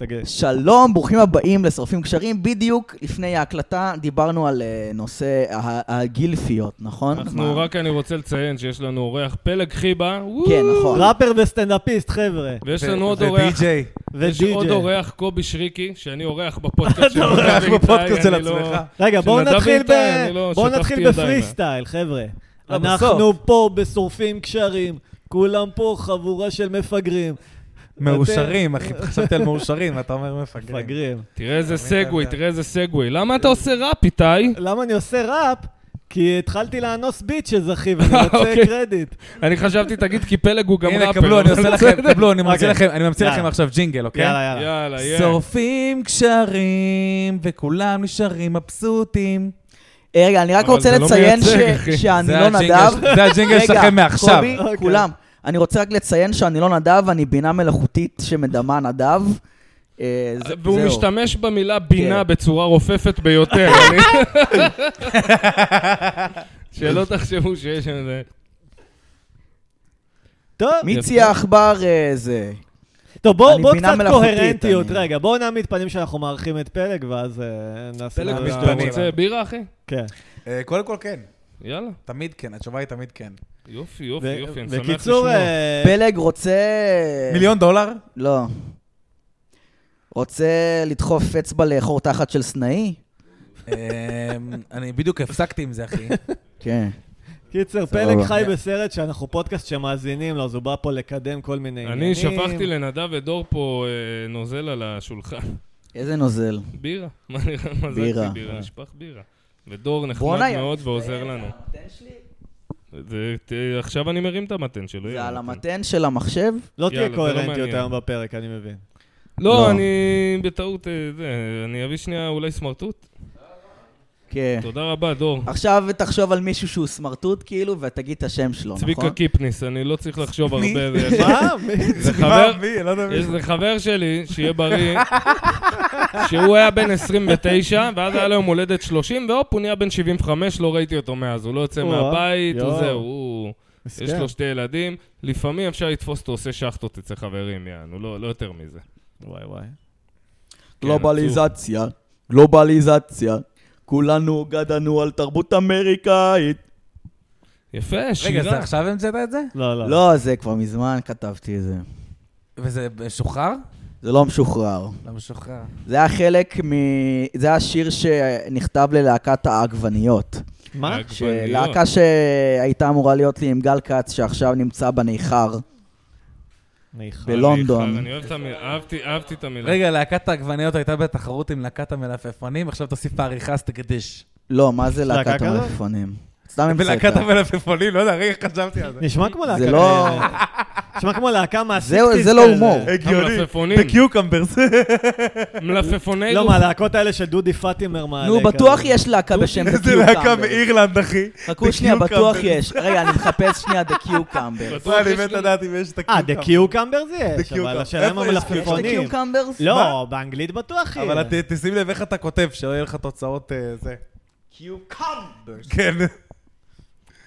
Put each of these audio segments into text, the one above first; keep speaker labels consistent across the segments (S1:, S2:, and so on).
S1: תגיד.
S2: שלום, ברוכים הבאים לשורפים קשרים. בדיוק לפני ההקלטה דיברנו על אה, נושא ה- הגילפיות, נכון?
S3: אנחנו
S2: מה?
S3: רק, אני רוצה לציין שיש לנו אורח פלג חיבה. וואו.
S2: כן, נכון.
S1: ראפר וסטנדאפיסט, חבר'ה.
S3: ויש לנו עוד אורח,
S4: ודי-ג'יי.
S3: יש
S1: ודי-ג'יי.
S3: עוד אורח, קובי שריקי, שאני אורח בפודקאסט של
S1: אורח
S3: מכבי איתי,
S4: בפודקאסט של
S3: אני לא-
S4: עצמך.
S1: רגע, בואו
S3: שנדב
S1: נתחיל ב...
S3: איתי, אני לא
S1: בואו
S3: שטפתי
S1: נתחיל
S3: ידיים
S1: בפרי
S3: בה.
S1: סטייל, חבר'ה.
S4: לא, בסוף.
S1: אנחנו פה בשורפים קשרים, כולם פה חבורה של מפגרים.
S4: מאושרים, אחי, חשבתי על מאושרים, ואתה אומר
S2: כן.
S4: מפגרים.
S1: מפגרים.
S3: תראה איזה
S4: אתה מבין?
S3: סגווי, תראה איזה סגווי. למה אתה עושה ראפ, איתי?
S1: למה אני עושה ראפ? כי התחלתי לאנוס ביצ'ז, אחי, ואני רוצה
S3: אוקיי.
S1: קרדיט.
S3: אני חשבתי, תגיד, כי פלג הוא גם ראפר.
S4: הנה, קבלו, אני
S3: אבל
S4: עושה לכם,
S3: בסדר.
S4: קבלו, אני ממציא
S1: אוקיי.
S4: לכם, אני ממציא לכם
S1: יאללה.
S4: עכשיו ג'ינגל,
S2: כן.
S4: אוקיי?
S1: יאללה, יאללה.
S3: יאללה, יאללה.
S4: שורפים קשרים, וכולם נשארים מבסוטים.
S2: אה, רגע, אני רק
S3: אבל
S2: רוצה
S3: זה לא
S2: לציין ש-
S3: מייצג, אחי.
S2: שאני
S4: זה
S2: לא
S4: הג'ינגל
S2: נדב.
S4: ש- זה הג'ינגל שלכם מעכשיו.
S2: רגע, קובי,
S1: אוקיי.
S2: כולם. אני רוצה רק לציין שאני לא נדב, אני בינה מלאכותית שמדמה נדב. אה, זה-
S3: והוא
S2: זהו.
S3: משתמש במילה בינה
S2: כן.
S3: בצורה רופפת ביותר. אני- שלא תחשבו שיש שם איזה...
S1: טוב,
S2: מי
S3: יפה.
S2: צי העכבר אה, זה?
S1: טוב, בואו
S2: אני
S1: בוא
S2: בינה
S1: קצת
S2: מלאכותית,
S1: קוהרנטיות.
S2: אני-
S1: רגע, בואו נעמיד פנים שאנחנו מארחים את פלג, ואז אה, נעשה...
S3: פלג,
S1: מה-
S4: משתנה.
S3: אתה רוצה בירה, אחי?
S1: כן.
S4: אה, קודם כל כן,
S3: יאללה.
S4: תמיד כן, התשובה היא תמיד כן.
S3: יופי, יופי,
S1: ו-
S3: יופי, אני שמח לשמוע.
S1: בקיצור, אה,
S2: פלג רוצה...
S4: אה, מיליון דולר?
S2: לא. רוצה לדחוף אצבע לחור תחת של סנאי?
S4: אה, אני בדיוק הפסקתי עם זה, אחי.
S2: כן.
S1: קיצר,
S2: סבבה.
S1: פלג חי בסרט שאנחנו פודקאסט שמאזינים לו, אז הוא בא פה לקדם כל מיני עניינים.
S3: אני שפכתי לנדב ודור פה אה, נוזל על השולחן.
S2: איזה נוזל.
S3: בירה. מה נראה? מה זה
S2: בירה.
S3: בירה? נשפך בירה. ודור נחמד
S2: בואנה,
S3: מאוד ועוזר
S2: לא
S3: לנו. זה- ת- עכשיו אני מרים את המתן שלו.
S2: זה
S3: יאללה,
S2: על
S3: מתן.
S2: המתן של המחשב?
S1: לא
S3: יאללה,
S1: תהיה
S3: זה לא
S1: קוהרנטיות
S3: מעניין.
S1: היום בפרק, אני מבין.
S3: לא,
S2: לא.
S3: אני בטעות, אה, זה, אני אביא שנייה אולי סמרטוט.
S2: כן.
S3: תודה רבה, דור.
S2: עכשיו תחשוב על מישהו שהוא סמרטוט כאילו, ותגיד את השם שלו, נכון?
S3: צביקה קיפניס, אני לא צריך לחשוב
S4: מי?
S3: הרבה. זה-
S1: מה? מי?
S3: זה חבר,
S4: מה, מי? לא יודע מי.
S3: יש לי חבר שלי, שיהיה בריא, שהוא היה בן 29, ואז היה לו יום הולדת 30, והופ, הוא נהיה בן 75, לא ראיתי אותו מאז, הוא לא יוצא
S1: וואו.
S3: מהבית, הוא
S1: יואו.
S3: זהו, הוא...
S4: כן.
S3: יש
S1: מסכן.
S3: לו שתי ילדים, לפעמים אפשר לתפוס אותו עושה שחטות אצל חברים, יענו, לא לא יותר מזה.
S1: וואי וואי.
S3: כן,
S2: גלובליזציה, גלובליזציה, כולנו גדלנו על תרבות אמריקאית.
S3: יפה,
S4: רגע, אז
S3: שירה.
S4: עכשיו המצאת את זה?
S1: לא, לא.
S2: לא, זה כבר מזמן כתבתי את זה.
S4: וזה משוחרר?
S2: זה לא משוחרר.
S4: לא משוחרר.
S2: זה היה חלק מ... זה היה שיר שנכתב ללהקת העגבניות.
S1: מה?
S3: רק- עגבניות.
S2: להקה שהייתה אמורה להיות לי עם גל כץ, שעכשיו נמצא בניכר.
S1: ניחא.
S2: בל- בלונדון.
S3: אני אוהב את המילה, אהבתי- אהבתי את המילה.
S4: רגע, להקת העגבניות הייתה בתחרות עם להקת המלפפונים, עכשיו תוסיף בעריכה סטגדיש.
S2: לא, מה זה להקת
S1: להקה כזאת?
S2: המלפפונים? סתם המצאת.
S4: ולהקת המלפפונים, לא יודע, רגע, חשבתי על זה.
S1: נשמע כמו להקה.
S2: זה לא-
S1: כזה. נשמע כמו להקה מעשית.
S2: זהו, זה לא הומור.
S3: המלפפונים.
S4: בקיוקמברס.
S3: מלפפוני
S1: לא,
S3: רוח.
S1: מהלהקות האלה שדודי פאטימר מעלה.
S2: נו,
S1: כזה.
S2: בטוח יש להקה בשם The
S4: איזה להקה
S2: Cucumber.
S4: מאירלנד, אחי.
S2: חכו
S4: The
S2: שנייה,
S4: Cucumber.
S2: בטוח יש. רגע, אני מחפש שנייה The Cucumber.
S3: בטוח
S4: מה, אני
S3: יש
S4: מת
S3: לנו-
S4: לדעת אם יש את
S1: אה, דה
S4: הקיוקמברס.
S1: קיוקמבר זה יש,
S4: The
S1: אבל
S4: Cucumber.
S1: השאלה אם
S4: איפה יש The
S2: יש The
S1: המלפפונים.
S2: Cucumbers?
S1: לא, באנגלית בטוח יהיה.
S4: אבל את- תשים לב איך אתה כותב, שלא יהיה לך תוצאות אה, זה. קיוקמברס. כן.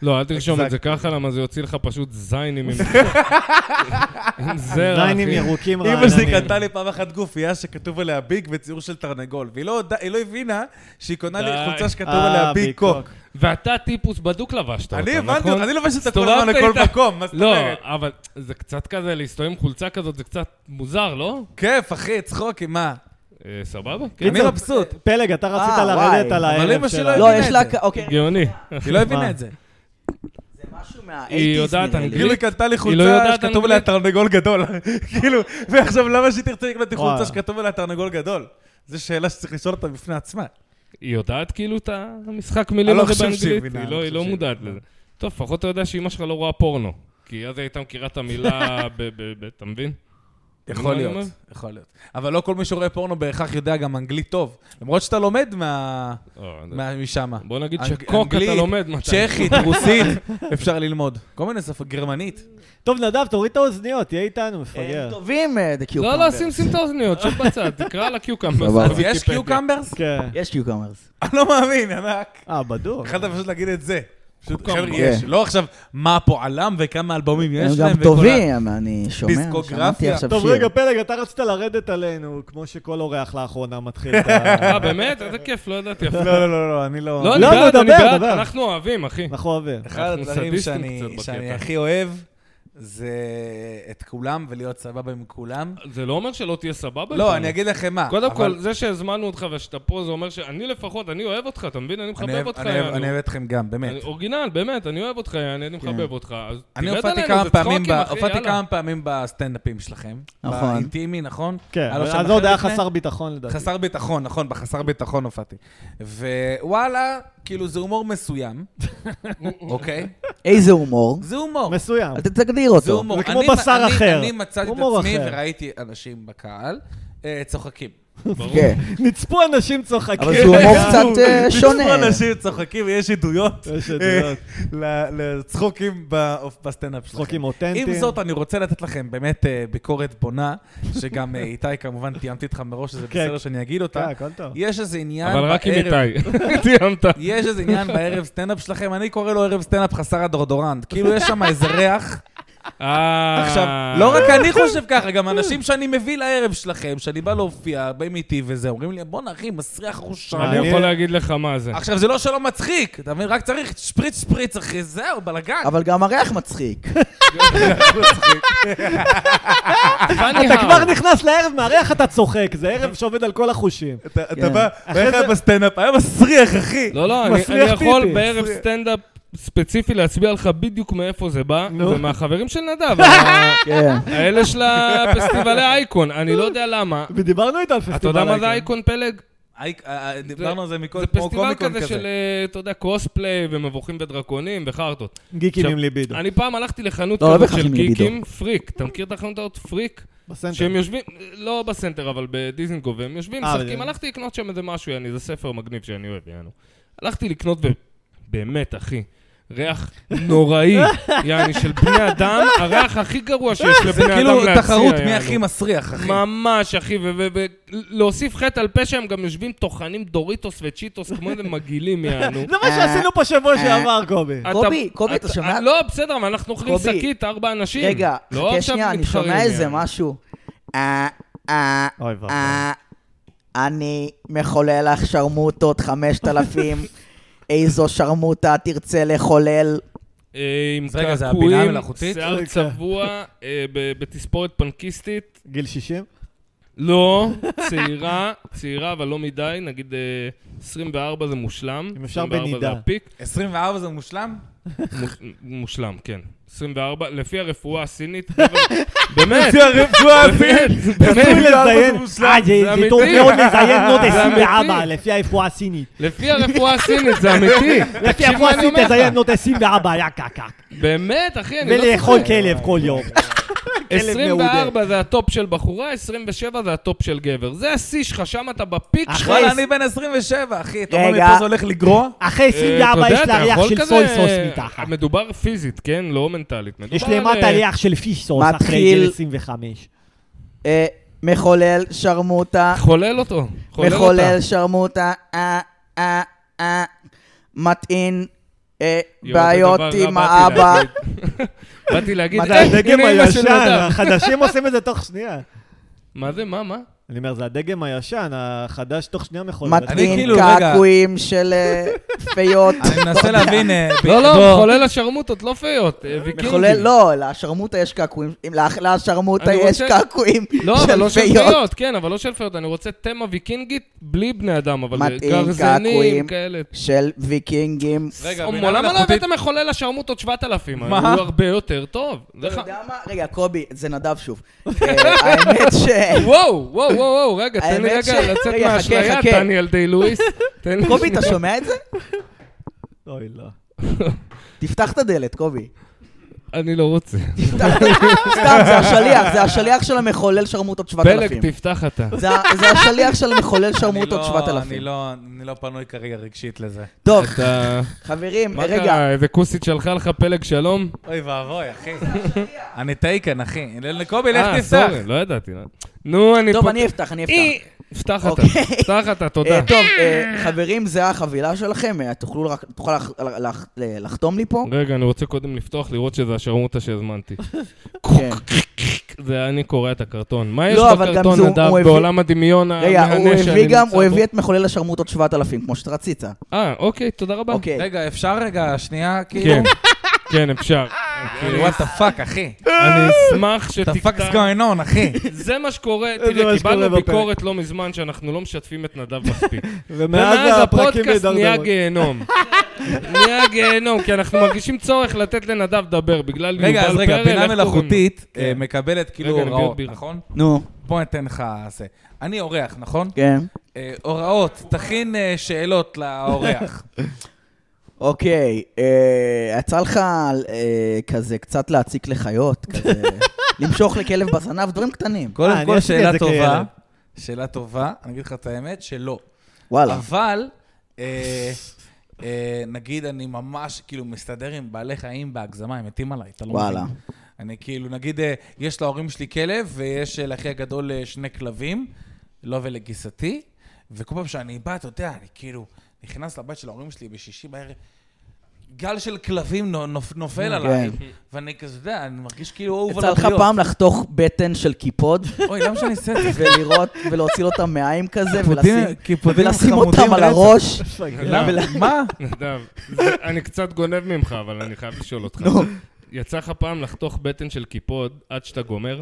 S3: לא, אל תרשום את זה
S4: Exactly.
S3: ככה, למה זה יוציא לך פשוט זיינים עם עם זרע, אחי.
S1: זיינים ירוקים
S4: אימא שלי
S1: רעננים.
S4: קנתה לי פעם אחת גופייה שכתוב עליה ביג וציור של תרנגול, והיא לא יודע- היא לא הבינה שהיא קונה לי
S3: די.
S4: חולצה שכתוב
S1: אה,
S4: עליה ביג
S1: ביג
S4: קוק.
S1: קוק.
S3: ואתה טיפוס בדוק לבשת אותה,
S4: אני
S3: נכון?
S4: הבנתי, אותה, אני לא לובש אותה כל הזמן
S3: הסתובבת
S4: לכל
S3: איתה.
S4: מקום, מה זאת
S3: לא,
S4: אומרת?
S3: אבל זה קצת כזה, להסתובב עם חולצה כזאת זה קצת מוזר, לא?
S4: כיף, אחי, צחוקים, מה?
S3: אה, סבבה? כן.
S4: אני מבסוט.
S1: פלג, אתה רצית
S2: אה,
S1: לרדת
S2: וואי.
S1: על
S4: אבל
S1: הערב
S4: אמא שלי
S1: שלה.
S4: לא
S2: לא,
S4: הבינה
S2: יש
S4: את
S2: להקה, אוקיי.
S3: גאוני.
S4: היא לא הבינה
S1: מה?
S4: את זה.
S2: זה משהו מה-80's
S3: היא יודעת
S2: נראה לי.
S3: אנגלית.
S4: כאילו היא קנתה לי
S3: לא
S4: חולצה
S3: יודעת
S4: שכתוב עליה
S3: אנגלית.
S4: תרנגול גדול. כאילו, ועכשיו למה שהיא תרצה לקנות לי
S1: וואלה.
S4: חולצה שכתוב עליה תרנגול גדול? זו שאלה שצריך לשאול אותה בפני עצמה.
S3: היא יודעת כאילו את המשחק
S4: אני
S3: מילים
S4: לא
S3: הזה
S4: חושב שהיא
S3: באנגלית?
S4: מבינה,
S3: היא
S4: אני
S3: לא-
S4: לא
S3: היא לא
S4: חושב שהיא
S3: מודעת
S4: מבינה.
S3: לזה. טוב, לפחות אתה יודע שאימא שלך לא רואה פורנו. כי אז היא הייתה מכירה את המילה, ב- ב- ב- אתה מבין?
S4: יכול
S3: אני אומר.
S4: להיות, יכול להיות. אבל לא כל מי שרואה פורנו בהכרח יודע גם אנגלית טוב. למרות שאתה לומד מה-
S3: אה,
S4: מה- משם.
S3: בוא נגיד
S4: אנג-
S3: שקוק אתה
S4: אנגלית,
S3: לומד מתי. לא,
S4: צ'כית, רוסית, אפשר ללמוד. כל מיני שפות, גרמנית.
S1: טוב, נדב, תוריד את האוזניות, תהיה איתנו,
S2: הם
S1: מפגר.
S2: טובים, אה, The Cucumbers.
S3: לא, לא, שים שים את האוזניות, שב בצד, תקרא על הקיוקמברס.
S2: סבבה.
S4: אז יש קיוקמברס?
S1: כן.
S2: יש קיוקמרס.
S4: אני לא מאמין, ענק.
S1: אה, בדוק.
S2: אוקיי.
S4: יכלת פשוט להגיד את זה. פשוט,
S3: כל
S4: חבר'ה,
S3: כך.
S4: יש.
S2: כן.
S4: לא עכשיו מה פועלם וכמה אלבומים
S2: הם
S4: יש להם.
S2: גם
S4: וכל ה-
S2: טובים, אני שומע, שמעתי
S4: דיסקוגרפיה.
S2: עכשיו
S1: טוב,
S2: שיר.
S1: רגע, פלג, אתה רצית לרדת עלינו, כמו שכל אורח לאחרונה מתחיל את ה...
S3: אה, באמת? איזה כיף, לא ידעתי אפילו.
S4: לא, לא, לא, לא, אני לא...
S3: לא, אני
S1: לא,
S3: בעד,
S1: לא,
S3: אני
S1: דבר,
S3: בעד,
S1: דבר.
S3: אנחנו אוהבים, אחי.
S1: אנחנו אוהבים.
S4: אחד
S3: אנחנו
S4: הדברים
S3: סדיסטים
S4: שאני-
S3: קצת בקטע.
S4: שאני הכי אוהב זה את כולם ולהיות סבבה עם כולם.
S3: זה לא אומר שלא תהיה סבבה?
S4: לא,
S3: איתנו.
S4: אני אגיד לכם מה.
S3: קודם
S4: אבל-
S3: כל, זה שהזמנו אותך ושאתה פה, זה אומר שאני לפחות, אני אוהב אותך, אתה מבין? אני
S4: אני
S3: מחבב
S4: אוהב-
S3: אותך,
S4: אני אוהב-
S3: יענו.
S4: אני אוהב אתכם גם, באמת. כן.
S3: אני- אורגינל, באמת, אני אוהב אותך, יעני, אני מחבב אותך. אז
S4: אני
S3: תרד
S4: הופעתי
S3: עלינו,
S4: כמה
S3: זה
S4: פעמים, ב-
S3: צחוקים, אחי,
S4: הופעתי
S3: יאללה.
S4: כמה פעמים בסטנדאפים שלכם.
S2: נכון.
S4: באינטימי, נכון?
S1: כן,
S4: היה לו שם
S1: אז עוד
S4: אחד
S1: היה
S4: לפני?
S1: חסר ביטחון לדעתי.
S4: חסר ביטחון, נכון, בחסר ביטחון הופעתי. ווואלה, כאילו זה הומור מסוים, אוקיי?
S2: איזה הומור?
S4: זה הומור.
S1: מסוים.
S2: אתה תגדיר
S4: זה
S2: אותו.
S4: הומור.
S1: זה כמו
S4: אני-
S1: בשר
S4: אני-
S1: אחר.
S4: אני מצאתי את
S1: הומור
S4: עצמי
S1: אחר.
S4: וראיתי אנשים בקהל אה, צוחקים.
S3: ברור.
S2: כן.
S1: נצפו אנשים צוחקים.
S2: אבל זה הומור
S1: גם.
S2: קצת אה, שונה.
S4: בזמן אנשים צוחקים, יש עדויות.
S1: יש עדויות.
S4: אה, ל- לצחוקים ב- בסטנדאפ שלכם.
S1: צחוקים אותנטיים.
S4: עם זאת, אני רוצה לתת לכם באמת אה, ביקורת בונה, שגם אה, איתי, כמובן, תיאמתי איתך מראש, שזה
S1: כן.
S4: בסדר שאני אגיד
S1: כן,
S4: אותה.
S1: הכל טוב.
S4: יש איזה עניין
S3: אבל רק עם
S4: בערב-
S3: איתי. תיאמת.
S4: יש איזה עניין בערב סטנדאפ שלכם, אני קורא לו ערב סטנדאפ חסר הדורדורנט. כאילו, יש שם איזה ריח.
S3: אה.
S4: עכשיו, לא רק אני חושב ככה, גם אנשים שאני מביא לערב שלכם, שאני בא להופיע, באים איתי וזה, אומרים לי, בואנה, אחי, מסריח ראשון.
S3: אני יכול להגיד לך מה זה.
S4: עכשיו, זה לא שלא מצחיק, אתה מבין? רק צריך שפריץ שפריץ, אחי, זהו, בלאגן.
S2: אבל גם הריח מצחיק.
S3: Funny
S1: אתה
S3: how.
S1: כבר נכנס לערב, מארח אתה צוחק, זה ערב שעובד על כל החושים.
S3: כן.
S4: אתה
S2: בא-
S4: בערב בסטנדאפ, היה מסריח, אחי.
S3: לא, לא, אני, אני
S1: מסריח
S3: יכול
S1: פיפי.
S3: בערב סטנדאפ ספציפי להצביע לך בדיוק מאיפה זה בא.
S1: נו.
S3: זה מהחברים של נדב, ה-
S2: כן.
S3: האלה של הפסטיבלי אייקון. אני לא יודע למה.
S1: ודיברנו איתו על פסטיבל.
S3: אתה יודע מה זה
S1: האייקון.
S3: אייקון פלג?
S4: אה, דיברנו על זה מכל,
S3: זה
S4: כמו
S3: פסטיבל
S4: קומיקון
S3: כזה של,
S4: כזה.
S3: אה, אתה יודע, קרוספליי ומבוכים ודרקונים וחרטות.
S1: גיקים
S3: עכשיו,
S1: עם ליבידו.
S3: אני פעם הלכתי לחנות
S2: לא, לא
S3: כזאת
S2: בהכרח
S3: של
S2: עם ליבידו.
S3: גיקים, פריק. אתה מכיר את החנות הזאת? פריק?
S1: בסנטר.
S3: שהם יושבים, לא בסנטר, אבל בדיזנגוף, הם יושבים,
S1: אה,
S3: משחקים.
S1: בדיוק.
S3: הלכתי לקנות שם איזה משהו, יעני, זה ספר מגניב שאני אוהב, יענו. הלכתי לקנות, ובאמת, אחי, ריח נוראי, יעני, של בני אדם, הריח הכי גרוע שיש לבני אדם
S4: זה
S3: להציע,
S4: כאילו תחרות מי
S3: יענו.
S4: הכי מסריח, אחי.
S3: ממש, אחי, ולהוסיף חטא על פשע, הם גם יושבים טוחנים דוריטוס וצ'יטוס כמו איזה מגעילים, יענו.
S1: זה מה שעשינו פה שבוע שעבר, קובי.
S3: אתה-
S2: קובי, קובי, אתה שומע?
S3: לא, בסדר, אבל אנחנו אוכלים
S2: קובי.
S3: שקית, ארבע אנשים.
S2: רגע,
S3: לא
S2: חכה
S3: עכשיו
S2: שנייה, אני
S3: מתחרים,
S2: שומע איזה
S3: יענו.
S2: משהו. אה, אה,
S1: אוי ואבוי.
S2: אה, אני מחולל לך שרמוטות 5,000. איזו שרמוטה תרצה לחולל?
S3: אה, עם
S4: רגע, זה הבינה
S3: קעקועים,
S4: המלאכותית?
S3: שיער
S1: רגע.
S3: צבוע, אה, ב- בתספורת פנקיסטית.
S1: גיל 60?
S3: לא, צעירה, צעירה, אבל לא מדי, נגיד אה, 24 זה מושלם.
S1: אם אפשר
S3: 24
S1: בנידה.
S3: זה הפיק.
S4: 24 זה מושלם?
S3: מוש- מושלם, כן. 24, לפי הרפואה הסינית. באמת,
S4: זה הרפואה
S3: באמת, באמת.
S1: רצוי לציין, אה, זה-
S3: זה
S1: זה טוב
S3: אמיתי.
S1: מאוד לזיין לא בנות
S3: זה
S1: 24,
S3: אמיתי.
S1: לפי הרפואה הסינית.
S3: לפי הרפואה הסינית, זה אמיתי.
S1: לפי
S3: תקשיב
S1: הרפואה
S3: מה אני
S1: הסינית
S3: אומר לך.
S1: תזיין בנות 24, יא קקק.
S3: באמת, אחי, אני לא
S1: ולאכול
S3: צוחק.
S1: כלב כל יום. כלב
S3: 24 זה הטופ של בחורה, 27 זה הטופ של גבר. זה השיא שלך, שם אתה
S1: אה,
S3: בפיק שלך.
S4: וואלה, אני בן 27, אחי. אתה
S2: רגע.
S4: אומר לי, פה זה הולך לגרוע?
S1: אחרי
S3: אה, אתה
S1: 24
S3: יודע,
S1: יש לה
S3: אתה
S1: ריח
S3: יכול
S1: של
S3: כזה-
S1: סוי סוס מתחת.
S3: מדובר פיזית, כן? לא מנטלית. מדובר
S1: יש
S3: על,
S1: למטה
S3: אה,
S1: ריח של פיש סוס אחרי
S2: מתחיל-
S1: גיל 25.
S2: אה, מחולל שרמוטה.
S3: חולל אותו. חולל
S2: מחולל
S3: אותה.
S2: שרמוטה. אה, אה, אה. מטעין. אה,
S3: יואו, זה
S2: בעיות
S3: דבר רע,
S2: עם
S3: באתי
S2: האבא.
S3: להגיד. באתי להגיד,
S2: מה זה
S3: אה,
S1: הדגם
S3: הנה אמא של
S1: הישן,
S3: נדב.
S1: החדשים עושים את זה תוך שנייה.
S3: מה זה, מה, מה?
S1: אני אומר, זה הדגם הישן, החדש תוך שנייה מחולל.
S4: אני
S2: מטעין
S4: כאילו, רגע.
S2: קעקועים של אה, פיות.
S4: אני מנסה להבין... אה, ב-
S3: לא,
S4: בוא.
S3: לא, מחולל השרמוטות, לא פיות. אה, ויקינגים.
S2: מחולל, לא, לשרמוטה יש קעקועים, אם לאח- לשרמוטה
S3: אני
S2: יש
S3: רוצה-
S2: קעקועים
S3: לא, אבל לא
S2: של
S3: של
S2: פיות.
S3: פיות, כן, אבל לא של פיות. אני רוצה תמה ויקינגית בלי בני אדם, אבל אה,
S2: מתאים,
S3: גרזנים
S2: קעקועים.
S3: כאלה.
S2: של ויקינגים.
S4: רגע,
S3: או,
S4: בינה
S3: למה לא
S4: מלאכותית-
S3: הבאתם מחולל השרמוטות 7,000? הוא
S4: מה?
S3: הרבה יותר טוב. זה
S2: אתה
S3: ח-
S2: יודע מה? רגע, קובי, זה נדב שוב. אה, האמת ש...
S3: וואו, וואו, וואו, וואו, רגע, תן לי
S2: האמת
S3: רגע
S2: ש-
S3: לצאת
S2: רגע, חכה,
S3: מהאשליה,
S2: חכה.
S3: דניאל די לואיס. תן לי
S2: קובי,
S3: שנייה.
S2: אתה שומע את זה?
S1: אוי, לא.
S2: תפתח את הדלת, קובי.
S3: אני לא רוצה.
S2: תפתח- סתם, זה השליח, זה השליח של המחולל שרמוטות
S3: פלג,
S2: 7,000.
S3: תפתח אתה.
S2: זה ה- זה השליח של המחולל
S4: אני
S2: שרמוטות
S4: לא-
S2: 7,000.
S4: אני לא- אני לא פנוי כרגע רגשית לזה.
S2: טוב,
S3: אתה...
S2: חברים,
S3: מה
S2: רגע,
S3: קרה? איזה כוסית שלחה לך פלג שלום?
S4: אוי ואבוי, אחי. אני טייקן, אחי. ל- לקובי, לך
S3: אה,
S4: תפתח.
S3: סורי, לא ידעתי. לא. נו, אני...
S2: טוב,
S3: פות-
S2: אני אפתח, אני אפתח.
S3: אי, פתח אתה,
S2: אוקיי.
S3: פתח אתה, תודה.
S2: אה, טוב, אה, חברים, זה החבילה שלכם, אה, תוכלו רק- תוכל לח- לח- ל- לחתום לי פה?
S3: רגע, אני רוצה קודם לפתוח, לראות שזה השרמוטה שהזמנתי.
S2: כן.
S3: זה אני קורע את הקרטון. מה יש
S2: לא, אבל גם
S3: בקרטון,
S2: זה הוא-
S3: נדב,
S2: הוא הביא-
S3: בעולם הדמיון
S2: רגע,
S3: המהנה
S2: הוא
S3: שאני נמצא בו?
S2: הביא גם, הוא הביא את מחולל השרמוטות 7000, כמו שרצית.
S3: אה, אוקיי, תודה רבה.
S2: אוקיי.
S4: רגע, אפשר רגע, שנייה, כאילו?
S3: כן, כן, אפשר.
S4: כאילו, what the fuck, אחי?
S3: אני אשמח
S4: what the fuck is
S3: שתקטע.
S4: going on, אחי?
S3: זה מה שקורה,
S1: זה מה שקורה
S3: תראה, קיבלנו
S1: בפרק.
S3: ביקורת לא מזמן שאנחנו לא משתפים את נדב מספיק.
S1: ומאז
S3: ומאז
S1: הפרקים
S3: הפודקאסט נהיה
S1: מידרדרים.
S3: גיהנום. נהיה גיהנום, כי אנחנו מרגישים צורך לתת לנדב לדבר, בגלל יובל פרל,
S4: רגע, אז רגע,
S3: איך
S4: בינה
S3: קוראים לו?
S4: מלאכותית אה, מקבלת כאילו
S3: רגע, אני
S4: הוראות,
S3: בירה.
S4: נכון?
S2: נו,
S4: בוא ניתן לך זה. אני אורח, נכון?
S2: כן.
S4: אה, הוראות, תכין אה, שאלות לאורח.
S2: אוקיי, אה, יצא לך אה, כזה קצת להציק לחיות, כזה למשוך לכלב בזנב, דברים קטנים.
S1: אה,
S4: קודם
S1: אני
S4: כל,
S1: עשיתי את
S4: שאלה
S1: זה
S4: טובה.
S1: כילד.
S4: שאלה טובה, אני אגיד לך את האמת, שלא.
S2: וואלה.
S4: אבל, אה, אה, נגיד אני ממש כאילו מסתדר עם בעלי חיים בהגזמה, הם מתים עליי, אתה לא מבין.
S2: וואלה.
S4: אני כאילו, נגיד, אה, יש להורים שלי כלב, ויש אה, לאחי הגדול אה, שני כלבים, לא ולגיסתי, וכל פעם שאני בא, אתה יודע, אני כאילו נכנס לבית של ההורים שלי בשישי בערב, גל של כלבים נו- נופ- נופל עליי, ואני כזה, אתה יודע, אני מרגיש כאילו אהוב על
S2: כן. יצא לך
S4: הבריות.
S2: פעם לחתוך בטן של קיפוד,
S4: אוי, למה שאני אעשה את זה?
S2: ולראות, ולהוציא לו את המעיים כזה,
S4: קיפודים-
S2: ולשים-
S4: קיפודים
S2: ולשים
S4: חמודים
S2: אותם על
S4: רצח. אה.
S2: הראש.
S3: למה?
S4: מה?
S3: נדב, זה- אני קצת גונב ממך, אבל אני חייב לשאול אותך.
S2: נו.
S3: יצא לך פעם לחתוך בטן של קיפוד עד שאתה גומר?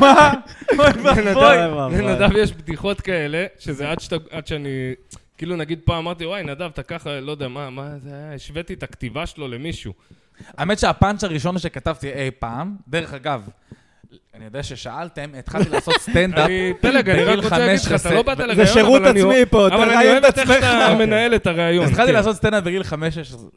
S4: מה? אוי
S1: אוי,
S4: ואבוי.
S1: ואבוי.
S3: לנדב יש בדיחות כאלה, שזה עד שאתה, עד שאני... כאילו, נגיד פעם אמרתי, וואי, נדב, אתה ככה, לא יודע, מה, מה זה היה? השוויתי את הכתיבה שלו למישהו.
S4: האמת שהפאנץ' הראשון שכתבתי אי פעם, דרך אגב, אני יודע ששאלתם, התחלתי לעשות סטנדאפ.
S3: אני, פלג, אני רק
S4: בגיל
S3: רוצה להגיד לך,
S4: חמש
S3: אתה לא באת
S4: עשרה.
S3: לראיון,
S1: שירות
S3: אבל אני-
S1: עצמי פה, אתה
S3: אבל אני
S1: מראיין
S3: אוהב
S1: את
S3: את איך שאתה
S1: עצמך.
S3: מנהל את הראיון.
S4: התחלתי
S3: כן.
S4: לעשות סטנדאפ בגיל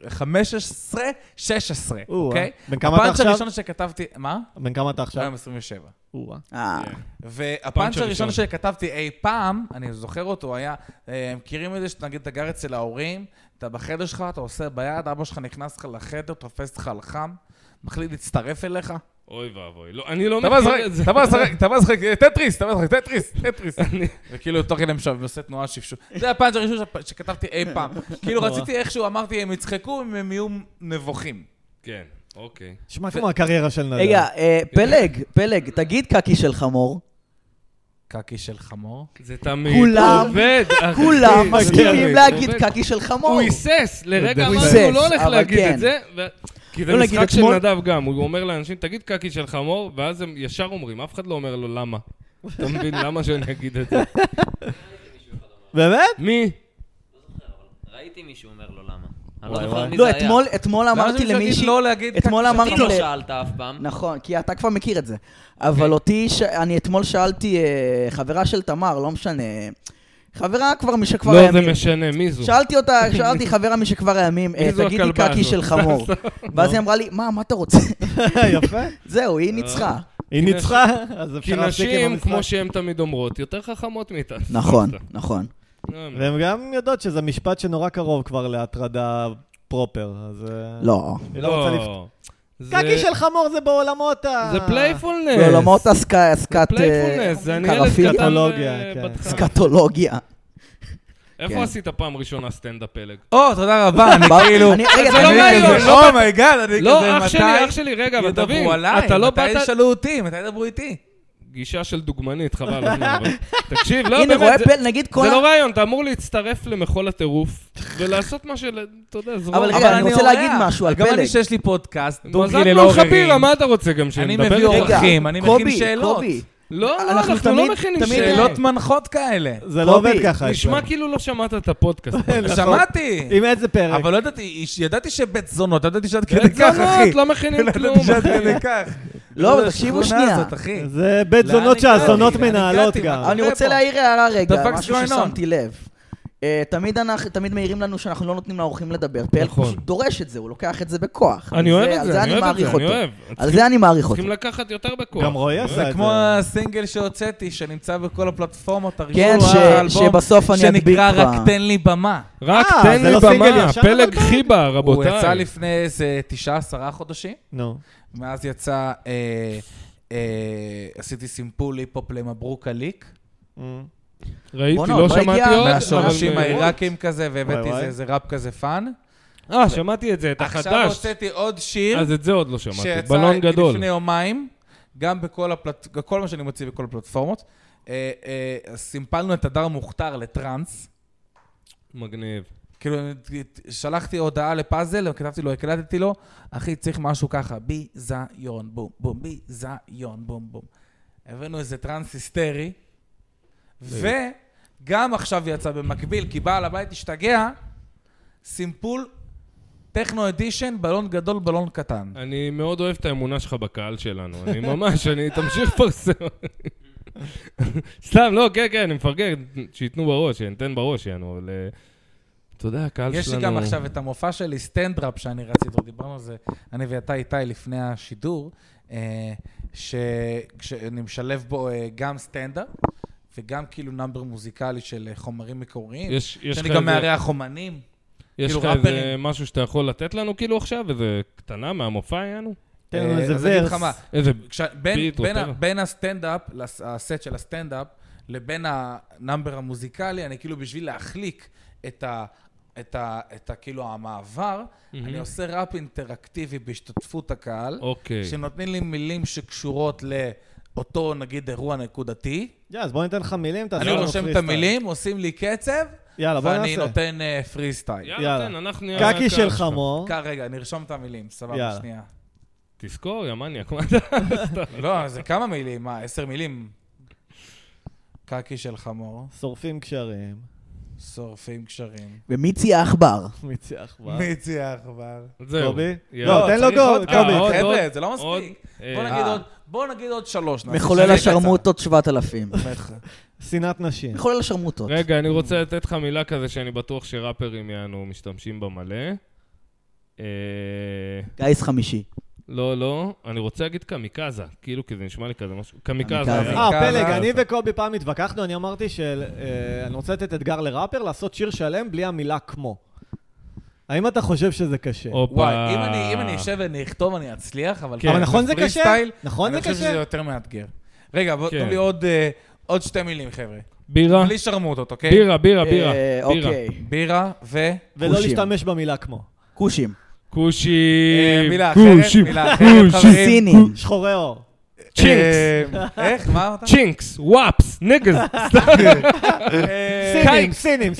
S4: 15, 16,
S1: או-אה.
S4: אוקיי?
S1: אה. בן כמה אתה
S4: הפאנץ'
S1: עכשיו?
S4: הראשון שכתבתי, מה?
S1: בן כמה אתה
S4: היום
S3: אה,
S1: עכשיו?
S4: 27.
S1: או-אה.
S2: אה,
S4: והפאנץ'
S3: פאנץ'
S4: הראשון
S3: הראשון.
S4: שכתבתי אי פעם, אני זוכר אותו, היה, אה, מכירים את זה שנגיד אתה גר אצל ההורים, אתה בחדר שלך, אתה עושה ביד, אבא שלך נכנס לך לחדר, תופס אותך על חם, מחליט להצטרף אליך.
S3: אוי ואבוי. לא, אני לא
S4: אתה בא
S3: מכיר את
S4: לשחק,
S3: זה.
S4: אתה בא לשחק, אתה בא לשחק, אה, טטריס, אתה בא לשחק, טטריס, טטריס. וכאילו, תוך כדי משם, עושה תנועה שפשוף. זה הפאנץ' הראשון שפ- שכתבתי אי פעם. כאילו, רציתי איכשהו, אמרתי, הם יצחקו, אם הם יהיו נבוכים.
S3: כן, אוקיי.
S1: נשמע כמו הקריירה של נדב.
S4: לא
S2: רגע, אה, פלג, פלג, תגיד קקי של חמור.
S4: קקי של חמור.
S3: זה תמיד
S2: כולם-
S3: עובד, אחי.
S4: אוקיי.
S2: כולם
S3: זה
S2: מסכימים
S3: תמיד
S2: להגיד
S3: עובד.
S2: קקי של חמור.
S3: הוא היסס, לרגע
S2: הוא
S3: אמרנו,
S2: היסס,
S3: הוא לא הולך
S2: אבל
S3: להגיד
S2: כן.
S3: את זה. ו- כי זה
S2: לא נגיד,
S3: משחק של
S2: אתמול-
S3: נדב גם, הוא אומר לאנשים, תגיד קקי של חמור, ואז הם ישר אומרים, אף אחד לא אומר לו למה. אתה מבין, למה שאני אגיד את זה?
S1: באמת?
S3: מי?
S5: ראיתי מישהו אומר לו למה. אני
S1: וואי, וואי.
S5: לא זוכר מי זה
S2: לא,
S5: היה.
S2: אתמול- אתמול אמרתי
S4: להגיד
S2: למישהי...
S4: לא להגיד קקי
S2: אתמול
S4: של
S2: אמרתי...
S5: אותי לא
S2: ל-
S5: שאלת אף פעם.
S2: נכון, כי אתה כבר מכיר את זה.
S3: כן.
S2: אבל אותי, ש- אני אתמול שאלתי אה, חברה של תמר, לא משנה, חברה כבר משכבר
S3: לא, זה
S2: הימים.
S3: משנה, מי זו?
S2: שאלתי אותה, שאלתי חברה משכבר הימים, אה,
S3: מי זו
S2: תגידי
S3: הכלבה
S2: קקי
S3: הזאת?
S2: של חמור. ואז היא אמרה לי, מה, מה אתה רוצה?
S1: אה, יפה.
S2: זהו,
S3: אה,
S2: היא ניצחה.
S1: היא ניצחה, אז
S3: כי
S1: אפשר להפסיק עם
S3: נשים, כמו
S1: המשחק.
S3: שהן תמיד אומרות, יותר חכמות מאיתנו.
S2: נכון, נכון.
S3: לא, הם-
S1: והן גם יודעות שזה משפט שנורא קרוב כבר להטרדה פרופר, אז... אה,
S2: לא.
S1: היא לא רוצה לפתור.
S3: לא. זה-
S1: קקי של חמור זה בעולמות ה...
S3: זה פלייפולנס.
S2: בעולמות הסק- הסקת... אה,
S3: אה, פלייפולנס, זה אני ילד
S2: קרפית.
S3: קטן
S1: טכנולוגיה,
S3: אה,
S1: כן.
S3: בתך.
S2: סקטולוגיה. כן.
S3: איפה עשית פעם ראשונה סטנדאפ פלג?
S4: או, "לא, תודה רבה, אני
S2: בא-
S4: כאילו...
S2: אני- רגע,
S3: זה לא
S2: אני-
S3: מעניין.
S4: אומייגאד, אני כזה,
S3: לא, אח שלי, אח
S4: מתי
S3: שלי, רגע, אבל תבין,
S4: אוקיי, ידברו עליי?
S3: אתה לא
S4: מתי
S3: באת...
S4: ישאלו אותי? מתי ידברו איתי?
S3: גישה של דוגמנית, חבל על הזמן, אבל... תקשיב, לא,
S2: הנה, רואה
S3: באמת, זה-
S2: פל, נגיד כל...
S3: זה
S2: ה-
S3: לא רעיון, אתה אמור להצטרף למחול הטירוף, ולעשות מה של... אתה יודע, זרום.
S2: אבל רגע, אני רוצה
S4: אורח.
S2: להגיד משהו על
S4: גם
S2: פלג.
S4: אני שיש לי פודקאסט, דוגי
S3: מזל
S4: ללא
S3: לא
S4: עוררין.
S3: חבירה, מה אתה רוצה גם שנדבר
S4: מביא
S3: איתך?
S4: אורח.
S2: רגע,
S4: אחים, אני מכין
S2: קובי,
S4: שאלות.
S2: קובי.
S3: לא, לא,
S2: אנחנו
S3: אנחנו
S2: תמיד-
S3: לא מכינים
S2: תמיד-
S3: שאלות.
S4: שאלות מנחות כאלה.
S1: זה לא
S2: קובי,
S1: עובד ככה.
S3: נשמע
S1: אצלנו.
S3: כאילו לא שמעת את הפודקאסט.
S4: לא, נכון. שמעתי.
S1: עם איזה פרק?
S4: אבל לא ידעתי, ידעתי שבית זונות, לא ידעתי שעד כדי
S3: בית
S4: כך, אחי.
S3: זונות, לא מכינים
S4: לא
S3: כלום.
S4: ידעתי שעד
S3: אחי.
S4: כדי כך.
S2: לא, אבל
S4: כל
S2: תקשיבו
S4: השכונה
S2: שנייה.
S4: הזאת, אחי.
S1: זה בית
S4: לאן
S1: זונות
S4: הגעתי?
S1: שהזונות
S4: לאן
S1: מנהלות
S4: הגעתי?
S1: גם.
S4: מה-
S2: אני
S4: זה
S2: רוצה
S4: פה.
S2: להעיר הערה
S4: The
S2: רגע,
S4: fuck's
S2: משהו
S4: going on?
S2: ששמתי לב. אה, תמיד אנחנו, תמיד מעירים לנו שאנחנו לא נותנים לאורחים לדבר, פלג
S3: נכון.
S2: פשוט דורש את זה, הוא לוקח את זה בכוח.
S3: אני אוהב את
S2: על
S3: זה, אני אוהב את
S2: מעריך
S3: זה, אני
S2: אותו.
S3: אוהב.
S2: על זה אני מעריך אותו.
S3: צריכים לקחת יותר בכוח.
S1: גם רועי עשה את
S4: זה
S1: זה.
S4: כמו הסינגל שהוצאתי, שנמצא בכל הפלטפורמות, הראשון
S2: כן, ש- שבסוף אני אדביק
S4: שנקרא
S2: בה.
S4: רק תן לי במה.
S3: רק
S1: אה,
S3: תן
S1: זה
S3: לי
S1: לא סינגל
S3: במה,
S1: ישן,
S3: פלג
S1: אבל?
S3: חיבה,
S4: הוא
S3: רבותיי.
S4: יצא לפני איזה תשעה, עשרה חודשים,
S1: נו.
S4: מאז יצא, אה, אה, עשיתי סימפול היפ-הופ למברוק הליק.
S3: ראיתי,
S2: בואנה,
S3: לא
S2: עוד לא
S3: שמעתי
S2: הגיע.
S3: עוד.
S4: מהשורשים
S3: אבל-
S4: העיראקים כזה, והבאתי
S1: וואי, וואי.
S4: איזה- איזה ראפ כזה פאן.
S3: אה, שמעתי את זה, את
S4: עכשיו
S3: החדש.
S4: הוצאתי עוד שיר.
S3: אז את זה עוד לא שמעתי. בלון גדול.
S4: לפני יומיים, גם בכל הפלט... כל מה שאני מוציא בכל הפלטפורמות. אה, אה, סימפלנו את הדר מוכתר לטראנס.
S3: מגניב.
S4: כאילו, שלחתי הודעה לפאזל, כתבתי לו, הקלטתי לו, אחי, צריך משהו ככה, ביזיון, בום, בום, ביזיון, בום, בום. הבאנו איזה טרנס היסטרי,
S3: אה.
S4: וגם עכשיו יצא במקביל, כי בעל הבית השתגע, סימפול טכנו אדישן, בלון גדול, בלון קטן.
S3: אני מאוד אוהב את האמונה שלך בקהל שלנו. אני ממש, אני תמשיך לפרסם. סתם, לא, כן, כן, אני מפרגן, שייתנו בראש, שניתן בראש, יענו, אבל... אה, אתה יודע, הקהל שלנו...
S4: יש לי גם עכשיו את המופע שלי, סטנדראפ, שאני רציתי, עוד דיברנו על זה, אני ואתה איתי לפני השידור, אה, ש- שאני משלב בו אה, גם סטנדאפ, וגם כאילו נאמבר מוזיקלי של אה, חומרים מקוריים.
S3: יש יש לך
S4: שאני גם
S3: איזה-
S4: מארח אומנים.
S3: יש
S4: כאילו
S3: לך איזה
S4: ראפרים.
S3: משהו שאתה יכול לתת לנו כאילו עכשיו? איזה קטנה מהמופע, יענו?
S1: תן לנו
S4: אה,
S1: איזה
S4: אז אני אגיד לך
S1: ורס.
S4: מה,
S3: איזה...
S4: כש- בין-
S3: ביט או
S4: בין ה-
S3: טבע.
S4: בין הסטנדאפ, לס- הסט של הסטנדאפ, לבין הנאמבר המוזיקלי, אני כאילו בשביל להחליק את ה... את ה... את ה... כאילו המעבר, אני עושה ראפ אינטראקטיבי בהשתתפות הקהל.
S3: אוקיי.
S4: שנותנים לי מילים שקשורות לאותו, נגיד, אירוע נקודתי.
S1: יא, אז בוא ניתן לך מילים, תעשה
S4: אני לא
S1: לנו
S4: רושם את
S1: freestyle.
S4: המילים, עושים לי קצב,
S1: יאללה, בוא
S4: ואני
S1: נעשה.
S4: נותן אה, פרי סטייל.
S3: יאללה,
S1: יאללה.
S3: תן, אנחנו... נהיה הקהל
S1: קקי של
S3: שלך.
S1: חמור.
S4: רגע, נרשום את המילים, סבבה,
S1: יאללה.
S4: שנייה.
S3: תזכור, יא מניאק, מה אתה...
S4: לא, זה כמה מילים, מה, עשר מילים? קקי של חמור,
S1: שורפים קשרים.
S4: שורפים קשרים.
S2: ומיצי העכבר.
S1: מיצי עכבר.
S4: מיצי העכבר.
S3: זהו.
S1: קובי?
S3: יאללה.
S1: לא, תן לו
S4: צריך
S1: גו-
S4: עוד
S1: קובי.
S4: כמה,
S1: אה,
S3: עוד,
S4: חבר'ה,
S3: עוד,
S4: זה לא
S3: עוד.
S4: מספיק.
S3: אה,
S4: בוא נגיד עוד- בוא נגיד עוד שלוש. נעשה
S2: מחולל
S4: שיר
S2: השרמוטות 7,000.
S4: קצר.
S1: שנאת נשים.
S4: נכון.
S2: מחולל השרמוטות.
S3: רגע, אני רוצה לתת לך מילה כזה שאני בטוח שראפרים יענו משתמשים בה מלא. אה,
S2: גיס חמישי.
S3: לא, לא, אני רוצה להגיד קמיקזה, כאילו, כי זה נשמע לי כזה משהו. קמיקזה.
S2: קמיקזה.
S3: יאללה.
S1: אה,
S4: בעיקר
S1: פלג,
S4: זה-
S1: אני וקובי פעם התווכחנו, אני אמרתי שאני רוצה לתת אתגר לראפר לעשות שיר שלם בלי המילה כמו. האם אתה חושב שזה קשה?
S3: הופה.
S4: וואי, אם אני- אם אני אשב ואני אכתוב, אני אצליח, אבל...
S3: כן. אבל
S1: נכון זה קשה?
S4: בפריסטייל,
S1: נכון
S4: אני
S1: זה
S4: חושב
S1: קשה?
S4: שזה יותר מאתגר. רגע, בוא,
S3: כן.
S4: תנו לי עוד, אה, עוד שתי מילים, חבר'ה.
S3: בירה,
S4: בלי שרמוטות, אוקיי?
S3: בירה, בירה, בירה.
S2: אה,
S3: בירה.
S2: אוקיי.
S4: בירה ו...
S1: ולא
S2: חושים.
S1: להשתמש במילה כמו.
S2: כושים.
S4: אה,
S3: כושים,
S4: מילה אחרת,
S3: כושים,
S4: מילה אחרת, חברים.
S3: כושים.
S2: סינים.
S1: שחורי אור.
S3: צ'ינקס,
S4: אה, איך? מה אמרת?
S3: צ'ינקס, וואפס, נגז.
S4: אה,
S1: סינים, סינים,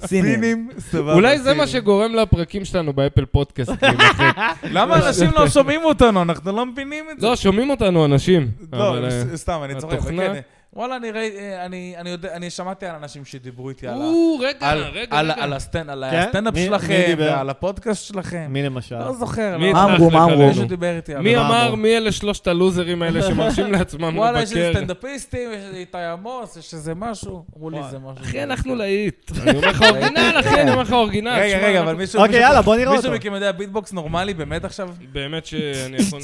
S1: סינים.
S2: סינים.
S4: סבבה.
S3: אולי זה
S4: סינים.
S3: מה שגורם לפרקים שלנו באפל פודקאסט. להימחק.
S4: למה אנשים לא שומעים אותנו? אנחנו לא מבינים את זה.
S3: לא, שומעים אותנו אנשים. אבל,
S4: לא,
S3: אה,
S4: ס- סתם, אני צוחק.
S3: התוכנה-
S4: כן, אה, וואלה, אני ראיתי, אה, אני אני יודע, אני שמעתי על אנשים שדיברו איתי על ה-
S3: או, רגע,
S4: על-
S3: רגע,
S4: על-
S3: רגע.
S4: על הסטנד- על
S1: כן?
S4: הסטנדאפ
S1: מי- מי
S4: שלכם,
S1: דיבר?
S4: ועל הפודקאסט שלכם.
S1: מי למשל?
S4: לא זוכר.
S3: מי
S4: לא-
S2: אמרו,
S3: הצלח לך
S2: מה אמרו?
S3: עלינו?
S4: מישהו דיבר איתי על
S3: מי
S4: זה.
S3: אמר מי אלה שלושת הלוזרים האלה שמרשים לעצמם
S4: וואלה, יש איזה
S3: לבקר?
S4: סטנדאפיסטים, יש איזה איתי עמוס, יש איזה משהו. אמרו לי איזה משהו.
S3: אחי, אנחנו להיט. אני אומר לך אורגינל, אחי, אני אומר לך אורגינל.
S4: רגע,
S3: שמע,
S4: רגע,
S3: אנחנו-
S4: אבל מישהו...
S1: אוקיי,
S4: מישהו-
S1: יאללה, בוא נראה
S4: מישהו
S1: אותו.
S4: מכם יודע ביטבוקס נורמלי באמת עכשיו?
S3: באמת שאני יכול...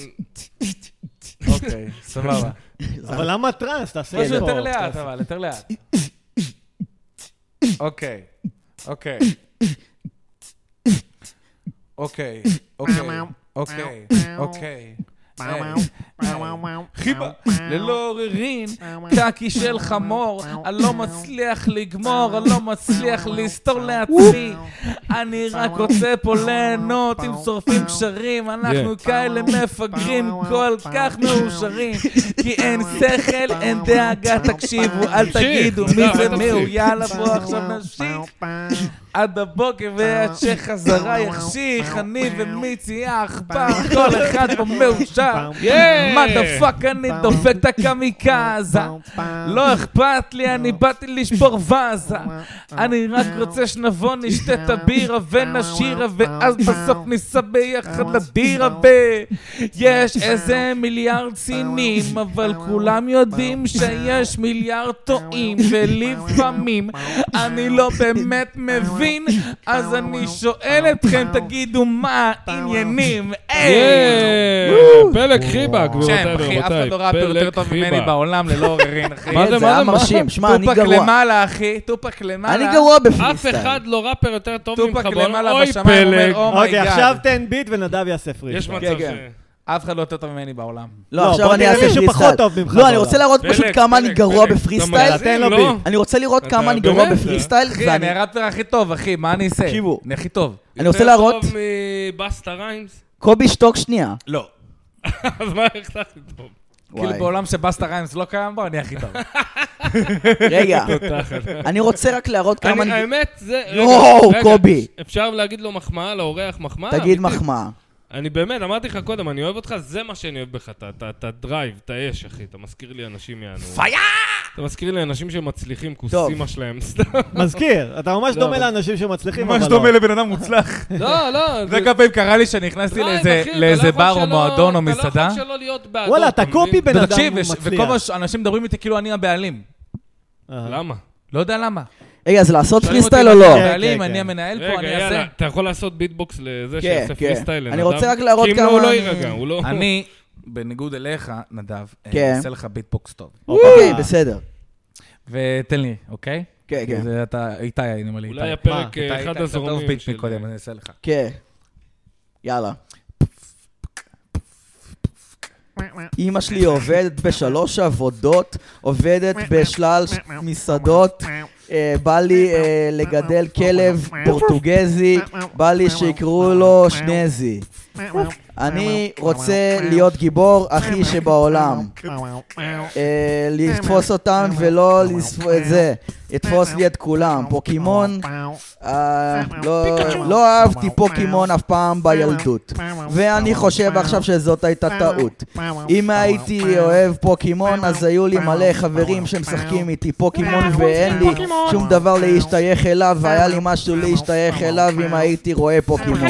S4: אוקיי, סבבה.
S1: אבל למה טראנס? תעשה
S4: משהו
S1: ספורט.
S4: יותר לאט, אבל, יותר לאט. אוקיי, אוקיי. אוקיי, אוקיי, אוקיי, אוקיי. חיבה, ללא עוררין, קקי של חמור, אני לא מצליח לגמור, אני לא מצליח לסתור לעצמי. אני רק רוצה פה ליהנות עם שורפים קשרים, אנחנו כאלה מפגרים, כל כך מאושרים, כי אין שכל, אין דאגה, תקשיבו, אל
S3: תמשיך,
S4: תגידו
S3: נדב, אל
S4: מי זה
S3: תפסיק.
S4: מי הוא, יאללה בוא עכשיו נמשיך. עד הבוקר ועד שחזרה יחשיך, אני ומיצי העכבר, כל אחד פה מאושר.
S3: ייי!
S4: מה דה פאק אני דופק את הקמיקזה? לא אכפת לי, אני באתי לשבור ואזה. אני רק
S3: אה.
S4: רוצה שנבוא, נשתה את הבירה ונשירה, ואז בסוף
S3: אה.
S4: ניסע ביחד לדירה, ו... יש
S3: אה.
S4: איזה מיליארד סינים, אבל כולם
S3: אה.
S4: יודעים שיש מיליארד טועים, ולפעמים
S3: אה.
S4: אני לא באמת מבין, אז אני שואל אתכם, תגידו מה העניינים?
S3: אה.
S4: היי!
S3: ייי! פלג חיבה, גבירותיי
S4: שם, אחי, אף אחד
S3: ורבותיי.
S4: לא ראפר יותר
S3: פלג
S4: טוב ממני
S3: חיבה.
S4: בעולם, ללא עוררין, אחי.
S3: מה זה,
S2: זה היה
S3: מה זה, מה?
S2: מרשים. שמע, אני
S4: טופק
S2: גרוע.
S4: למעלה, אחי, טופק למעלה.
S2: אני גרוע
S3: אף
S2: בפריסטייל.
S3: אחד לא ראפר יותר טוב ממך
S4: טופק
S3: בעולם.
S4: למעלה
S3: אוי,
S4: בשמיים אומר,
S3: פלג.
S4: אומייגאד.
S1: אוקיי, עכשיו תן ביט ונדב יעשה פריסט.
S3: יש מצב
S2: כן,
S3: ש...
S2: כן.
S4: אף אחד לא יותר טוב ממני בעולם.
S1: לא,
S2: לא, עכשיו
S1: בוא
S2: אני
S1: נראה
S2: אעשה
S1: מישהו
S2: פרי
S1: פחות טוב ממך
S2: לא, אני
S1: בעולם.
S2: רוצה להראות פשוט
S3: פלג,
S2: כמה אני
S3: פלג,
S2: גרוע
S3: פלג.
S2: בפרי
S3: אתה
S2: סטייל.
S3: מגזים,
S1: תן לו
S3: לא?
S2: אני רוצה לראות
S3: אתה
S2: כמה אני
S3: באמת? אה?
S2: גרוע בפרי סטייל,
S4: אחי, אני
S2: ואני
S4: הראפר הכי טוב, אחי, מה אני אעשה?
S2: תקשיבו.
S4: אני הכי טוב.
S2: אני רוצה להראות...
S3: יותר טוב מבאסטה ריימס?
S2: קובי, שתוק שנייה.
S4: לא.
S3: אז מה איך אתה הכי טוב?
S4: כאילו
S2: וואי.
S4: בעולם שבאסטה ריימס לא קיים בו, אני הכי טוב.
S2: רגע, אני רוצה רק להראות כמה
S3: אני-
S2: אני...
S3: האמת, זה... רגע,
S2: יואו,
S3: רגע,
S2: קובי.
S3: אפשר להגיד לו מחמאה, לאורח מחמאה?
S4: אה,
S2: תגיד
S3: אמיתית.
S2: מחמאה.
S3: אני באמת, אמרתי לך קודם, אני אוהב אותך, זה מה שאני אוהב בך, אתה- אתה אתה דרייב, אתה אש, אחי, אתה מזכיר לי אנשים יענו. פייר! אתה מזכיר לי אנשים שמצליחים,
S2: טוב.
S3: כוסימה שלהם, סתם.
S1: מזכיר, אתה ממש
S3: לא,
S1: דומה
S3: אבל-
S1: לאנשים שמצליחים, אבל
S4: ממש
S1: לא.
S4: דומה לבן אדם מוצלח.
S3: לא, לא.
S4: זה כמה פעמים קרה לי שנכנסתי
S3: דרייב,
S4: לאיזה-
S3: אחי, אתה לא
S4: לאיזה
S3: יכול
S4: בר או
S3: שלא-
S4: מועדון או
S3: אתה לא
S4: מסעדה.
S3: יכול שלא להיות בעדו.
S1: וואלה, אתה
S3: מבין?
S1: קופי בן אדם
S4: ותקשיב,
S1: הוא
S4: וש- וכל מה
S1: מצליח.
S4: שאנשים מדברים איתי כאילו אני הבעלים.
S1: אה.
S3: למה?
S4: לא יודע למה.
S2: רגע, אז לעשות
S4: שואלים
S2: פרי
S4: אותי,
S2: סטייל או
S4: "אני
S2: לא?
S1: כן,
S4: הבעלים,
S1: כן,
S4: אני
S1: כן.
S4: המנהל פה,
S3: רגע,
S4: אני אעשה.
S3: יאללה, אתה יכול לעשות ביטבוקס לזה
S2: כן,
S3: שיעשה
S2: כן.
S3: פרי סטייל.
S2: אני רוצה רק להראות
S3: כי אם לא,
S2: כמה
S3: הוא לא
S2: אני-
S3: יירגע, הוא לא...
S4: אני, בניגוד אליך, נדב, אה,
S2: כן.
S4: אעשה לך ביטבוקס טוב. אה.
S2: אוקיי, בסדר.
S4: ותן לי, אוקיי?
S2: כן, כן.
S4: זה אתה, איתי, אני אומר לי, איתי.
S3: אולי
S1: מה,
S3: הפרק
S1: אתה
S4: אתה לא
S3: אה,
S4: היית
S3: אחד
S4: יותר טוב
S3: הזורמים
S4: ביטניק
S3: של...
S4: קודם, אני אעשה לך.
S2: כן. יאללה. אימא שלי עובדת בשלוש עבודות, עובדת בשלל ש- מסעדות, אה, בא לי אה, לגדל כלב פורטוגזי, בא לי שיקראו לו שנזי. אני רוצה להיות גיבור הכי שבעולם. אה, לתפוס אותם ולא לתפוס את זה. יתפוס לי את כולם. פוקימון, אה, לא- לא אהבתי פוקימון אף פעם בילדות. ואני חושב עכשיו שזאת הייתה טעות. אם הייתי אוהב פוקימון, אז היו לי מלא חברים שמשחקים איתי פוקימון ואין לי שום דבר להשתייך אליו, והיה לי משהו להשתייך אליו אם הייתי רואה פוקימון.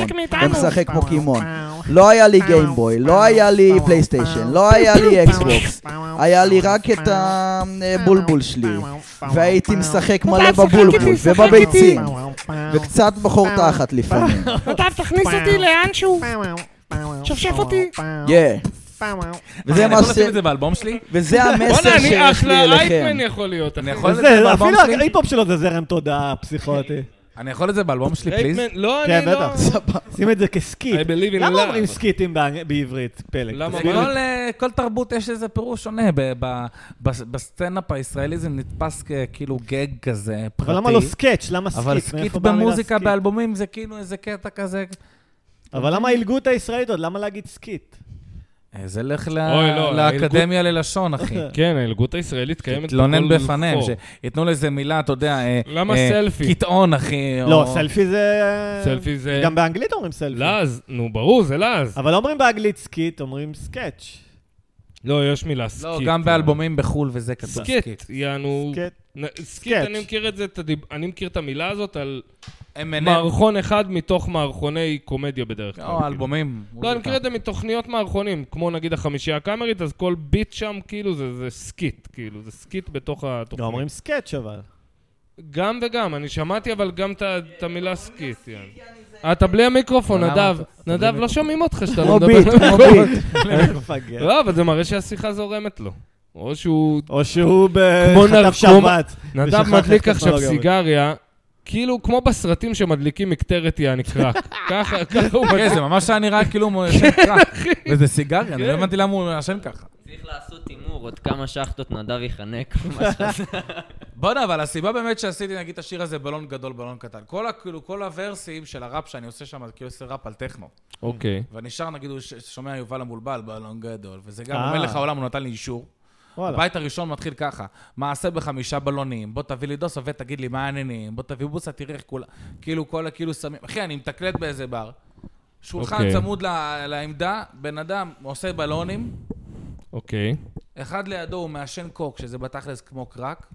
S2: ומשחק פוקימון. לא היה לי גיימבוי, לא היה לי פלייסטיישן, לא היה לי אקסבוקס. היה לי רק את הבולבול שלי. והייתי משחק מלא בבולבול ובביצים. וקצת בחור תחת לפעמים.
S6: נדב, תכניס אותי לאנשהו. שפשף אותי.
S2: יא. וזה
S4: אני
S2: מה
S4: יכול
S2: ש...
S4: לשים את זה באלבום שלי?
S2: וזה
S3: בואנה,
S2: המסר
S3: אני
S2: שיש לי
S3: אחלה
S2: אליכם.
S3: אייטמן יכול להיות, אחי.
S4: אני יכול את זה
S1: וזה,
S4: באלבום
S1: אפילו
S4: שלי?
S1: ההיפ-הופ שלו זה זרם תודעה פסיכוטי.
S4: אני יכול את זה באלבום שלי, פליז?
S3: אייטמן, לא,
S1: כן,
S3: אני לא...
S1: בטח. שים את זה כסקיט.
S3: I believe in
S1: למה
S3: love.
S1: אומרים סקיטים באנג- בעברית, פלג?
S3: למה?
S4: זה
S3: מה?
S4: כל, אה, כל תרבות יש לזה פירוש שונה. ב- ב- בס- בסצנדאפ הישראלי זה נתפס ככאילו גג כזה, פרטי.
S1: אבל למה לא סקאץ'? למה סקיט?
S4: אבל
S1: מאיפה
S4: סקיט
S1: בא המילה
S4: במוזיקה,
S1: סקיט?
S4: באלבומים, זה כאילו איזה קטע כזה.
S1: אבל למה העילגות הישראלית עוד? למה להגיד סקיט?
S4: אה, זה לך ל-
S3: אוי, לא,
S4: לאקדמיה ללשון, אחי.
S3: כן, ההלגות הישראלית קיימת
S4: תתלונן
S3: בכל
S4: בפניהם,
S3: חור.
S4: שייתנו לזה מילה, אתה יודע, אה,
S3: למה
S4: אה,
S3: סלפי?
S4: קטעון, אחי.
S1: לא,
S4: או-
S1: סלפי זה...
S3: סלפי זה... לא,
S1: גם באנגלית אומרים סלפי.
S3: לעז, נו, ברור, זה לעז.
S1: אבל לא אומרים באנגלית סקיט, אומרים סקאץ'.
S3: לא, יש מילה סקיט.
S4: לא,
S1: אה.
S4: גם באלבומים בחו"ל וזה כתוב.
S3: סקיט, יענו...
S1: סקט.
S3: נ- סקיט,
S1: סקץ'.
S3: אני מכיר את זה, את הדיב- אני מכיר את המילה הזאת על
S4: הם אינם.
S3: מערכון אחד מתוך מערכוני קומדיה בדרך כלל.
S4: או
S3: כאילו.
S4: אלבומים.
S3: לא, אני מכיר את זה מתוכניות מערכונים, כמו נגיד החמישייה הקאמרית, אז כל ביט שם כאילו זה זה סקיט, כאילו, זה סקיט בתוך
S1: לא,
S3: התוכנית.
S1: אומרים סקאץ' אבל.
S3: גם וגם, אני שמעתי אבל גם את ה- את המילה סקיט, יעני. אתה בלי המיקרופון,
S4: למה?
S3: נדב.
S4: אתה- אתה בלי
S3: נדב, לא שומעים אותך שאתה לא
S2: כמו
S3: מדבר.
S2: ביט, כמו ביט.
S1: מפגר.
S3: לא, אבל זה מראה שהשיחה זורמת לו. או שהוא...
S1: או שהוא
S3: כמו
S1: בחטף
S3: נרקומן.
S1: שבת.
S3: נדב
S1: ושכח איך
S3: מדליק עכשיו
S1: הטכנולוגיה
S3: סיגריה, כאילו כמו בסרטים שמדליקים מקטרת יעני קרק. ככה, ככה הוא מדליק.
S4: כן, זה ממש היה נראה כאילו הוא ישן ככה. וזה סיגריה, אני לא הבנתי למה הוא ישן ככה.
S5: צריך לעשות הימור, עוד כמה שחטות נדב יחנק. ממש.
S4: בואנה, אבל הסיבה באמת שעשיתי, נגיד, את השיר הזה, בלון גדול, בלון קטן. כל ה- כאילו, כל הוורסים של הראפ שאני עושה שם, כאילו עושה ראפ על טכנו.
S3: אוקיי.
S4: ואני שר, נגיד, הוא ש- שומע יובל המבולבל, בלון גדול. וזה גם,
S1: אה.
S4: אומר לך העולם, הוא נתן לי אישור.
S1: וואלה.
S4: הבית הראשון מתחיל ככה, מעשה בחמישה בלונים, בוא תביא לי דוסו ותגיד לי מה העניינים, בוא תביא בוסה, תראה איך כולם, כאילו כל הכאילו סמים, אחי, אני מתקלט באיזה בר, שולחן
S3: אוקיי.
S4: צמוד ל- לעמדה, בן אדם עושה בלונים,
S3: אוקיי.
S4: אחד לידו הוא מעשן קוק, שזה בתכלס כמו קרק,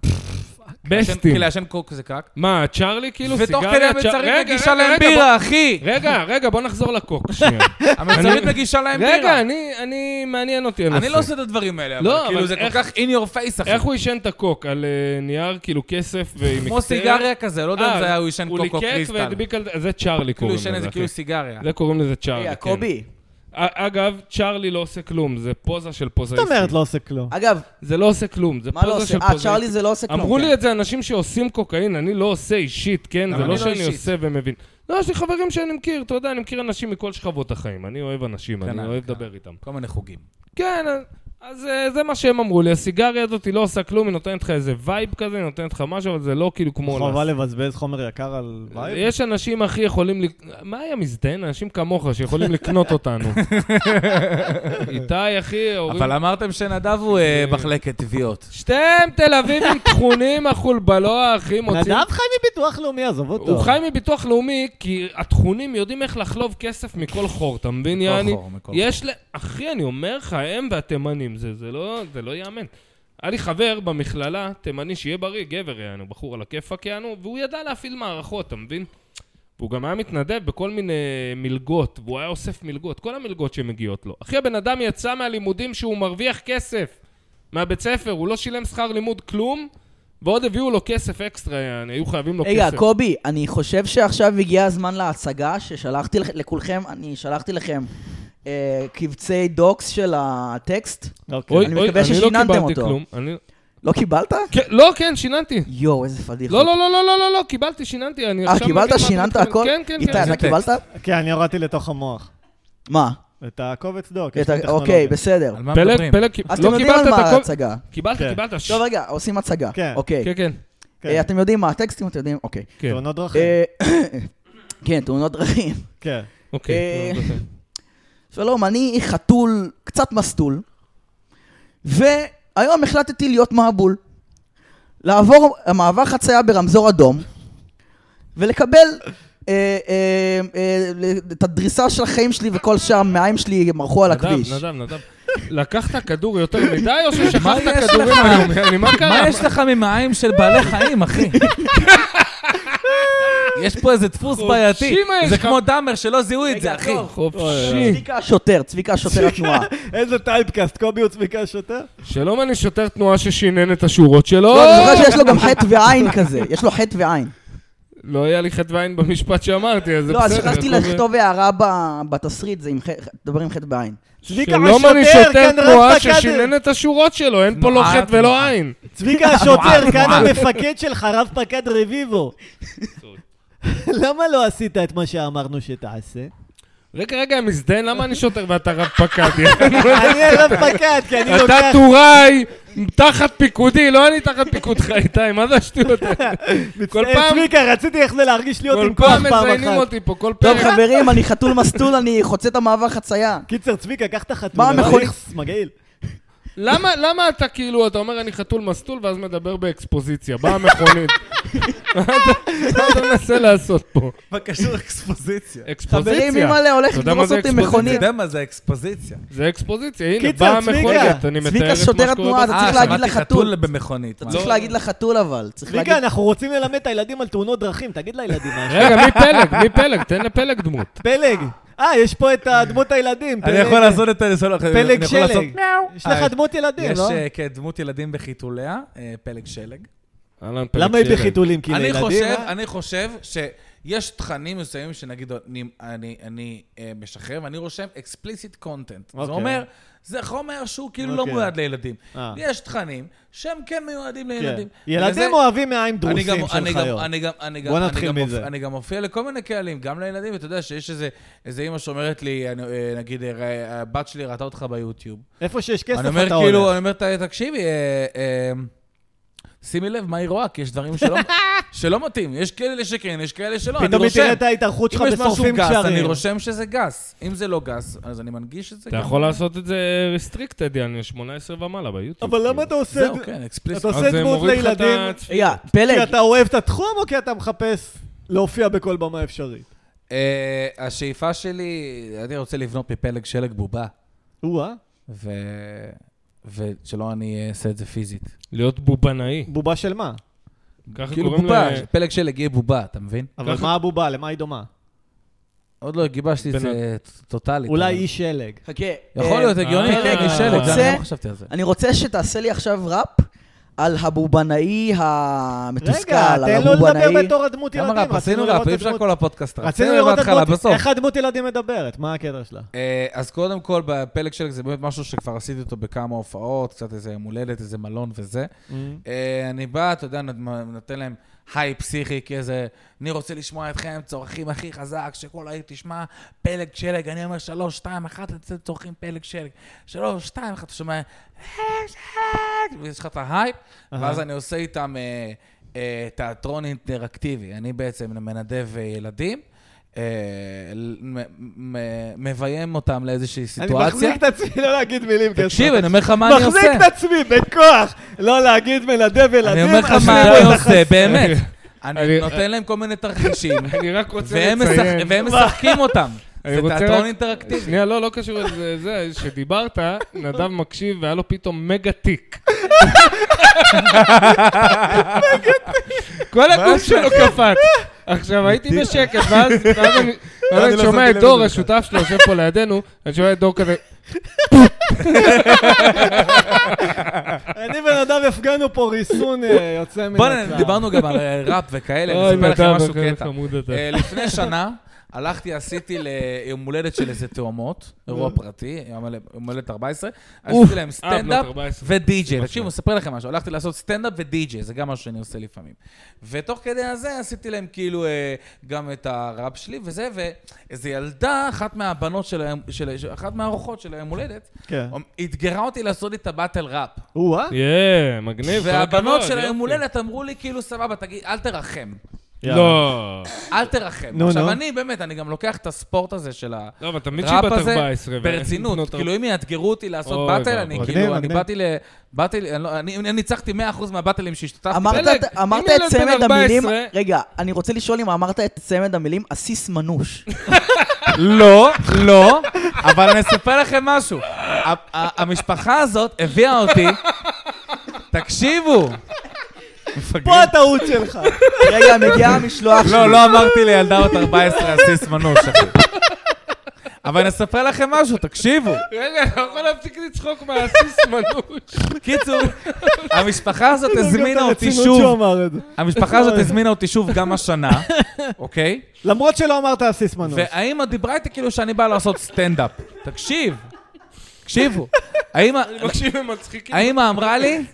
S4: מעשן- כי
S3: בסטים.
S4: לעשן קוק זה קרק,
S3: מה, צ'ארלי כאילו סיגריה?
S4: ותוך כדי
S3: צ'אר-
S4: המצרים
S3: רגע,
S4: מגישה
S3: רגע,
S4: להם
S3: רגע, בוא-
S4: בירה, אחי!
S3: רגע, רגע, בוא נחזור לקוק שנייה.
S4: המצרים מגישה להם בירה.
S3: רגע, אני, אני, מעניין אותי הנושא.
S4: אני לא עושה את הדברים האלה,
S3: לא,
S4: אבל כאילו
S3: אבל
S4: זה כל
S3: איך-
S4: כך in your face, אחי.
S3: איך הוא עישן את הקוק? על אה, נייר, כאילו כסף ועם מקטרת?
S4: כמו סיגריה כזה, לא יודע
S3: אה,
S4: אם זה היה, הוא עישן קוק או
S3: הוא ליקק
S4: קריסטל.
S3: והדביק על זה, זה צ'ארלי
S4: כאילו
S3: קוראים
S4: עישן
S3: לזה,
S4: איזה
S3: אחי.
S4: כאילו סיגריה.
S3: זה קוראים לזה צ'ארלי,
S2: רגע,
S3: כן.
S2: קובי,
S3: אגב, צ'ארלי לא עושה כלום, זה פוזה של
S1: זאת
S3: פוזאיסטים.
S1: אומרת לא עושה כלום.
S2: אגב,
S3: זה לא עושה כלום, זה
S2: מה לא
S3: פוזה
S2: עושה?
S3: של
S2: אה, צ'ארלי
S3: פוזאיסטים.
S2: זה לא עושה כלום.
S3: אמרו לי
S2: כן.
S3: את זה אנשים שעושים קוקאין, אני לא עושה אישית, כן?
S4: גם
S3: זה לא
S4: אני לא
S3: שאני
S4: אישית.
S3: עושה ומבין. לא, יש לי חברים שאני מכיר, אתה יודע, אני מכיר אנשים מכל שכבות החיים. אני אוהב אנשים, אני
S4: כנ"ל,
S3: אוהב
S2: כן.
S4: כנ"ל.
S3: לדבר איתם.
S4: כל מיני חוגים.
S3: כן, אז אה, זה מה שהם אמרו לי. הסיגריה הזאת היא לא עושה כלום, היא נותנת לך איזה וייב כזה, היא נותנת לך משהו, אבל זה לא כאילו כמו...
S1: חובה
S3: לעשות.
S1: לבזבז חומר יקר על וייב?
S3: יש אנשים, אחי, יכולים... לק- מה היה מזדיין? אנשים כמוך שיכולים לקנות אותנו. איתי, אחי, הורים...
S4: אבל אמרתם שנדב הוא אה, מחלקת תביעות.
S3: שתיהם תל אביבים טחונים, החולבלוע, אחי, מוצאים...
S1: נדב חי מביטוח לאומי, עזוב אותו.
S3: הוא חי מביטוח לאומי, כי הטחונים יודעים איך לחלוב כסף מכל חור, אתה מבין,
S4: מכל
S3: יעני?
S4: חור, מכל
S3: יש ל... אחי, אני אומר לך, הם והתימנים, זה, זה, לא, זה לא יאמן. היה לי חבר במכללה, תימני שיהיה בריא, גבר יענו, בחור על הכיפאק יענו, והוא ידע להפעיל מערכות, אתה מבין? והוא גם היה מתנדב בכל מיני מלגות, והוא היה אוסף מלגות, כל המלגות שמגיעות לו. אחי, הבן אדם יצא מהלימודים שהוא מרוויח כסף מהבית ספר, הוא לא שילם שכר לימוד כלום, ועוד הביאו לו כסף אקסטרה, יעני, היו חייבים לו
S2: רגע,
S3: כסף.
S2: קובי, אני חושב שעכשיו הגיע הזמן להצגה ששלחתי לכ- לכולכם, אני שלחתי לכם אה, קבצי דוקס של הטקסט.
S1: אוקיי.
S3: אוי,
S2: אני
S3: אוי,
S2: מקווה
S3: אני לא
S2: ששיננתם
S3: קיבלתי
S2: אותו.
S3: כלום. אני-
S2: לא קיבלת?
S3: כן, לא, כן, שיננתי.
S2: יואו, איזה פדיחות.
S3: לא, לא, לא, לא, לא, לא, לא, קיבלתי, שיננתי. אני
S2: אה,
S3: עכשיו
S2: קיבלת?
S3: מגיע
S2: שיננת
S3: מהתחלה.
S2: הכל?
S3: כן, כן,
S2: איתי, אתה
S3: כן.
S4: איזה
S2: קיבלת?
S1: כן, אני הורדתי לתוך המוח.
S2: מה?
S1: את הקובץ דוק. יש
S2: את
S1: לי
S2: ה-
S1: טכנולוגיה.
S2: אוקיי, בסדר.
S4: על מה
S3: פלג,
S4: מדברים?
S3: פלג,
S2: אז
S3: לא
S2: אתם יודעים
S3: קיבלת
S2: על
S3: את
S2: מה
S3: הכל.
S2: ההצגה.
S3: קיבלת,
S1: כן.
S3: קיבלת. ש-
S2: טוב, רגע, עושים הצגה.
S1: כן.
S2: אוקיי.
S3: כן, כן,
S1: כן.
S2: אה, אתם יודעים מה הטקסטים, אתם יודעים? אוקיי.
S3: כן.
S1: תאונות דרכים.
S2: אה, כן, תאונות דרכים.
S1: כן.
S3: אוקיי.
S2: אה,
S3: טוב, בסדר.
S2: שלום, אני חתול קצת מסטול, והיום החלטתי להיות מבול. לעבור מעבר חצייה ברמזור אדום, ולקבל אה, אה, אה, את הדריסה של החיים שלי וכל שהמעיים שלי מרחו על הכביש.
S3: נדב, נדב, נדב. לקחת כדור יותר מדי, או ששכחת
S4: יש לך?
S3: כדורים היום? יעני, מה
S4: מה
S3: קרה?
S4: יש לך ממעיים של בעלי חיים, אחי? יש פה איזה דפוס
S3: חופשי
S4: בעייתי.
S3: מה יש
S4: זה
S3: לך?
S4: כמו דאמר שלא זיהו את זה, אחי.
S3: חופשי.
S2: צביקה השוטר, צביקה השוטר התנועה.
S1: איזה טייפקאסט, קובי הוא צביקה שוטר?
S3: שלום, אני שוטר תנועה ששינן את השורות שלו.
S2: לא, אני זוכר שיש לו גם חטא ועין כזה, יש לו חטא ועין.
S3: לא היה לי חטא ועין במשפט שאמרתי, אז זה
S2: לא, אז
S3: בסדר.
S2: שכחתי
S3: הכל-
S2: לכתוב הערה ב- בתסריט, זה עם חטא, דבר עם חטא ועין.
S1: צביקה
S3: שלום, אני
S1: השוטר,
S3: שוטר
S2: כן,
S1: כאן
S3: תנועה
S1: רב פקד...
S3: ששינן את השורות שלו, אין פה לא
S4: תנועה,
S3: חטא ולא
S4: תנועה.
S3: עין.
S1: צביקה השוטר, כאן המפקד שלך, רב פקד רביבו. למה לא עשית את מה שאמרנו שתעשה?
S3: רגע, רגע, מזדיין, למה אני שוטר ואתה רב פקד?
S1: אני הרב פקד, כי אני
S3: אתה
S1: לוקח...
S3: טוראי, תחת פיקודי, לא אני תחת פיקודך, איתי, מה זה השטויות האלה? כל
S1: אה,
S3: פעם-
S1: צביקה, רציתי איך זה להרגיש להיות
S3: כל
S1: עם כוח
S3: פעם
S1: פעם
S3: מזיינים
S1: אחת.
S3: אותי פה, כל
S2: טוב,
S3: פרק.
S2: חברים, אני חתול מסטול, אני חוצה את המעבר חצייה.
S1: קיצר, צביקה, קח את החתול.
S2: מה המכונית?
S1: איכס, מגעיל.
S3: למה למה אתה כאילו, אתה אומר אני חתול מסטול ואז מדבר באקספוזיציה, באה המכונית. מה אתה- מה אתה מנסה לעשות פה?
S4: מה קשור אקספוזיציה?
S3: אקספוזיציה.
S2: חברים, אימא'לה הולך
S3: אתה יודע מה
S2: לדרוס
S3: זה
S2: אותי עם
S3: אקספוזיציה?
S4: אתה
S2: מכונית.
S4: יודע מה זה אקספוזיציה?
S3: זה אקספוזיציה, הנה,
S1: קיצר,
S3: באה
S1: צביקה.
S3: המכונית, אני
S2: צביקה
S3: מתאר את
S2: שוטר
S3: מה
S2: התנועה
S3: שקורה.
S2: אתה
S3: פה.
S2: הזה. צריך להגיד
S4: אה, שמעתי
S2: לחתול.
S4: חתול במכונית.
S2: אתה
S4: מה?
S2: צריך להגיד לחתול אבל, צריך להגיד...
S1: צביקה, אנחנו רוצים ללמד את הילדים על תאונות דרכים, תגיד לילדים משהו.
S3: רגע, מי פלג? מי פלג? תן לפלג דמות.
S1: פלג. אה, יש פה את הדמות הילדים.
S4: אני
S1: פלג-
S4: יכול לעשות את הניסיון אחר.
S1: פלג שלג. יש
S4: אה,
S1: לך דמות ילדים,
S4: יש
S1: לא?
S4: אה, כן, דמות ילדים בחיתוליה, אה, פלג שלג.
S3: אהלן, פלג
S1: למה היא
S3: שלג.
S1: בחיתולים? כי
S4: אני
S1: לילדים?
S4: חושב,
S1: אה?
S4: אני חושב שיש תכנים מסוימים שנגיד אני, אני, אני אה, משחרר, ואני רושם explicit content. זה
S1: אוקיי.
S4: אומר, זה חומר שהוא כאילו לא
S1: אוקיי.
S4: מיועד לילדים.
S1: אה.
S4: יש תכנים שהם כן מיועדים
S1: כן.
S4: לילדים. ולזה-
S1: ילדים אוהבים מעיים
S4: אני גם-
S1: דרוסים של
S4: אני גם-
S1: חיות.
S4: אני גם- אני גם-
S1: בוא
S4: אני
S1: נתחיל
S4: גם מופ-
S1: מזה.
S4: אני גם מופיע לכל מיני קהלים, גם לילדים, אתה יודע שיש איזה- איזה אימא שאומרת לי, אני- אה, נגיד, אה, ראה- הבת שלי ראתה אותך ביוטיוב.
S1: איפה שיש כסף
S4: אני
S1: אתה
S4: אומר
S1: הולך.
S4: כאילו, אני אומר, "ת- תקשיבי, אה, אה, שימי לב מה היא רואה, כי יש דברים שלא- שלא מתאים. יש כאלה שכן, יש כאלה שלא. אני
S1: פתאום היא
S4: רושם.
S1: תראה את ההתארכות שלך
S4: אם יש משהו
S1: בשורפים
S4: גס, אני
S1: קשרים.
S4: רושם שזה גס. אם זה לא גס, אז אני מנגיש את זה
S3: אתה
S4: גם.
S3: יכול לעשות את זה restricted, יעני, 18 ומעלה ביוטיוב. כאילו.
S1: אבל למה אתה עושה
S4: זהו,
S1: את זה?
S4: כן, explicit.
S1: אתה עושה
S3: אז זה
S1: דמות
S3: מוריד לך את
S1: לילדים?
S3: הצפי-
S2: רגע,
S1: כי
S2: פלג,
S1: אתה אוהב את התחום או כי אתה מחפש להופיע בכל במה אפשרית?
S4: אה, השאיפה שלי, אני רוצה לבנות מפלג שלג בובה.
S1: או-אה,
S4: ו... ושלא אני אעשה את זה פיזית.
S3: להיות בובנאי.
S1: בובה של מה?
S3: ככה
S4: כאילו
S3: קוראים
S4: בובה,
S3: ל...
S4: פלג שלג יהיה בובה, אתה מבין?
S1: אבל
S3: ככה-
S1: מה הבובה? למה היא דומה?
S4: עוד לא גיבשתי את
S3: בן-
S4: זה ט- טוטאלית.
S1: אולי
S4: אבל-
S1: היא שלג.
S2: חכה.
S4: יכול
S2: אה,
S4: להיות הגיוני,
S3: אה,
S4: כן, היא שלג, זה
S2: רוצה-
S4: אני לא חשבתי על זה.
S2: אני רוצה שתעשה לי עכשיו ראפ על הבובנאי המתוסכל,
S1: רגע,
S2: על
S1: תן לו לדבר
S2: הבובנאי.
S1: בתור הדמות
S4: למה
S1: ילדים.
S4: ראפ? עשינו
S1: לראות
S4: ראפ, אי
S1: את
S4: אפשר
S1: דמות-
S4: כל הפודקאסט ראפ.
S1: רצינו לראות את
S4: בהתחלה,
S1: דמות...
S4: בסוף.
S1: איך הדמות ילדים מדברת, מה הקטע שלה?
S4: אה, אז קודם כל, בפלג שלי זה באמת משהו שכבר עשיתי אותו בכמה הופעות, קצת איזה יום הולדת, איזה מלון וזה. אה, אני בא, אתה יודע, נת- נותן להם היי פסיכי, כאיזה, אני רוצה לשמוע אתכם צורכים הכי חזק, שכל העיר תשמע פלג שלג, אני אומר שלוש, שתיים, אחת, אתם צורכים פלג שלג. שלוש, שתיים, אחת, אתה שומע, "פלג שלג", ויש לך את ההייפ, ואז אני עושה איתם אה, אה, תיאטרון אינטראקטיבי. אני בעצם מנדב אה, ילדים. אה, ל- מ- מ- מביים אותם לאיזושהי
S1: אני
S4: סיטואציה.
S1: מחזיק את עצמי לא להגיד מילים כסף.
S4: תקשיב, אני אומר לך מה אני עושה.
S1: מחזיק את עצמי בכוח לא להגיד מלדב ילדים.
S4: אני אומר לך
S1: אז
S4: מה
S1: תראו
S4: אני
S1: את
S4: עושה, באמת. אני
S3: אני-
S4: נותן להם כל מיני תרחישים,
S3: אני רק רוצה
S4: והם משחק-
S3: לציין...
S4: והם משחקים אותם.
S3: אני
S4: זה
S3: רוצה
S4: תיאטרון
S3: רק-
S4: אינטראקטיבי.
S3: שנייה, לא, לא קשור לזה, זה, שדיברת, נדב מקשיב והיה לו פתאום מגה תיק. כל הגוף שלו קפץ. עכשיו, הייתי בשקט, ואז ואז אני- ואז
S4: אני
S3: אני
S4: לא
S3: שומע
S4: שמתי
S3: את
S4: לב
S3: דור,
S4: לזה.
S3: השותף שלו, יושב פה לידינו, אני שומע את דור כזה,
S1: אני ונדב הפגנו פה ריסון אה, יוצא מן
S4: בוא'נה, דיברנו גם על אה, ראפ וכאלה,
S3: אוי, אוקיי,
S4: אני אספר
S3: נדב,
S4: לכם משהו
S3: איזה
S4: קטע.
S3: חמוד אתה.
S4: אה, לפני שנה הלכתי, עשיתי ליום הולדת של איזה תאומות, אירוע
S3: אוקיי.
S4: פרטי, יום הול- יום הולדת 14, עשיתי להם סטנדאפ,
S3: אה, בנות 14.
S4: ודי-ג'יי. תקשיבו, אספר לכם משהו. הלכתי לעשות סטנדאפ ודי-ג'יי, זה גם משהו שאני עושה לפעמים. ותוך כדי הזה עשיתי להם כאילו אה, גם את הראפ שלי וזה, ואיזה ילדה, אחת מהבנות של היום, של- של- אחת מהארוחות של היום הולדת,
S3: אה.
S1: כן.
S4: אתגרה אותי לעשות את הבטל ראפ.
S1: או-אה.
S3: יא, מגניב. כל
S4: והבנות
S3: אה, הכבוד,
S4: של היום
S3: יופי.
S4: הולדת אמרו לי, כאילו, סבבה, תגיד, אל תרחם.
S3: לא.
S4: אל תרחם.
S1: נו, נו.
S4: עכשיו, אני באמת, אני גם לוקח את הספורט הזה של ה...
S3: לא, אבל תמיד שהיא בת
S4: ראפ הזה,
S3: 14. ו-
S4: ברצינות,
S3: בנות
S4: כאילו אם יאתגרו אותי לעשות
S3: אוי,
S4: באטל, אני
S3: ואבוי.
S1: מגניב,
S4: כאילו, אני
S1: מגניב.
S4: באתי ל... באתי, ל- אני לא- אני אני ניצחתי 100% מהבאטלים שהשתתפתי.
S2: אמרת,
S3: פלג,
S2: את- אמרת
S3: אם ילד
S2: את
S3: בן
S2: צמד
S3: 14
S2: המילים, רגע, אני רוצה לשאול אם אמרת את צמד המילים עסיס מנוש.
S4: לא, לא, אבל אני אספר לכם משהו. ה- ה- המשפחה הזאת הביאה אותי, תקשיבו.
S1: פה הטעות שלך.
S2: רגע, מגיע המשלוח שלי.
S4: לא, לא אמרתי לילדה בת 14 עסיס מנוש, אחי. אבל אני אספר לכם משהו, תקשיבו.
S3: רגע, אני לא יכול להפסיק לצחוק מהסיס מנוש.
S4: קיצור, המשפחה הזאת הזמינה אותי
S1: הרצינות שהוא
S4: שוב,
S1: אמר את זה.
S4: המשפחה הזאת הזמינה אותי שוב גם השנה, אוקיי?
S1: למרות שלא אמרת אסיס מנוש.
S4: והאימא דיברה איתי כאילו שאני בא לעשות סטנדאפ. תקשיב, תקשיבו. האימא...
S1: לא
S3: מקשיב הם מצחיקים.
S4: האמא אמרה לי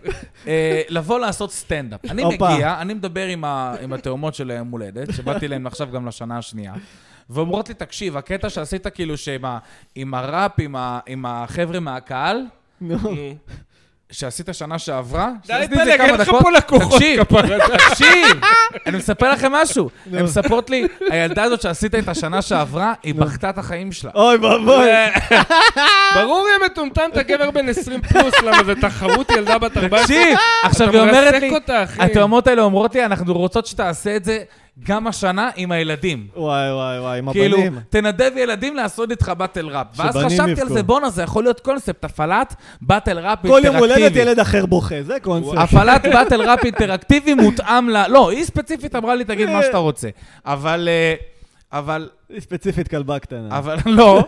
S4: אה, לבוא לעשות סטנדאפ. אני
S1: הופה.
S4: מגיע, אני מדבר עם ה- עם התאומות של היום הולדת, שבאתי להן עכשיו גם לשנה השנייה, ואומרות לי, תקשיב, הקטע שעשית כאילו שעם ה- עם הראפ, עם ה- עם החבר'ה מהקהל,
S1: נו.
S4: שעשית שנה שעברה,
S3: די,
S4: שעשיתי את זה
S3: פלג,
S4: כמה
S3: אין לך
S4: דקות,
S3: פה לקוחות,
S4: תקשיב,
S3: כפרה.
S4: תקשיב, אני מספר לכם משהו. הן מספרות לי, הילדה הזאת שעשית את השנה שעברה, היא בכתה את החיים שלה.
S1: אוי ואבוי.
S3: ברור יא מטומטם, אתה גבר בן 20 פלוס, למה זה תחרות ילדה בת 14?
S4: תקשיב, עכשיו
S3: אתה
S4: היא אומרת לי,
S3: מרסק אותה, אחי.
S4: התאומות האלה אומרות לי, אנחנו רוצות שתעשה את זה גם השנה עם הילדים.
S1: וואי וואי וואי, עם
S4: כאילו,
S1: הבנים.
S4: תנדב ילדים לעשות איתך באטל ראפ. ואז
S1: שבנים
S4: חשבתי על
S1: יבכו.
S4: זה, בואנה, זה יכול להיות קונספט, הפעלת באטל ראפ
S1: כל יום הולדת
S4: אינטראקטיבי.
S1: ילד אחר בוכה, זה קונספט.
S4: הפעלת באטל ראפ אינטראקטיבי מותאם ל... לא, היא ספציפית אמרה לי, תגיד מה שאתה רוצה. אבל... אה, אבל...
S1: ספציפית כלבה קטנה.
S4: אבל לא,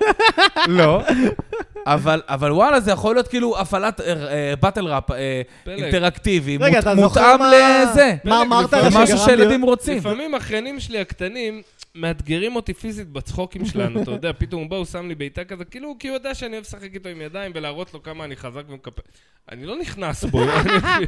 S4: לא. אבל, אבל וואלה, זה יכול להיות כאילו הפעלת באטל ראפ
S3: פלג.
S4: אה, אינטראקטיבי,
S1: רגע,
S4: מות-
S1: אתה זוכר
S4: מותאם
S1: מה-
S4: לזה.
S1: מה אמרת
S4: זה
S1: לה שגרם
S4: משהו שילדים
S1: להיות...
S4: רוצים.
S3: לפעמים אחיינים שלי הקטנים מאתגרים אותי פיזית בצחוקים שלנו, אתה יודע, פתאום הוא בא, הוא שם לי בעיטה כזה, כאילו, כי הוא יודע שאני אוהב לשחק איתו עם ידיים ולהראות לו כמה אני חזק ומקפל. אני לא נכנס בו, אני-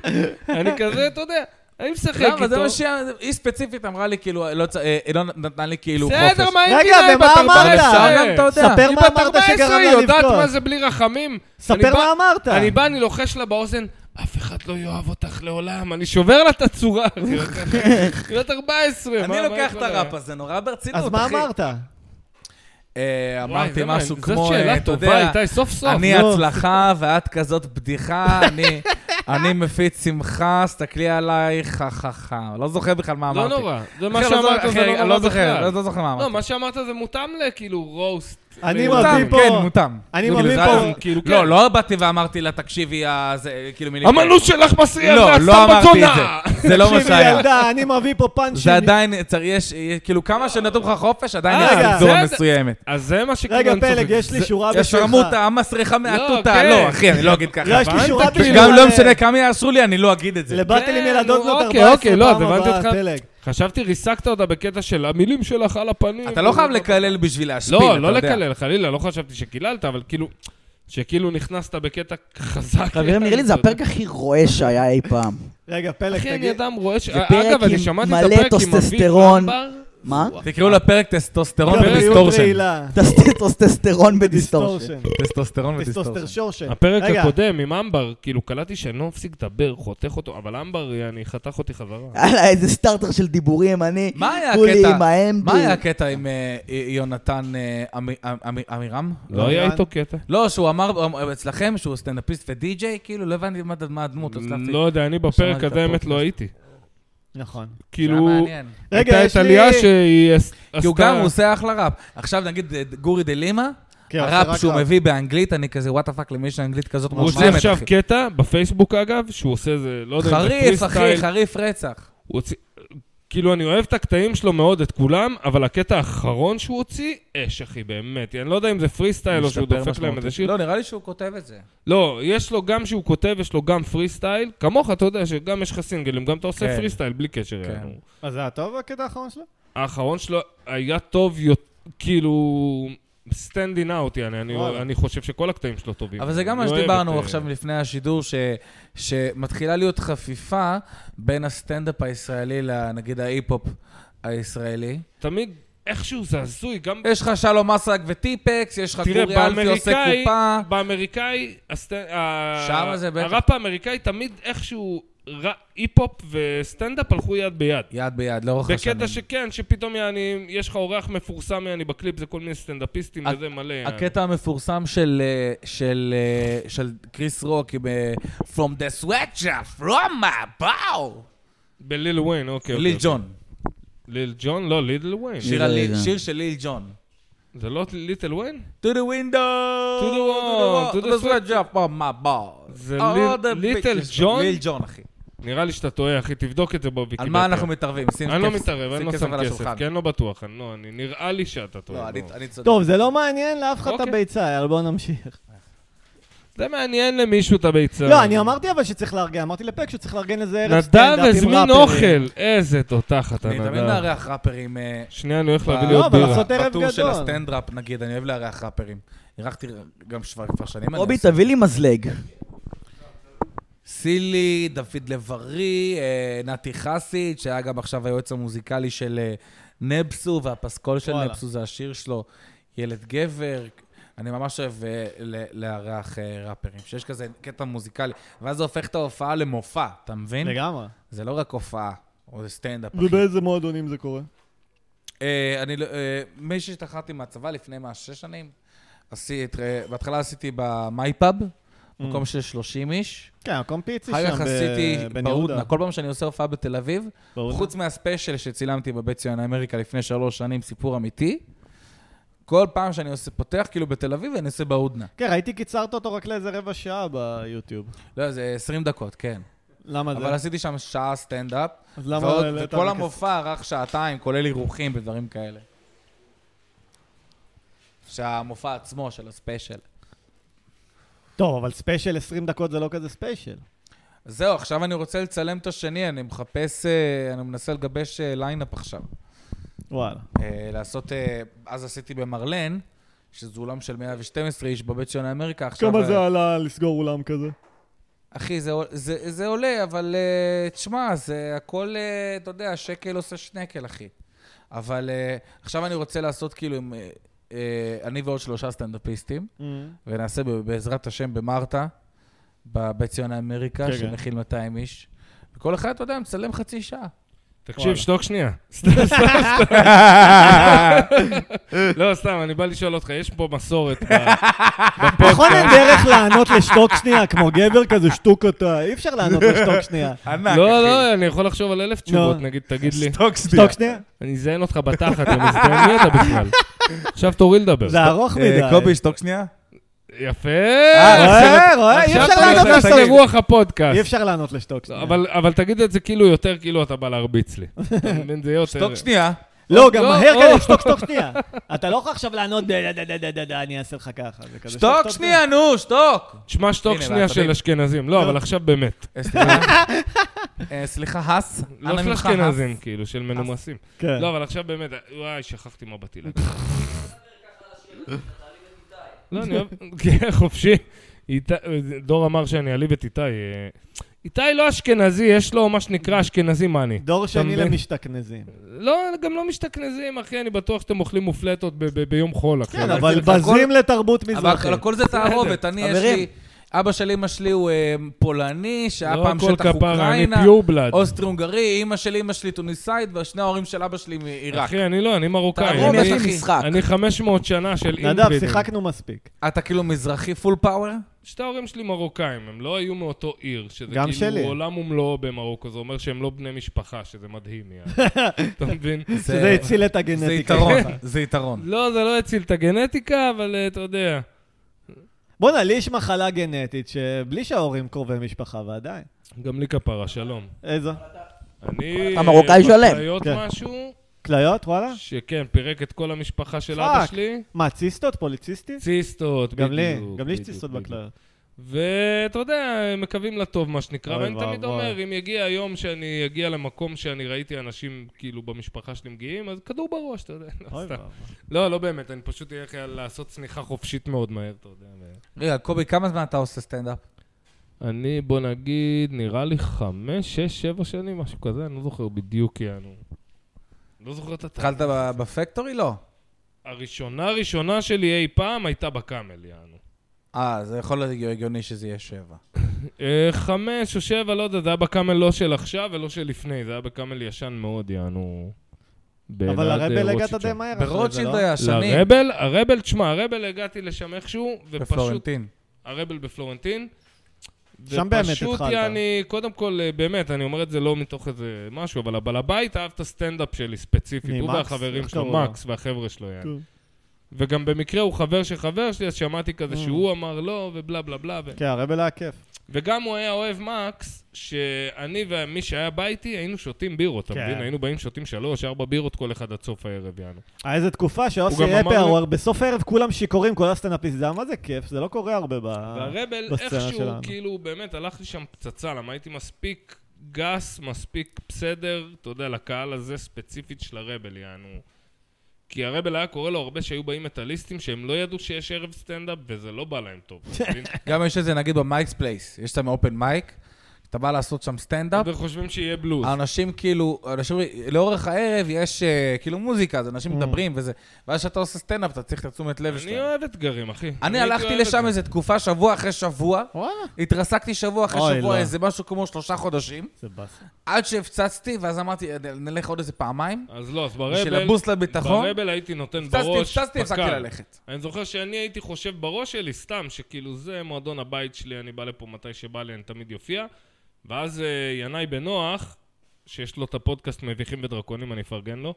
S3: אני כזה, אתה יודע, אני משחק
S4: למה? זה
S3: איתו.
S4: מה שהיא... היא ספציפית אמרה לי, כאילו, לא צ- אה, היא לא נתנה לי כאילו חופש.
S3: בסדר, מה
S1: רגע,
S3: אם תדעי
S1: ומה
S3: בת
S1: אמרת?
S3: 14?
S4: אבל אפשר גם, אתה יודע.
S1: ספר
S3: אה, היא
S1: מה
S3: בת
S1: אמרת
S3: 14,
S1: שגרם לה
S3: היא יודעת
S1: לבכות.
S3: מה זה בלי רחמים. אני
S1: ספר
S3: בא-
S1: מה אמרת.
S3: אני בא, אני לוחש לה באוזן, אף אחד לא יאהב אותך לעולם, אני שובר לה את הצורה. היא בת 14. מה-
S4: אני
S3: מה
S4: לוקח
S3: כל
S4: את
S3: ה-
S4: הראפ הזה נורא ברצינות, אחי.
S1: אז מה אמרת?
S4: אה,
S3: וואי,
S4: אמרתי
S3: זה מה,
S4: משהו
S3: זאת
S4: כמו, אה,
S3: שאלה
S4: אתה
S3: טובה,
S4: יודע,
S3: איתי, סוף לא, סוף.
S4: אני
S1: נו.
S4: הצלחה ואת כזאת בדיחה, אני- אני מפיץ שמחה, סתכלי עלייך, חה חה חה. לא זוכר בכלל מה
S3: לא
S4: אמרתי.
S3: נורא, זה מה
S4: אחי, לא זוכר-
S3: שאמרת
S4: אחי,
S3: זה לא
S4: אני
S3: נורא
S4: זוכר,
S3: בכלל.
S4: לא זוכר מה
S3: לא,
S4: אמרתי.
S3: מה שאמרת זה מותאם לכאילו רוסט
S1: אני
S4: מותם,
S1: מביא פה...
S4: כן, מותם.
S1: אני
S4: כאילו,
S1: מביא
S4: זה
S1: פה...
S4: היה-
S3: כאילו, כן.
S4: לא, לא באתי ואמרתי לה, תקשיבי, ה- זה, כאילו מילים...
S3: המנוס שלך מסריח,
S4: לא,
S3: ואת סתם
S4: לא אמרתי את
S3: בזונה!
S4: זה. זה לא מה
S1: תקשיבי,
S4: שהיה.
S1: ילדה, אני מביא פה פאנצ'ים.
S4: זה עדיין, צריך- יש, יש- כאילו, כמה שנתנו לך חופש, עדיין
S1: אה,
S4: יש
S1: רגע.
S4: צנזורה
S3: בסדר.
S4: מסוימת.
S3: אז זה מה שכאילו...
S1: רגע,
S3: כאילו אני צוחק.
S1: פלג, יש לי שורה
S4: יש
S1: בשבילך.
S4: רמותה, המסריחה מהתותה.
S3: כן.
S4: לא, אחי, אני לא אגיד ככה.
S1: לא, יש לי
S4: אבל-
S1: שורה בשבילך.
S4: גם לא משנה כמה יאשרו לי, אני לא אגיד את זה.
S1: לבטל עם
S3: כן,
S1: ילדות
S3: נו,
S1: בנות 14
S3: אוקיי, אוקיי, לא,
S1: פעם
S3: אז הבנתי
S1: הבאה,
S3: אותך.
S1: פלג.
S3: חשבתי, ריסקת אותה בקטע של המילים שלך על הפנים.
S4: אתה לא חייב לקלל בשביל להשפיל, אתה יודע.
S3: לא, לא לקלל, חלילה, לא חשבתי שקיללת, אבל כאילו... שכאילו נכנסת בקטע חזק.
S2: חברים, נראה לי זה הפרק הכי רועש שהיה אי פעם.
S1: רגע, פלג,
S3: אחי, אני
S1: תגיד...
S3: אדם רואה ש...
S2: זה פרק
S3: אגב, אני
S2: עם
S3: שמעתי
S2: מלא
S3: את הפרק עם אביב
S2: טוסטסטרון.
S3: אמבר.
S2: מה?
S4: תקראו לפרק טסטוסטרון
S1: גבריות
S4: ודיסטורשן.
S1: רעילה.
S2: טסטוסטרון בדיסטורשן.
S1: דיסטורשן.
S4: טסטוסטרון ודיסטורשן.
S1: דיסטורשן.
S3: הפרק
S1: כן. רגע,
S3: הקודם עם אמבר, כאילו קלטתי שאני לא מפסיק לדבר, חותך אותו, אבל אמבר, אני חתך אותי חזרה.
S1: אה,
S2: יאללה, איזה סטארטר של דיבורים, אני...
S4: מה היה
S2: כולי
S4: הקטע?
S2: עם האמבר.
S4: מה היה הקטע עם אה, יונתן אה, עמי- עמי- עמירם?
S3: לא היה
S1: אבירן?
S3: איתו קטע.
S4: לא, שהוא אמר הוא- אצלכם שהוא סטנדאפיסט ודי-ג'יי, כאילו, לא הבנתי מה מה הדמות, אז החלפתי.
S3: לא יודע, אני
S4: שמעתי את
S3: בפרק הזה, האמת,
S4: הפודקאסט.
S3: לא הייתי.
S1: נכון.
S3: כאילו,
S4: זה היה מעניין.
S1: רגע,
S3: הייתה
S1: יש
S3: את
S1: לי-
S3: עלייה שהיא עש-
S4: כי הוא גם הוא
S3: עשתה...
S4: עושה אחלה ראפ. עכשיו נגיד אה, גורי דה לימה,
S1: כן, עושה רק
S4: הראפ שהוא
S1: רע.
S4: מביא באנגלית, אני כזה, וואטה פאק, למי יש אנגלית כזאת
S3: הוא עושה
S4: מושלמת,
S3: עכשיו
S4: אחי.
S3: קטע, בפייסבוק אגב, שהוא עושה איזה, לא יודע, אם זה
S4: חריף, אחי,
S3: freestyle.
S4: חריף רצח.
S3: הוא הוציא... כאילו, אני אוהב את הקטעים שלו מאוד, את כולם, אבל הקטע האחרון שהוא הוציא, אש, אחי, באמת. אני לא יודע אם זה פרי סטייל או שהוא
S4: משתפר
S3: דופק להם
S4: משמעותית.
S3: איזה שיר.
S4: לא, נראה לי שהוא כותב את זה.
S3: לא, יש לו גם שהוא כותב, יש לו גם פרי סטייל. כמוך, אתה יודע שגם יש לך סינגלים, גם אתה
S4: כן.
S3: עושה פרי סטייל, בלי קשר.
S4: כן.
S3: יענו.
S1: אז זה היה טוב הקטע האחרון שלו?
S3: האחרון שלו היה טוב, יותר- כאילו... סטנדין אאוט, יעני, אני-
S1: וואלה.
S3: אני חושב שכל הקטעים שלו טובים.
S4: אבל זה גם מה
S3: אני אוהב את,
S4: שדיברנו
S3: אה,
S4: עכשיו לפני השידור, ש- שמתחילה להיות חפיפה בין הסטנדאפ הישראלי לנגיד ההיפ-הופ הישראלי.
S3: תמיד איכשהו זה הזוי, גם
S4: יש לך שלום אסרק וטיפקס, יש לך
S3: תראה,
S4: גורי אלפי עושה
S3: באמריקאי,
S4: קופה.
S3: באמריקאי, הסט... ה-
S4: שם זה בטח.
S3: הראפ האמריקאי תמיד איכשהו ר- היפ-הופ וסטנדאפ הלכו יד ביד.
S4: יד ביד, לאורך השנים.
S3: בקטע שכן, שפתאום יעני, יש לך אורח מפורסם יעני בקליפ, זה כל מיני סטנדאפיסטים
S4: הק-
S3: וזה מלא. יעני.
S4: הקטע המפורסם של, אה, של, אה, של קריס רוק עם אה, From the sweatshop, from my bow.
S3: בליל וויין, אוקיי.
S4: ליל
S3: אוקיי.
S4: ג'ון.
S3: ליל ג'ון? לא, ליל וויין.
S4: שיר
S2: ליל
S4: על ליל-
S2: ג'ון.
S4: שיר של ליל ג'ון.
S3: זה לא ליטל וויין?
S4: To the window,
S3: To the wall, to the
S4: sweatshop, from my bow.
S3: זה
S4: All
S3: ליל-
S4: the
S3: ליטל
S4: pictures.
S3: ג'ון?
S4: ליל ג'ון, אחי.
S3: נראה לי שאתה טועה, אחי, תבדוק את זה בוויקיפדיה.
S4: על מה אנחנו מתערבים? שים
S3: אני לא
S4: כסף-
S3: מתערב, אני
S4: שים
S3: לא
S4: כסף
S3: שם
S4: על
S3: כסף,
S4: השולחן.
S3: כי אני לא בטוח, אני לא, אני- נראה לי שאתה טועה.
S4: לא, אני
S3: לא.
S4: אני צודק.
S1: טוב, זה לא מעניין לאף אחד את
S3: אוקיי.
S1: הביצה, יאללה, בואו נמשיך.
S3: זה מעניין למישהו את הביצה.
S1: לא, אני אמרתי אבל שצריך לארגן, אמרתי לפק שצריך לארגן איזה ערב
S3: נדב
S1: סטנדאפ עם ראפרים.
S3: הזמין אוכל, איזה תותחת
S4: אני תמיד
S3: הנדב.
S4: מארח ראפרים אה,
S3: שנייה, אני הולך
S4: לא,
S3: להביא לי
S1: לא,
S3: עוד
S1: אבל
S3: בירה.
S1: לעשות ערב
S4: בטור של
S1: גדול.
S4: הסטנדראפ, נגיד, אני אוהב לארח ראפרים. אירחתי גם שבר כבר שנים. אני
S2: רובי,
S4: עושה.
S2: תביא לי מזלג.
S4: אה, סילי, דוד לב-ארי, אה, נתי חסיד, שהיה גם עכשיו היועץ המוזיקלי של אה, נבסו, והפסקול של
S1: וואלה.
S4: נבסו זה השיר שלו, ילד גבר. אני ממש אוהב אה, ל- לארח אה, ראפרים, שיש כזה קטע מוזיקלי, ואז זה הופך את ההופעה למופע, אתה מבין?
S1: לגמרי.
S4: זה לא רק הופעה, או סטנדאפ. אחי.
S1: ובאיזה מועדונים זה קורה?
S4: אה, אני לא... אה, מי שהשתחררתי מהצבא לפני מה, שש שנים, עשית, אה, בהתחלה עשיתי במייפאב,
S1: Mm.
S4: מקום של 30 איש.
S1: כן, מקום פיצי שם,
S4: אחר כך
S1: ב-
S4: עשיתי
S1: בן
S4: בהודנה.
S1: יהודה.
S4: כל פעם שאני עושה הופעה בתל אביב,
S1: בהודנה?
S4: חוץ מהספיישל שצילמתי בבית ציון אמריקה לפני שלוש שנים, סיפור אמיתי, כל פעם שאני עושה, פותח כאילו בתל אביב, אני עושה בהודנה.
S1: כן, ראיתי קיצרת אותו רק לאיזה רבע שעה ביוטיוב.
S4: לא, זה 20 דקות, כן.
S1: למה אה, זה?
S4: אבל עשיתי שם שעה סטנדאפ,
S1: אז למה
S4: ועוד-
S1: העלית
S4: וכל
S1: רק
S4: המופע ארך שעתיים, כולל אירוחים ודברים כאלה. שהמופע עצמו של הספיישל.
S1: טוב, אבל ספיישל 20 דקות זה לא כזה ספיישל.
S4: אז זהו, עכשיו אני רוצה לצלם את השני, אני מחפש, אה, אני מנסה לגבש אה, ליינאפ עכשיו.
S1: וואלה.
S4: אה, לעשות, אה, אז עשיתי במרלן, שזה אולם של 112 איש בבית של אמריקה, עכשיו... אה,
S1: עלה לסגור אולם כזה?
S4: אחי, זה, עול- זה, זה עולה, אבל אה, תשמע, זה הכל, אה, אתה יודע, שקל עושה שנקל, אחי. אבל אה, עכשיו אני רוצה לעשות כאילו עם... אה, אה, אני ועוד שלושה סטנדאפיסטים,
S1: Mm.
S4: ונעשה ב- בעזרת השם במרתא, בבית ציון האמריקה,
S1: כן, כן.
S4: שמכיל 200 איש. וכל אחד, אתה יודע, מצלם חצי שעה.
S3: תקשיב, שתוק שנייה. סתם, סתם, סתם. לא, סתם, אני בא לשאול אותך, יש פה מסורת ב-
S1: נכון אין דרך לענות לשתוק שנייה, כמו גבר כזה שטוק אתה, אי אפשר לענות לשתוק שנייה.
S4: ענק,
S3: לא, לא, אני יכול לחשוב על אלף תשובות,
S1: נו.
S3: נגיד, תגיד לי.
S4: שתוק שנייה.
S1: שתוק שנייה?
S3: אני אזיין אותך בתחת, אני מזדיין מי אתה בכלל. עכשיו תורי לדבר.
S1: זה ארוך מדי.
S4: אה, קובי, שתוק שנייה.
S3: יפה!
S1: רואה, רואה, אה, אי
S3: אה, עכשיו
S1: אפשר לענות
S3: אתה נכנס
S1: לשטוקס.
S3: לרוח
S1: אי
S3: הפודקאסט.
S1: אפשר לענות לשטוקס.
S3: אבל אבל תגיד את זה כאילו יותר, כאילו אתה בא להרביץ לי. אתה מבין? זה יהיה יותר...
S4: שתוק שנייה.
S1: לא, גם
S3: לא,
S1: מהר
S3: או.
S1: כזה, שתוק, שתוק שנייה. אתה לא יכול עכשיו לענות, "דה, דה, דה, דה, דה, דה, אני אעשה לך ככה. זה כזה,
S4: שתוק שנייה, נו, שתוק.
S3: תשמע שתוק
S4: הנה,
S3: שנייה
S4: אתה
S3: של
S4: מבין?
S3: אשכנזים. לא, אבל עכשיו באמת.
S4: אה, סליחה. אה, סליחה, הס.
S3: לא
S4: אנא
S3: של
S4: ממך, הס.
S3: אשכנזים, כאילו, של מנומסים.
S1: כן.
S3: לא, אבל עכשיו באמת, וואי, שכחתי מה באתי להגיד. לא, אני אוהב, כן, חופשי. איתי- דור אמר שאני אעליב את איתי. אה, איתי לא אשכנזי, יש לו מה שנקרא אשכנזי מאני.
S1: דור שני
S3: מבין?
S1: למשתכנזים.
S3: לא, גם לא משתכנזים, אחי, אני בטוח שאתם אוכלים מופלטות ב- ב- ביום חול, אחי. לא
S1: כן, אבל
S4: הכל-
S1: בזים לתרבות
S4: אבל
S1: מזרחית.
S4: על כל זה תערובת, אני יש
S2: חברים.
S4: לי... אבא של אמא שלי הוא אה, פולני, שהיה
S3: לא
S4: פעם
S3: הכל
S4: שטח
S3: כפרה, אני
S4: אוקראינה,
S3: pure blood.
S4: אוסטרי-הונגרי, אמא של אמא שלי טוניסאית, ושני ההורים של אבא שלי מעיראק.
S3: אחי, אני לא, אני מרוקאי.
S2: תערום,
S4: תערובת,
S3: אני-
S2: יש
S4: אחי.
S2: לי משחק.
S3: אני 500 שנה של
S1: נדב,
S3: אינברידים.
S1: שיחקנו מספיק.
S4: אתה כאילו מזרחי פול פאוור?
S3: שתי ההורים שלי מרוקאים, הם לא היו מאותו עיר, שזה
S1: גם
S3: כאילו
S1: שלי.
S3: עולם ומלואו במרוקו, זה אומר שהם לא בני משפחה, שזה מדהים, יאללה. אתה מבין?
S1: שזה הציל את הגנטיקה.
S4: זה יתרון,
S1: שלך.
S4: זה יתרון.
S3: לא, זה לא הציל את הגנטיקה, אבל אה, אתה יודע.
S1: בואנה, לי יש מחלה גנטית שבלי שההורים קרובי משפחה, ועדיין.
S3: גם לי כפרה, שלום.
S1: איזו?
S3: אני...
S2: אתה מרוקאי שלם.
S3: להיות
S1: כן.
S3: משהו
S1: כליות, וואלה?
S3: שכן, פירק את כל המשפחה של אבא
S1: כן. פאק.
S3: שלי.
S1: מה, ציסטות? פוליציסטית?
S3: ציסטות, בדיוק.
S1: גם לי, גם לי יש
S3: בדיוק,
S1: ציסטות
S3: בדיוק.
S1: בכליות.
S3: ואתה יודע, מקווים לטוב, מה שנקרא,
S1: אוי
S3: ואני תמיד
S1: ואבוי.
S3: אומר, אם יגיע היום שאני אגיע למקום שאני ראיתי אנשים, כאילו, במשפחה שלי מגיעים, אז כדור בראש, אתה יודע, לא
S1: אוי
S3: סתם.
S1: ואבוי.
S3: לא, לא באמת, אני פשוט אלך לעשות צניחה חופשית מאוד מהר, אתה יודע. ו-
S4: רגע, קובי, כמה זמן אתה עושה סטנדאפ?
S3: אני, בוא נגיד, נראה לי חמש, שש, שבע שנים, משהו כזה, אני לא זוכר בדיוק, יענו. לא זוכר את התחלה.
S4: התחלת ב- בפקטורי? לא.
S3: הראשונה הראשונה שלי אי פעם הייתה בקאמל, יענו.
S4: אה, זה יכול להיות הגיוני שזה יהיה שבע.
S3: אה, חמש או שבע, לא יודע, זה היה בקאמל לא של עכשיו ולא של לפני, זה היה בקאמל ישן מאוד, יענו.
S1: אבל
S3: באלעד, אה,
S1: לרבל הגעת
S3: רוטשילד
S1: די
S3: שם.
S1: מהר אחרי זה,
S4: ברוצ'ילד
S1: לא?
S4: היה שנים.
S3: לרבל, הרבל, תשמע, הרבל הגעתי לשם איכשהו, ופשוט...
S4: בפלורנטין.
S3: הרבל בפלורנטין.
S1: שם באמת
S3: ופשוט
S1: התחלת.
S3: יעני, קודם כל, אה, באמת, אני אומר את זה לא מתוך איזה משהו, אבל הבעל הבית אהב את הסטנדאפ שלי ספציפית,
S1: מי,
S3: הוא
S1: מקס?
S3: והחברים
S1: איך
S3: שלו,
S1: קראו לו?
S3: מקס והחבר'ה שלו, יעני.
S1: כן.
S3: וגם במקרה הוא חבר של חבר שלי, אז שמעתי כזה שהוא אמר לא, ובלה בלה בלה. ו-
S1: אה. כן, הרבל היה כיף.
S3: וגם הוא היה אוהב מקס, שאני ומי שהיה בא איתי היינו שותים בירות, אתה
S1: כן.
S3: מבין? היינו באים שותים שלוש, ארבע בירות כל אחד עד סוף הערב, יענו.
S1: היה איזו אה, תקופה שאוסי
S3: הוא גם אמר
S1: אפר,
S3: לי-
S1: הוא- בסוף הערב כולם שיכורים, כל הסטנדאפיסט, זה היה מה זה כיף, זה לא קורה הרבה ב...
S3: והרבל
S1: בסצנה
S3: איכשהו,
S1: שלנו.
S3: כאילו, באמת, הלך לי שם פצצה, למה הייתי מספיק גס, מספיק בסדר, אתה יודע, לקהל הזה ספציפית של הרבל, יענו. כי הרבל היה קורא לו הרבה שהיו באים מטאליסטים שהם לא ידעו שיש ערב סטנדאפ וזה לא בא להם טוב. אתה מבין?
S4: כן. גם יש את זה, נגיד, במייקס פלייס. יש שם אופן מייק, אתה בא לעשות שם סטנדאפ,
S3: אתם חושבים שיהיה בלוז.
S4: האנשים כאילו, אנשים, לאורך הערב יש אה, כאילו מוזיקה, אז אנשים מדברים וזה. ואז כשאתה עושה סטנדאפ, אתה צריך לא את התשומת לב
S3: Mm. אני
S4: שלהם.
S3: אוהב אתגרים, אחי. הייתי
S4: אני הלכתי
S3: אוהב
S4: לשם
S3: את זה.
S4: איזה תקופה, שבוע אחרי שבוע,
S1: וואלה,
S4: התרסקתי שבוע אחרי
S1: אוי,
S4: שבוע,
S1: לא.
S4: איזה משהו כמו שלושה חודשים,
S1: זה באסה.
S4: עד שהפצצתי, ואז אמרתי, "אה, נלך עוד איזה פעמיים.
S3: אז לא, אז
S4: בשביל
S3: ברבל...
S4: הבוסט לביטחון,
S3: ברבל הייתי נותן
S4: הפצצתי,
S3: בראש.
S4: הפצצתי, הפסקתי
S3: פק"ל.
S4: ללכת.
S3: אני זוכר שאני הייתי חושב בראש שלי, סתם, שכאילו זה מועדון הבית שלי, אני בא לפה מתי שבא לי, אני תמיד יופיע. ואז אה, ינאי בנוח, שיש לו את הפודקאסט מביכים ודרקונים, אני אפרגן לו.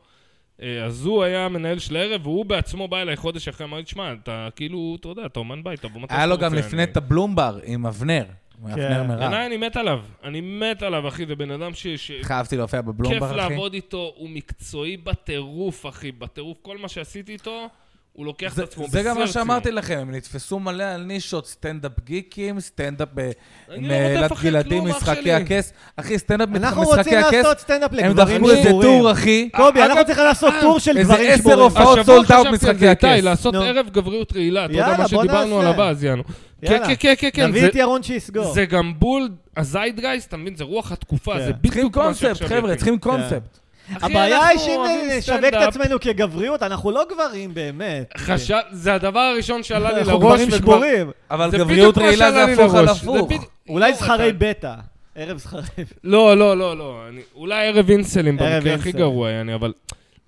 S3: אה, אז הוא היה המנהל של הערב, והוא בעצמו בא אליי חודש אחרי, אמר לי, תשמע, אתה כאילו, אתה יודע, אתה אומן בית, תבוא מתי
S4: היה לו
S3: שאתה
S4: גם
S3: רוצה,
S4: לפני
S3: אני-
S4: את הבלומבר עם אבנר. עם אבנר
S3: ינאי,
S4: מירב.
S3: אני מת עליו. אני מת עליו, אחי, זה בן אדם ש... ש-
S4: התחייבתי להופיע
S3: כיף
S4: בבלומבר, אחי.
S3: לעבוד איתו, הוא מקצועי בטירוף, אחי, בטירוף. כל מה שעשיתי איתו, הוא לוקח
S4: זה-
S3: את עצמו
S4: זה גם מה
S3: בשיא
S4: שאמרתי
S3: הרצינות.
S4: לכם, הם נתפסו מלא על נישות, סטנדאפ גיקים, סטנדאפ אה, ב- עם
S3: לא רודף
S4: אילת
S3: אחרי
S4: גלעדי,
S3: כלום, אח
S4: משחקי
S3: שלי.
S4: הכס. אחי, סטנדאפ
S1: אנחנו
S4: משחקי
S1: רוצים
S4: הכס,
S1: לעשות סטנדאפ
S4: הם
S1: לגברים
S4: דפקו איזה
S1: שבורים.
S4: טור, אחי.
S1: קובי,
S3: אה,
S1: אנחנו
S3: אגב,
S1: צריכים לעשות טור של
S4: איזה
S1: גברים
S4: עשר
S1: שבורים.
S4: הופעות. הופעות
S3: השבוע
S4: סולד אאוט
S3: אה, חשבתי על
S4: משחקי
S3: זה, איתי,
S4: הכס.
S3: לעשות
S1: נו.
S3: ערב גבריות רעילה, אתה יודע
S1: יאלה,
S3: מה
S1: בוא
S3: שדיברנו
S1: נעשה.
S3: עליו אז, יענו. כן,
S1: יאללה.
S3: כן, כן, כן, כן,
S1: נביא
S3: זה-
S1: את ירון שיסגור.
S3: זה גם בול הזיידגייסט, אתה מבין? זה רוח התקופה,
S1: כן.
S3: זה
S4: צריכים
S3: בדיוק מה
S4: קונספט,
S3: שעכשיו...
S4: חבר'ה,
S3: יוצאים.
S4: צריכים קונספט.
S3: אחי,
S1: הבעיה היא
S3: אנחנו
S1: שאם
S3: אוהבים
S1: נשווק את
S3: סטנדאפ.
S1: עצמנו כגבריות, אנחנו לא גברים באמת.
S3: חשב... זה הדבר הראשון שעלה לי לראש,
S1: אנחנו גברים
S3: וכבר-
S1: שבורים.
S4: אבל
S3: זה בדיוק
S4: גבריות
S3: מה
S4: רעילה
S3: שעלה
S4: זה
S3: לי
S4: הפוך על
S3: לראש. זה
S4: הפוך.
S3: בדיוק-
S1: אולי
S3: לא,
S1: זכרי
S3: אתה-
S1: בטא. ערב זכרי.
S3: לא, לא, לא, לא. אני, אולי ערב אינסלים
S1: ערב
S3: במקרה הכי
S1: אינסלים.
S3: גרוע, יעני, אבל...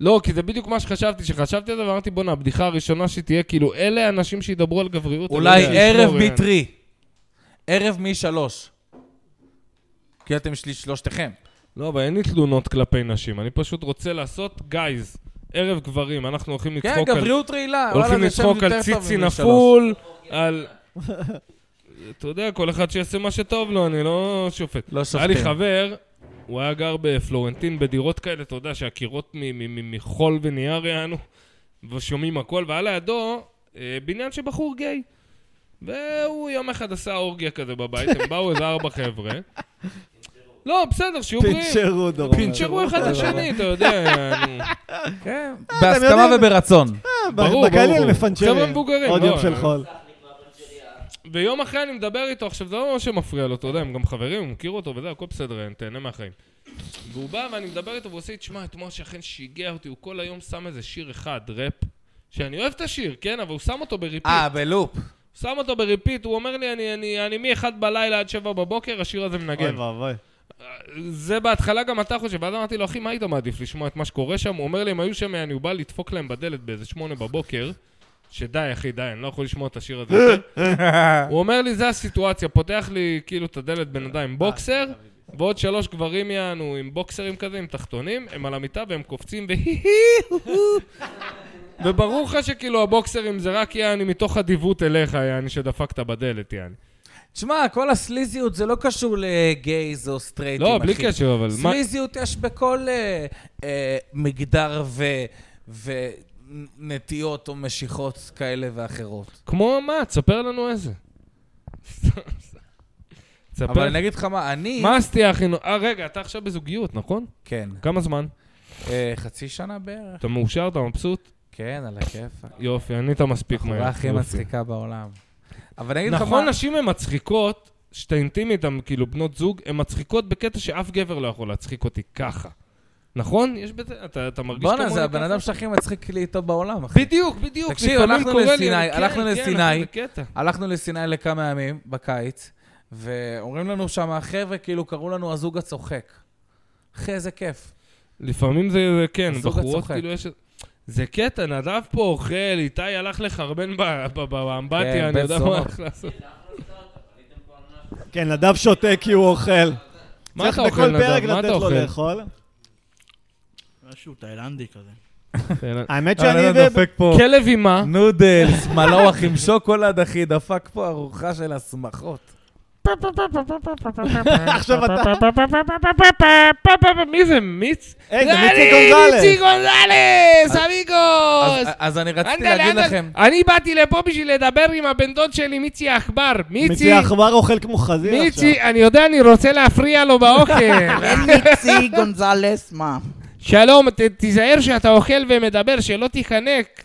S3: לא, כי זה בדיוק מה שחשבתי, שחשבתי על זה ואמרתי, בואנה, הבדיחה הראשונה שתהיה, כאילו, אלה האנשים שידברו על גבריות. אני
S4: אולי
S3: לא יודע,
S4: ערב
S3: לשמור, יעני.
S4: מטרי. ערב משלוש. כי אתם שלי- שלושתכם.
S3: לא, אבל אין לי תלונות כלפי נשים, אני פשוט רוצה לעשות, גייז, ערב גברים, אנחנו הולכים
S4: כן,
S3: לצחוק על...
S4: גבריות רעילה.
S3: הולכים
S4: וואלה, זה שם
S3: לצחוק על
S4: יותר טוב
S3: ציצי
S4: ממשלוש.
S3: נפול, על... אתה יודע, כל אחד שיעשה מה שטוב לו, אני לא שופט.
S4: לא
S3: היה לי
S4: שופטים.
S3: חבר, הוא היה גר בפלורנטין בדירות כאלה, אתה יודע, שהקירות מ- מ- מ- מחול ונייר יענו, ושומעים הכל, והיה לידו אה, בניין של בחור גיי. והוא יום אחד עשה אורגיה כזה בבית, הם באו איזה ארבע חבר'ה. לא, בסדר, שיהיו בריאים.
S1: פינצ'רו דורון.
S3: פינצ'רו אחד
S1: לא
S3: את השני, אתה יודע, נו.
S4: כן, בהסכמה
S1: יודעים-
S4: וברצון.
S3: ברור, ברור.
S1: בקליל מפנצ'רים.
S3: חבר'ה מבוגרים,
S1: עוד
S3: לא,
S1: יום של
S3: אה.
S1: חול.
S3: ויום אחרי אני מדבר איתו, עכשיו זה לא מה שמפריע לו, אתה יודע, הם גם חברים, הוא מכיר אותו וזה, הכל בסדר, אני תהנה מהחיים. והוא בא ואני מדבר איתו והוא עושה לי, תשמע, אתמול השכן שיגע אותי, הוא כל היום שם איזה שיר אחד, ראפ, שאני אוהב את השיר, כן, אבל הוא שם אותו בריפיט.
S4: אה, בלופ.
S3: שם אותו בריפיט, הוא אומר לי, אני, אני, אני מ-1 בלילה עד 7 בבוקר, השיר הזה
S1: אוי
S3: מנגן.
S1: ואבוי.
S3: זה בהתחלה גם אתה חושב, ואז אמרתי לו, אחי, מה היית מעדיף לשמוע את מה שקורה שם? הוא אומר לי, הם היו שם, אני בא לדפוק להם בדלת באיזה שמונה בבוקר, שדי, אחי, די, אני לא יכול לשמוע את השיר הזה. יותר." הוא אומר לי, זה הסיטואציה, פותח לי כאילו את הדלת בן אדם עם בוקסר, ועוד שלוש גברים יענו עם בוקסרים כזה, עם תחתונים, הם על המיטה והם קופצים והי-היו. וברור לך שכאילו הבוקסרים זה רק יעני מתוך אדיבות אליך, יעני, שדפקת בדלת, יעני.
S4: תשמע, כל הסליזיות זה לא קשור לגייז או סטרייטים,
S3: לא,
S4: אחי.
S3: בלי קשר, אבל מה...
S4: סליזיות יש בכל אה, אה, מגדר ו... ונטיות או משיכות כאלה ואחרות.
S3: כמו מה? תספר לנו איזה. תספר.
S4: אבל אני אגיד לך מה, אני...
S3: מה הסטייה הכי נו... אה, רגע, אתה עכשיו בזוגיות, נכון?
S4: כן.
S3: כמה זמן?
S4: אה, חצי שנה בערך.
S3: אתה מאושר? אתה מבסוט?
S4: כן, על הכיפאק.
S3: יופי, ענית מספיק מהר.
S4: החברה הכי
S3: יופי.
S4: מצחיקה בעולם. אבל אני אגיד לך מה...
S3: נכון, נשים הן מצחיקות, שאתה אינטימי איתן, כאילו, בנות זוג, הן מצחיקות בקטע שאף גבר לא יכול להצחיק אותי ככה. נכון? יש בזה... אתה אתה מרגיש כמוני
S4: בואנה, זה הבן
S3: ככה?
S4: אדם שהכי מצחיק לי איתו בעולם, אחי.
S3: בדיוק, בדיוק.
S4: תקשיב,
S3: לפעמים
S4: הלכנו
S3: קורה לי,
S4: לסיני,
S3: אני- כן,
S4: הלכנו
S3: כן, אחי,
S4: לסיני.
S3: זה קטע.
S4: הלכנו לסיני לכמה ימים בקיץ, ואומרים לנו שם החבר'ה, כאילו קראו לנו הזוג הצוחק. אחי, איזה כיף.
S3: לפעמים זה, זה כן,
S4: הזוג
S3: בחורות
S4: הצוחק.
S3: כאילו יש... זה קטע, נדב פה אוכל, איתי הלך לחרבן ב- ב- ב-
S4: כן,
S3: באמבטיה, אני
S4: בית
S3: יודע
S4: זונות.
S3: מה הולך לעשות.
S1: כן, נדב שותה כי הוא אוכל.
S3: מה אתה
S1: צריך
S3: אוכל,
S1: בכל פרק
S3: נדב? מה
S1: לתת
S3: אתה
S1: לו
S3: אוכל?
S1: לאכול.
S7: משהו תאילנדי כזה.
S1: האמת שאני... ו-
S4: פה
S3: כן, כלב עם מה?
S4: נודלס, מלוח עם שוקולד, אחי, דפק פה ארוחה של הסמכות.
S1: עכשיו אתה...
S3: מי זה? מיץ?
S1: היי, זה
S3: אני,
S1: מיצי גונזלס.
S3: מיצי גונזלס,
S4: אז-
S3: אמיגוס!
S4: אז אני רציתי
S3: אנדלה,
S4: להגיד
S3: אנדלה.
S4: לכם,
S3: אני באתי לפה בשביל לדבר עם הבן דוד שלי, מיצי העכבר. מיצי,
S1: מיצי העכבר אוכל כמו חזיר עכשיו.
S3: מיצי, אני יודע, אני רוצה להפריע לו באוכל.
S2: מיצי גונזלס, מה?
S3: שלום, ת, תיזהר שאתה אוכל ומדבר, שלא תיחנק.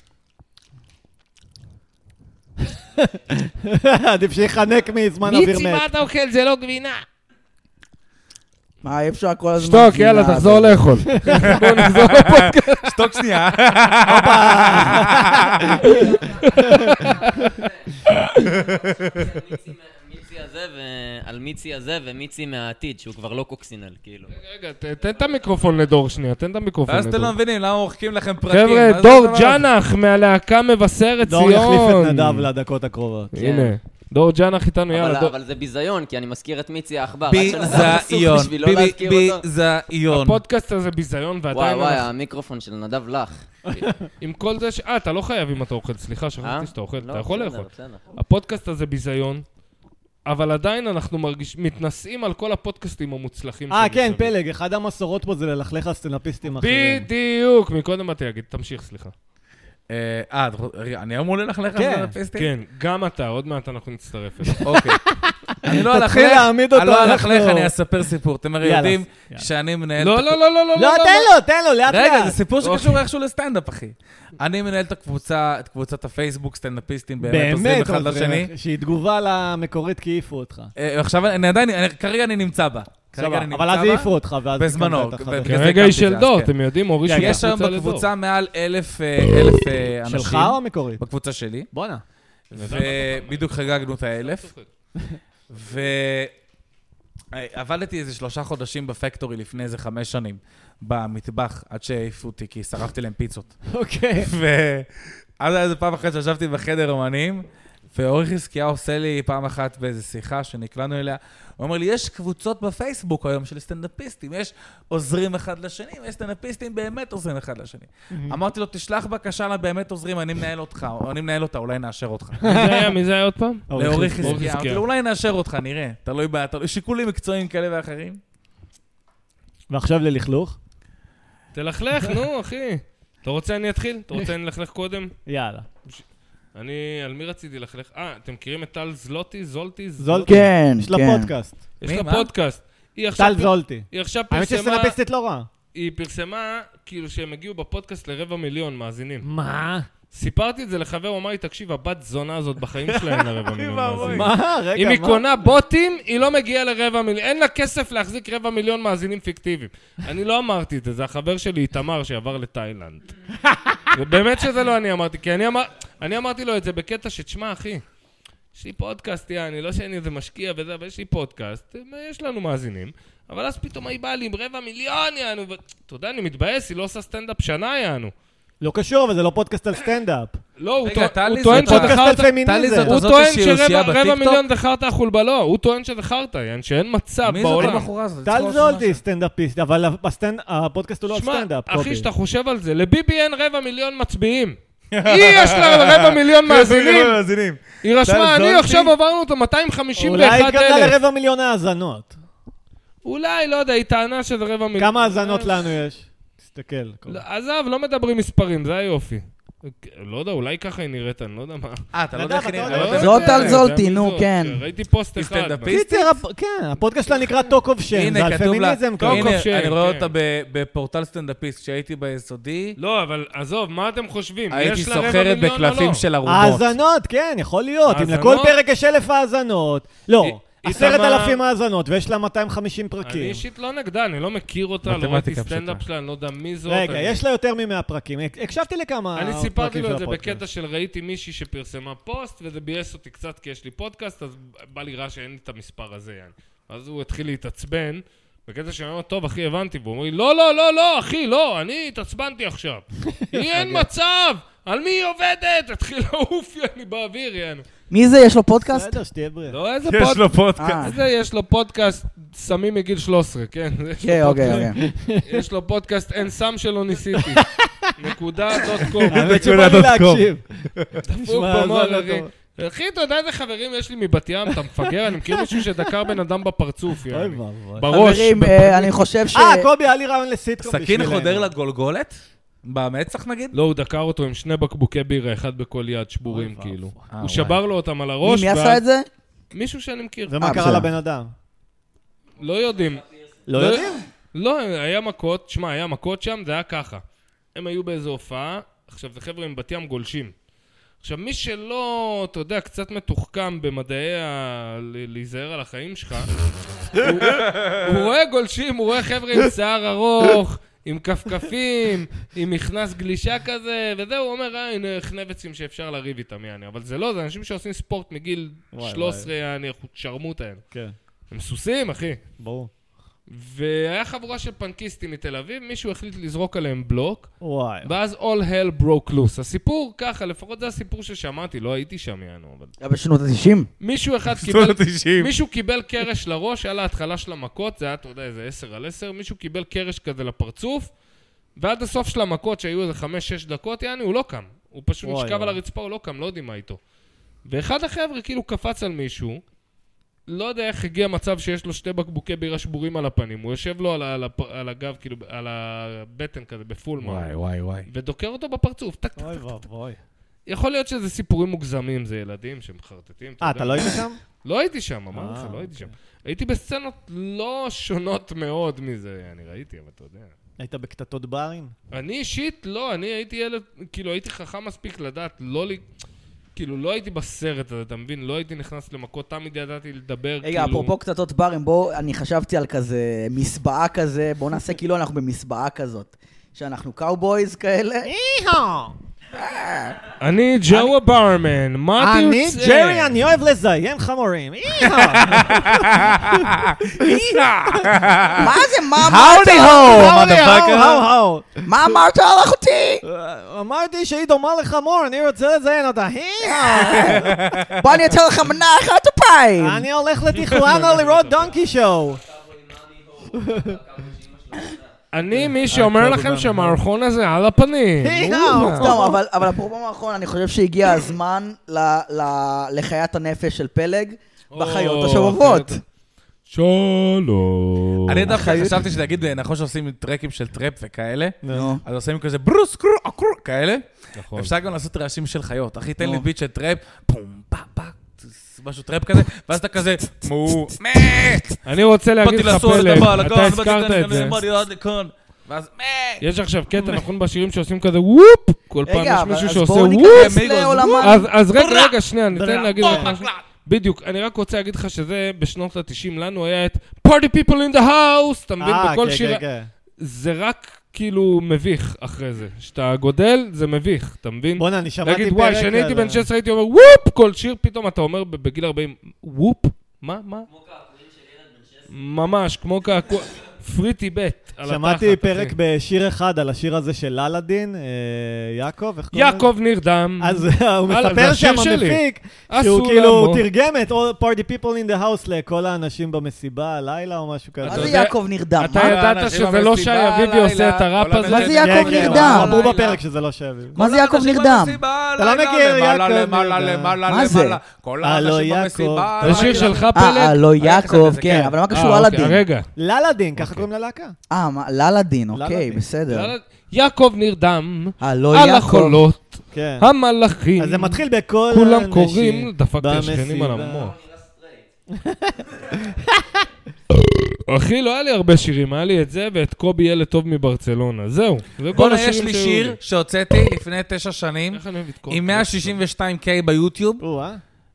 S1: עדיף שיחנק מזמן אוויר
S3: מיצי, מה
S1: מת.
S3: אתה אוכל? זה לא גבינה.
S2: מה, אי אפשר כל הזמן... כאילו
S3: שתוק, יאללה,
S2: גבינה,
S3: תחזור
S2: אבל-
S3: לאכול. בוא נחזור לפודקאסט.
S4: שתוק שנייה.
S5: מיצי הזה ו- על מיצי הזה ומיצי מהעתיד, שהוא כבר לא קוקסינל, כאילו.
S3: רגע, ת- תן את המיקרופון לדור שנייה, תן את המיקרופון
S4: ואז
S3: לדור.
S4: אתם לא מבינים למה מוחקים לכם פרקים. מה
S3: חבר'ה,
S4: זה
S3: דור
S4: הדבר הזה?
S3: ג'אנח מהלהקה מבשרת ציון.
S1: דור יחליף את נדב לדקות הקרובות.
S3: הנה, דור ג'אנח איתנו, יאללה.
S5: אבל
S3: דור-
S5: אבל זה ביזיון, כי אני מזכיר את מיצי העכבר. רק שנדב עסוק
S4: ביזיון,
S5: בשביל לא להזכיר אותו.
S4: ביזיון.
S3: הפודקאסט הזה ביזיון,
S5: וואי
S3: ועדיין
S5: וואי,
S3: אנחנו-
S5: המיקרופון של נדב לך.
S3: עם כל זה ש... אה, אתה לא חייב אם אתה אוכל, סליחה,
S5: אה?
S3: שכחתי שאתה אוכל,
S5: לא,
S3: אתה יכול
S5: בסדר,
S3: לאכול.
S5: בסדר.
S3: הפודקאסט הזה ביזיון, אבל עדיין אנחנו מרגיש- מתנשאים על כל הפודקאסטים המוצלחים
S1: אה, כן,
S3: שמסביב.
S1: פלג, אחד המסורות פה זה ללכלך על סטנאפיסטים אחרים.
S3: בדיוק, מקודם באתי להגיד, תמשיך, סליחה.
S4: אה, אה, את רוצ- רגע, אני אמור ללכלך על
S1: כן,
S4: סטנדאפיסטים?
S3: כן, גם אתה, עוד מעט אנחנו נצטרף אליך.
S4: אוקיי. אני לא
S1: תתחיל
S4: אלכלך,
S1: להעמיד אותו,
S4: אני לא
S1: אנחנו-
S4: אלכלך, אני אספר סיפור. אתם הרי
S1: יאללה,
S4: יודעים
S1: יאללה.
S4: שאני מנהל...
S3: לא, לא, לא, לא, לא,
S1: לא, תן לו, תן לו, לאט
S4: רגע, זה
S1: לאט.
S4: סיפור שקשור איכשהו לסטנדאפ, אחי. אני מנהל את הקבוצה, את קבוצת הפייסבוק, סטאפסטים, באמת עוזרים אחד לשני.
S1: לך, שהיא תגובה למקורית כי העיפו אותך.
S4: אה, עכשיו, אני עדיין, אני- כרגע אני נמצא בה. כרגע
S1: סבבה,
S4: אני
S1: אבל
S4: נמצא
S1: אז
S4: בה.
S1: העיפו אותך, ואז...
S4: בזמנו,
S1: הקמת את החדש.
S4: בגלל זה
S3: כרגע היא
S4: הקמתי
S3: של
S4: אז,
S3: דור,
S4: כן.
S3: אתם יודעים, הורישו את
S4: יש היום
S3: הקבוצה לדור.
S4: בקבוצה מעל אלף אה, אלף, אה, אנשים.
S1: שלך או המקורית?
S4: בקבוצה שלי.
S1: בואנה.
S4: ובדיוק חגגנו את האלף. ועבדתי איזה שלושה חודשים בפקטורי לפני איזה חמש שנים, במטבח, עד שהעיפו אותי, כי שרפתי להם פיצות.
S1: אוקיי.
S4: ואז היה איזה פעם אחת שישבתי בחדר אומנים, ואורי חזקיה עושה לי פעם אחת באיזו שיחה שנקלענו אליה, הוא אומר לי, יש קבוצות בפייסבוק היום של סטנדאפיסטים, יש עוזרים אחד לשני, ויש סטנדאפיסטים באמת עוזרים אחד לשני. אמרתי לו, תשלח בקשה לבאמת עוזרים, אני מנהל אותך, או אני מנהל אותה, אולי נאשר אותך.
S3: מי זה היה? מי זה היה עוד פעם?
S4: לאורי
S3: חזקיה. אורי
S4: חזקיה. אמרתי
S3: חזקיה.
S4: לו, אולי נאשר אותך, נראה. תלוי ב... תלוי- שיקולים מקצועיים כאלה ואחרים.
S1: ועכשיו ללכלוך?
S3: תלכלך, נו, אחי. אתה רוצה אני אתחיל? אתה רוצה אני אלכלך קודם?
S1: יאללה.
S3: אני, על מי רציתי ללכלך? אה, אתם מכירים את טל זלוטי? זולטי?
S1: זולטי.
S2: כן,
S1: יש לה
S2: כן.
S1: פודקאסט.
S3: יש
S4: מי,
S3: לה
S4: מה?
S3: פודקאסט. היא עכשיו
S1: טל
S3: פר-
S1: זולטי.
S3: היא עכשיו
S1: האמת
S3: פרסמה...
S1: שסטנדאפיסטית לא רעה.
S3: היא פרסמה, כאילו, שהם הגיעו בפודקאסט לרבע מיליון מאזינים.
S1: מה?
S3: סיפרתי את זה לחבר, הוא אמר לי, תקשיב, הבת זונה הזאת בחיים שלהם לרבע מיליון מאזינים.
S1: מה? רגע,
S3: אם היא
S1: מה?
S3: קונה בוטים, היא לא מגיעה לרבע מיליון. אין לה כסף להחזיק רבע מיליון מאזינים פיקטיביים. אני לא אמרתי את זה, זה החבר שלי, איתמר, שעבר לתאילנד. ובאמת שזה לא אני אמרתי, כי אני, אמר, אני אמרתי לו את זה בקטע שתשמע, אחי, יש לי פודקאסט, יעני, לא שאני איזה משקיע וזה, אבל יש לי פודקאסט, אה, יש לנו מאזינים. אבל אז פתאום היא באה לי עם רבע מיליון, יענו, ו- אתה יודע, אני מתבאס, היא לא עושה סטנדאפ שנה, יענו.
S1: לא קשור, אבל זה לא פודקאסט על סטנדאפ.
S3: לא, הוא,
S4: רגע,
S3: טוע- הוא
S4: טלי,
S3: טוען
S4: זאת
S1: פודקאסט
S3: שזכרת...
S1: על פמיניזם.
S4: טלי, זאת
S3: הוא
S4: הזאת
S3: טוען
S4: שהיא הוציאה
S3: שרבע
S4: בטיקטוק?
S3: מיליון דחרת החולבלו, הוא טוען שזכרת, יעני, שאין מצב
S4: מי זאת
S3: בעולם.
S4: הבחורה הזאת?
S1: טל זולטי סטנדאפיסט, אבל הסטנד- הפודקאסט הוא לא על
S3: שמע,
S1: סטנדאפ, קובי.
S3: אחי, שאתה חושב על זה, לביבי אין רבע מיליון מצביעים. היא יש לה רבע מיליון מאזינים.
S4: מאזינים.
S3: היא רשמה,
S4: טל
S3: אני
S4: זולטי?
S3: עכשיו עברנו אותו
S1: אולי
S3: 251
S1: התקבלה
S3: אלף.
S1: לרבע מיליון האזנות.
S3: אולי, לא יודע, היא טענה שזה רבע מיליון.
S1: כמה האזנות לנו יש? תסתכל. קובי.
S3: כן. לא, עזוב, לא מדברים מספרים, זה היופי. לא יודע, אולי ככה היא נראית, אני לא יודע מה.
S4: אה, אתה לא יודע איך
S1: נדב,
S4: היא
S1: אתה
S4: נראית?
S1: יודע?
S4: לא
S2: זאת
S3: יודע,
S2: טל
S3: אני
S2: זולטי,
S3: יודע מי
S2: נו,
S3: זאת.
S2: כן.
S3: ראיתי פוסט
S4: היא
S3: אחד.
S4: סטנדאפיסטית?
S1: קיצר, הפ- כן, הפודקאסט שלה נקרא Talk of Shame, כן, זה
S4: הנה,
S1: על
S4: כתוב לה,
S1: פמיניזם.
S3: טוב,
S1: כאילו.
S3: טוב.
S4: הנה, אני
S3: כן,
S4: רואה
S3: כן.
S4: אותה ב- בפורטל סטנדאפיסט, כשהייתי ביסודי,
S3: לא, אבל עזוב, מה אתם חושבים?
S4: הייתי
S3: יש לה רבע
S4: סוחרת
S3: מיליון או לא?
S4: בקלפים של ארובות.
S1: האזנות, כן, יכול להיות. אם
S3: האזנות?
S1: לכל פרק יש אלף האזנות. לא,
S3: היא-
S1: עשרת
S3: איתמר-
S1: אלפים האזנות, ויש לה 250
S3: אני
S1: פרקים.
S3: אישית לא נגדה, אני לא מכיר אותה, לא
S4: מתמטיקה
S3: ראיתי סטנדאפ
S4: פשוטה.
S3: שלה, אני לא יודע מי זאת.
S1: רגע,
S3: אני-
S1: יש לה יותר מ-100 פרקים. הקשבתי לכמה
S3: אני
S1: פרקים
S3: סיפרתי לו
S1: של
S3: את זה
S1: הפודקאסט.
S3: בקטע של ראיתי מישהי שפרסמה פוסט, וזה ביאס אותי קצת, כי יש לי פודקאסט, אז בא לי רע שאין לי את המספר הזה, יעני. אז הוא התחיל להתעצבן, בקטע שאני אומר, טוב, אחי, הבנתי, והוא אומר לי, לא, לא, לא, לא, אחי, לא, אני התעצבנתי עכשיו. היא אין מצב, על מי היא עובדת? התחיל לעוף, יעני, באוויר, יעני.
S2: מי זה? יש לו פודקאסט?
S1: בסדר, כן. שתהיה בריאה.
S3: לא, איזה
S4: יש
S3: פודקאסט.
S4: לו פודקאסט.
S2: אה,
S3: איזה יש לו פודקאסט סמים מגיל 13, כן? יש לו
S2: כן, אוקיי,
S3: פודקאסט.
S2: אוקיי.
S3: יש לו פודקאסט אין סם שלא ניסיתי. נקודה דוט קום.
S1: האמת שבא לי להקשיב.
S3: דפוק
S1: נשמע
S3: במוח,
S1: האזנה
S3: אחי.
S1: טוב.
S3: אחי, אתה יודע איזה חברים יש לי מבת ים, אתה מפגר? אני מכיר מישהו שדקר בן אדם בפרצוף,
S1: אוי
S3: יעני.
S1: ואבוי.
S3: בראש.
S2: חברים,
S3: בפ-
S2: אה, אני חושב ש...
S1: אה, קובי, היה לי רעיון לסיטקום
S4: סכין
S1: בשבילנו.
S4: חודר לגולגולת? במצח נגיד?
S3: לא, הוא דקר אותו עם שני בקבוקי בירה, אחד בכל יד, שבורים,
S1: אוי
S3: כאילו.
S4: אה,
S3: הוא
S4: וואי.
S3: שבר לו אותם על
S2: מי
S3: הראש,
S2: מי עשה
S3: ואז-
S2: את זה?
S3: מישהו שאני מכיר.
S1: ומה
S2: אה,
S1: קרה
S2: בסדר.
S1: לבן אדם?
S3: לא יודעים.
S1: לא יודעים.
S3: לא, היה מכות, שמע, היה מכות שם, זה היה ככה. הם היו באיזו הופעה, עכשיו זה חבר'ה מבת ים גולשים. עכשיו, מי שלא, אתה יודע, קצת מתוחכם במדעי ה... ל- להיזהר על החיים שלך, הוא, הוא רואה גולשים, הוא רואה חבר'ה עם שיער ארוך, עם כפכפים, עם מכנס גלישה כזה, וזה, הוא אומר, אה, הנה חנבצים שאפשר לריב איתם, יעני. אבל זה לא, זה אנשים שעושים ספורט מגיל
S1: וואי, וואי.
S3: 13, יעני, שרמוטה, יעני.
S1: כן,
S3: הם סוסים, אחי.
S1: ברור.
S3: והיה חבורה של פנקיסטים מתל אביב, מישהו החליט לזרוק עליהם בלוק,
S1: וואי.
S3: ואז all hell broke loose. הסיפור ככה, לפחות זה הסיפור ששמעתי, לא הייתי שם, יענו, אבל...
S2: היה בשנות ה-90?
S3: מישהו אחד קיבל...
S4: שנות ה-90.
S3: מישהו קיבל קרש לראש, היה להתחלה של המכות, זה היה, אתה יודע, איזה 10 על 10, מישהו קיבל קרש כזה לפרצוף, ועד הסוף של המכות, שהיו איזה 5-6 דקות, יעני, הוא לא קם. הוא פשוט
S1: וואי,
S3: נשכב
S1: וואי.
S3: על הרצפה, הוא לא קם, לא יודעים מה איתו. ואחד החבר'ה כאילו קפץ על מישהו, לא יודע איך הגיע מצב שיש לו שתי בקבוקי בירה שבורים על הפנים, הוא יושב לו על, ה- על, הפ- על הגב, כאילו, על הבטן כזה, בפול מרק,
S4: וואי וואי.
S3: ודוקר אותו בפרצוף, טק, טק,
S1: אוי
S3: טק.
S1: ואבוי.
S3: יכול להיות שזה סיפורים מוגזמים, זה ילדים שמחרטטים,
S1: אה,
S3: יודע.
S1: אתה לא היית שם?
S3: לא הייתי שם, אמרתי לך,
S1: אה,
S3: לא הייתי שם. הייתי בסצנות לא שונות מאוד מזה, אני ראיתי, אבל אתה יודע.
S1: היית בקטטות ברים?
S3: אני אישית, לא, אני הייתי ילד, כאילו, הייתי חכם מספיק לדעת לא ל... כאילו, לא הייתי בסרט הזה, אתה מבין? לא הייתי נכנס למכות, תמיד ידעתי לדבר, כאילו...
S2: רגע, אפרופו קטטות ברים, בואו, אני חשבתי על כזה מסבעה כזה, בואו נעשה כאילו אנחנו במסבעה כזאת. שאנחנו קאובויז כאלה,
S3: אני ג'ו הברמן, מה אתה
S1: אני
S3: יוצא?
S1: ג'רי, אני אוהב לזיין חמורים. איהה.
S3: אה,
S2: מה זה? מה אמרת?
S8: האודי הו,
S1: האו,
S8: מודפאקר.
S1: האו.
S2: מה אמרת על אחותי?
S1: אה, אמרתי שהיא דומה לחמור, אני רוצה לזיין אותה. איהה.
S2: בוא אני אתן לך מנה אחת אפיים.
S1: אה, אני הולך לתיכואנה
S3: כן.
S1: לראות דונקי שואו.
S3: אני מי שאומר לכם שהמערכון הזה על הפנים.
S1: היי,
S3: אוה.
S2: סתם, כן. אבל, אבל אפרופו מערכון, אני חושב שהגיע הזמן ל, ל, לחיית הנפש של פלג בחיות
S3: או,
S2: השובבות.
S3: חיית- שלום.
S4: אני דווקא
S2: החיות-
S4: חשבתי שנגיד, אה, נכון שעושים טרקים של טראפ וכאלה,
S2: נו.
S4: אז עושים כזה ברוס קרו עקרו כאלה.
S3: נכון.
S4: אפשר גם לעשות רעשים של חיות. אחי, תן לי
S2: נו.
S4: ביט של טראפ, פום, פה, פה, טס, משהו טראפ כזה, ואז אתה כזה, מו, מה,
S3: אני רוצה להגיד
S4: באתי
S3: לך
S4: לעשות לא את הבעל,
S3: פלג, אתה
S4: הגב, באתי
S3: הזכרת את זה.
S4: לעשות באתי עד לכאן. ואז, מה,
S3: יש עכשיו קטע נכון בשירים שעושים כזה וופ, כל פעם
S2: רגע,
S3: יש
S2: אבל
S3: מישהו
S2: אז
S3: שעושה
S2: בואו
S3: וופ.
S2: ניכנס
S4: וופ,
S2: לעולמן.
S3: אז- אז רגע, רגע, שנייה, אני אתן להגיד לך משהו.
S4: מקלט.
S3: בדיוק, אני רק רוצה להגיד לך שזה בשנות ה-90 לנו היה את party people in the house, אתה מבין?
S1: אה,
S3: בכל
S1: כן,
S3: שיר...
S1: כן, כן.
S3: זה רק כאילו מביך אחרי זה. כשאתה גודל, זה מביך, אתה מבין?
S1: בואנה, אני שמעתי פרק...
S3: להגיד, וואי, כשאני הייתי
S1: על-
S3: בן 16 הייתי אומר וופ כל שיר, פתאום אתה אומר ב- בגיל 40, וופ? מה? מה? ממש, כמו קעקוע, פריטי בט על התחת.
S1: שמעתי
S3: אחי.
S1: פרק בשיר אחד על השיר הזה של ללדין, אה, יעקב, איך קוראים?
S3: יעקב נרדם.
S1: אז אה, הוא
S3: זה
S1: מספר
S3: השיר
S1: שם
S3: שלי.
S1: המפיק,
S3: עשו
S1: שהוא כאילו
S3: למו.
S1: תרגם את All party people in the house לכל האנשים במסיבה הלילה או משהו כזה.
S2: מה
S3: אתה
S2: זה
S3: יודע-
S2: יעקב נרדם?
S3: אתה
S2: מה?
S4: יודע-
S3: ידעת
S4: האנשים
S3: שזה לא שי
S4: במסיבה
S3: אביבי עושה
S4: הלילה,
S3: את הראפ
S4: כל
S3: הזה?
S2: מה זה
S1: כן,
S2: יעקב
S1: כן,
S2: נרדם?
S1: אמרו
S4: לילה.
S1: בפרק שזה לא שווה.
S2: מה זה יעקב נרדם?
S1: אתה לא מכיר,
S4: למעלה,
S1: יעקב
S4: למעלה,
S1: נרדם.
S4: למעלה,
S2: מה זה?
S4: למעלה. לא, כל
S1: הלו,
S4: האנשים
S1: יעקב.
S4: במסיבה. לא
S3: זה שיר
S4: הלילה.
S3: שלך
S2: אה, אה,
S3: פלג?
S2: לא
S4: היה לך
S2: יעקב,
S4: כזה,
S2: כן,
S4: כן.
S2: אבל מה קשור
S3: אה, אוקיי,
S2: ללדין?
S3: רגע.
S1: ללדין,
S3: אוקיי.
S1: ככה קוראים ללהקה.
S2: אה, מה, ללדין, אוקיי,
S1: ללדין.
S2: בסדר.
S3: יעקב נרדם,
S2: הלו
S3: על
S2: יעקב.
S3: החולות,
S1: אה, לא, כן.
S3: המלאכים.
S1: אז זה מתחיל בכל
S3: כולם
S1: האנשים
S3: קוראים, דפקתי השכנים
S1: במסיבה.
S3: על המוח. אחי, לא היה לי הרבה שירים, היה לי את זה ואת קובי ילד טוב מברצלונה. זהו, זה כל
S4: בואנה, יש
S3: השירים
S4: לי
S3: שהיו
S4: שיר
S3: לי.
S4: שהוצאתי לפני תשע שנים,
S3: איך אני אוהב את קובי.
S4: עם 162K ביוטיוב.
S1: או-אה.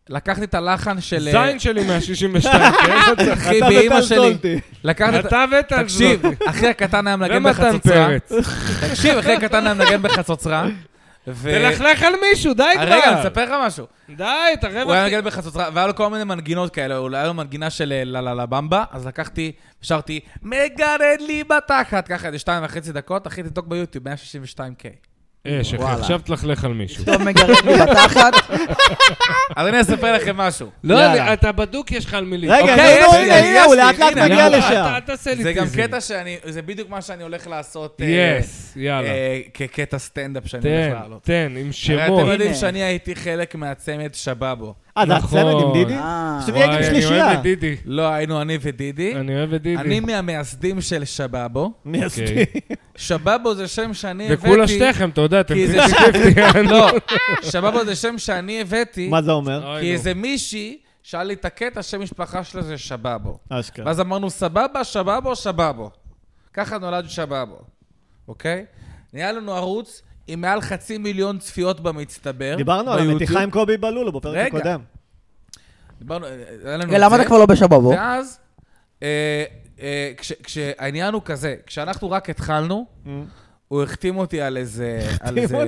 S4: לקחתי את הלחן של... אה,
S3: זין שלי 162, כן?
S4: אחי,
S1: אתה
S4: באימא
S1: וטל
S4: שלי.
S1: סולטי.
S4: לקחתי את...
S3: אתה ואתה
S4: תקשיב, אחי הקטן היה מנגן
S3: ומתן
S4: בחצוצרה.
S3: פרץ.
S4: תקשיב, אחי הקטן היה מנגן בחצוצרה. ו- אה,
S3: תלכלך על מישהו, די כבר.
S4: רגע, אני אספר לך משהו.
S3: די, אתה רבע...
S4: הוא היה מנגן בחצוצרה, והיה לו כל מיני מנגינות כאלה, הוא- היה לו מנגינה של אה, לה לה לה במבה, אז לקחתי, שרתי, מגרד לי בתחת, ככה איזה שתיים וחצי דקות, אחי, תבדוק ביוטיוב, 162K.
S3: יש, אחי,
S2: וואלה.
S3: אה, עכשיו תלכלך על מישהו.
S2: טוב, לא מגרד לי בתחת.
S4: אז אני אספר לכם משהו.
S3: לא,
S1: יאללה.
S3: אני- אתה בדוק, יש לך על מי
S1: רגע,
S4: אוקיי,
S1: נו,
S4: יש
S1: נו,
S4: לי,
S1: הנה,
S4: אני
S1: הנה, הוא
S4: יש לי,
S1: לאט לאט
S4: הנה,
S1: מגיע
S4: אבל-
S1: לשם.
S3: אל תעשה לי
S4: זה גם
S3: טיזינג.
S4: קטע שאני, זה בדיוק מה שאני הולך לעשות. אה,
S3: יס, יאללה.
S4: אה, כקטע סטנדאפ שאני הולך
S3: תן,
S4: לעלות.
S3: תן, עם
S4: הרי
S3: שמות.
S4: אתם יודעים
S2: הנה.
S4: שאני הייתי חלק מהצמד שבאבו.
S1: אה, זה
S3: נכון.
S1: הצמד עם דידי?
S2: אה,
S1: עכשיו
S3: וואי,
S1: יהיה גם
S3: אני אוהב
S1: שלישייה.
S3: את דידי.
S4: לא, היינו אני ודידי.
S3: אני אוהב את
S4: אני
S3: דידי.
S4: מהמייסדים של שבאבו.
S1: מייסדי.
S3: אוקיי.
S4: שבאבו זה שם שאני
S3: זה
S4: הבאתי.
S3: כולה שתיכם, אתה יודע, אתם
S4: כי זה-
S3: פיפטי
S4: לא, שבאבו זה שם שאני הבאתי,
S1: מה זה אומר?
S4: כי איזה מישהי שהיה לי את הקטע, שם משפחה שלה זה שבאבו.
S1: אשכרה.
S4: ואז אמרנו, סבבה, שבאבו, שבאבו. ככה נולד שבאבו, אוקיי? נהיה לנו ערוץ עם מעל חצי מיליון צפיות במצטבר.
S1: דיברנו על
S4: ביוטיוב.
S1: המתיחה עם קובי בלולו בפרק
S4: רגע.
S1: הקודם.
S4: דיברנו, היה לנו
S2: רגע,
S4: את
S2: למה
S4: זה.
S2: אתה כבר לא בשבבו?
S4: ואז, אה, אה, כש- כשהעניין הוא כזה, כשאנחנו רק התחלנו,
S1: Mm.
S4: הוא החתים אותי על איזה, על איזה,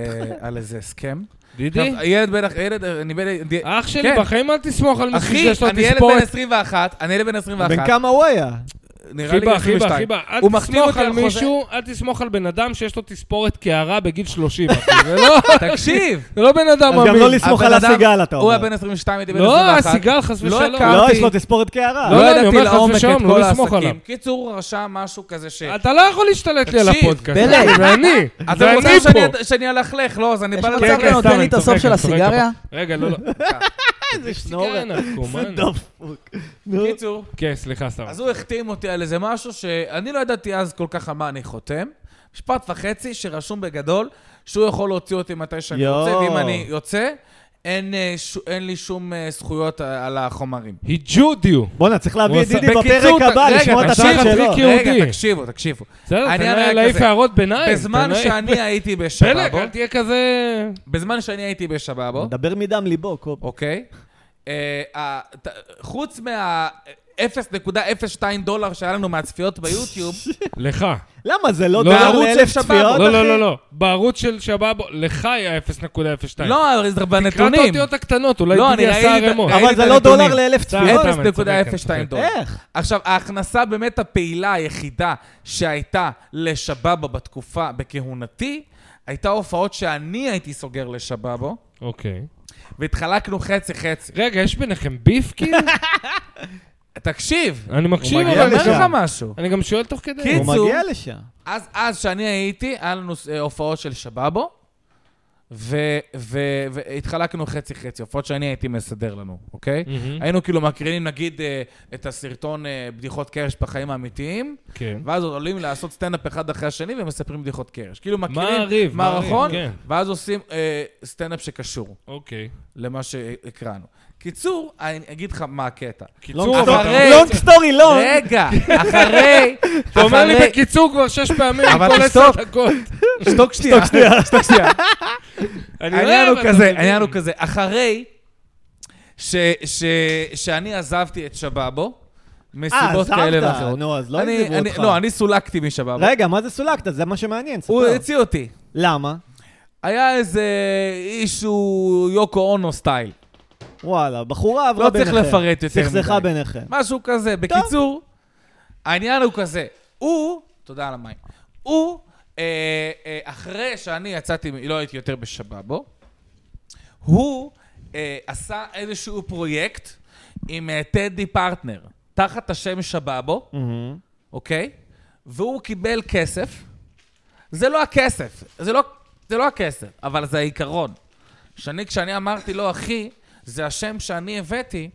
S4: על איזה הסכם.
S3: דידי?
S4: עכשיו, ילד בן, ילד, אני בן,
S3: אח שלי,
S4: כן.
S3: בחיים אל תסמוך על מישהו
S4: אחי,
S3: שיש לו
S4: אני ילד בן
S3: תספורת.
S4: 21, אני ילד בן 21.
S1: בן כמה הוא היה?
S4: נראה לי
S3: חיבה,
S4: בן
S3: חיבה,
S4: 22.
S3: חיבה. אל
S4: הוא מחתים
S3: תסמוך
S4: אותי
S3: על
S4: על חוזה.
S3: מישהו, אל תסמוך על בן אדם שיש לו תספורת קערה בגיל 30. אחי. זה לא-
S4: תקשיב.
S3: זה לא בן אדם
S1: אז גם לא
S3: אמין.
S1: לסמוך
S4: הבן
S1: על
S4: אדם-
S1: הסיגל, אתה
S4: הוא
S1: אומר.
S4: היה בן 22, הייתי בן 21.
S3: לא, הסיגל, חס
S4: לא
S3: ושלום.
S4: הכרתי.
S1: לא,
S4: אמרתי-
S1: יש לו תספורת קערה.
S3: לא,
S4: לא
S3: אני
S4: ידעתי
S3: אומר לך,
S4: לעומק את
S3: ושם, לא
S4: כל
S3: לסמוך עליו.
S4: העסקים. קיצור, הוא רשם משהו כזה ש...
S3: אתה לא יכול להשתלט לי על
S4: תקשיב,
S3: הפודקאסט.
S2: פלא.
S3: אחי, ואני,
S4: אתם
S3: ואני
S4: רוצים
S3: פה. כן,
S4: שאני- שאני אלכלך, לא, אז אני
S2: יש
S4: בא
S2: מצב
S4: לצד
S2: שאתה
S3: סתם,
S2: נותן לי
S3: אני
S2: את הסוף
S3: צוחק,
S2: של
S3: אני צוחק.
S2: הסיגריה?
S3: רגע, לא, לא.
S1: איזה
S3: סיגריה
S1: שנורא.
S3: נרקומן.
S1: זה דפוק. נו.
S4: קיצור,
S3: כן, סליחה, סתם.
S4: אז הוא החתים אותי על איזה משהו שאני לא ידעתי אז כל כך על מה אני חותם. משפט וחצי שרשום בגדול שהוא יכול להוציא אותי מתי שאני
S1: יואו.
S4: רוצה, ואם אני יוצא, אין, אה, ש... אין לי שום אה, זכויות אה, על החומרים.
S3: היא ג'ודיו.
S1: בואנה, צריך להביא
S3: הוא
S1: את
S3: עשה-
S1: דידי
S4: בקיצור,
S1: בפרק הבא,
S4: רגע,
S1: לשמוע את הצד
S4: תקשיב,
S1: שלו.
S3: הטריק
S4: רגע,
S3: יהודי.
S4: תקשיבו, תקשיבו.
S3: בסדר, אתה
S4: העניין
S3: נראה
S4: היה
S3: להעיף
S4: כזה.
S3: הערות ביניים.
S4: בזמן
S3: אתה נראה-
S4: שאני הייתי
S3: פלג,
S4: בשבאבו,
S3: אל תהיה כזה...
S4: בזמן שאני הייתי בשבאבו,
S1: דבר מדם ליבו, קובי.
S4: אוקיי? אה, ה- ת- חוץ מה... 0.02 דולר שהיה לנו מהצפיות ביוטיוב,
S3: לך.
S1: למה זה לא
S3: לא,
S1: דולר
S4: בערוץ
S1: לאלף
S4: של שב"ב.
S1: צפיות, אחי?
S3: לא, לא, לא, לא. בערוץ של שבאבו, לך היה 0.02.
S4: לא, אבל זה
S3: תקרא את
S4: בנתונים.
S3: האותיות הקטנות, אולי
S4: לא, אני
S3: ביבי עשה
S4: ראיתי את-
S3: ערימות.
S4: ראיתי
S1: אבל זה
S4: את
S1: לא דולר
S4: הנתונים.
S1: לאלף
S3: סתם,
S1: צפיות.
S3: סתם. אני צודק, אני
S4: 0.02
S3: צודק.
S4: דולר.
S1: איך?
S4: עכשיו, ההכנסה באמת הפעילה היחידה שהייתה לשבאבו בתקופה, בכהונתי, הייתה הופעות שאני הייתי סוגר לשבאבו,
S3: אוקיי.
S4: והתחלקנו חצי-חצי.
S3: רגע, יש ביניכם ביף כאילו?
S4: תקשיב,
S3: אני מקשיב,
S1: הוא
S4: אני
S1: מגיע
S3: אבל
S4: אומר
S1: לשם.
S4: לך משהו.
S3: אני גם שואל תוך כדי.
S4: קיצור.
S1: הוא מגיע לשם.
S4: אז, אז שאני הייתי, היה לנו אה, הופעות של שבאבו, ו- ו- והתחלקנו חצי-חצי, הופעות שאני הייתי מסדר לנו, אוקיי?
S3: מהמם.
S4: היינו כאילו מקרינים, נגיד, אה, את הסרטון אה, בדיחות קרש בחיים האמיתיים,
S3: כן.
S4: ואז עוד עולים לעשות סטנדאפ אחד אחרי השני ומספרים בדיחות קרש. כאילו
S3: מה
S4: מקרינים
S3: הריב? מה הריב?
S4: מערכון,
S3: כן.
S4: ואז עושים אה, סטנדאפ שקשור
S3: אוקיי.
S4: למה שהקראנו. קיצור, אני אגיד לך מה הקטע.
S3: קיצור, אבל אתה-
S4: אחרי-
S1: לונג סטורי לונג.
S4: רגע, אחרי...
S3: אתה אומר לי
S4: אחרי-
S3: בקיצור כבר שש פעמים,
S4: אבל
S3: כל
S4: תשתוק.
S3: עשר דקות.
S4: שתוק שנייה, שתוק שנייה.
S3: אני לא
S4: העניין
S3: אוהב,
S4: הוא
S3: אתה
S4: כזה,
S3: מבין.
S4: העניין הוא כזה. אחרי ש- ש- שאני עזבתי את שבאבו, מסיבות
S1: אה, עזבת.
S4: כאלה ואחרות.
S1: נו, אז לא
S4: אני-
S1: עזבו
S4: אני-
S1: אותך.
S4: לא, אני סולקתי משבאבו.
S1: רגע, מה זה סולקת? זה מה שמעניין,
S4: הוא
S1: ספר.
S4: הציע אותי.
S1: למה?
S4: היה איזה אישו יוקו אונו סטייל.
S1: וואלה, בחורה עברה
S4: לא
S1: ביניכם.
S4: צריך לפרט יותר
S1: סכסכה
S4: מדי.
S1: ביניכם.
S4: משהו כזה. בקיצור, העניין הוא כזה. הוא, תודה על המים. הוא, אה, אה, אחרי שאני יצאתי, מ- לא הייתי יותר בשבאבו, הוא אה, עשה איזשהו פרויקט עם אה, טדי פרטנר, תחת השם שבאבו,
S1: מהמם.
S4: אוקיי? והוא קיבל כסף. זה לא הכסף, זה לא, זה לא הכסף, אבל זה העיקרון. שאני, כשאני אמרתי לו, אחי, זה השם שאני הבאתי,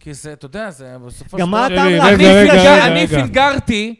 S4: כי זה, אתה יודע, זה בסופו
S1: גם מה
S3: שלי,
S1: הטעם
S3: רגע,
S1: להחזיק
S3: רגע,
S1: את
S3: רגע.
S1: השם?
S4: אני פינגרתי,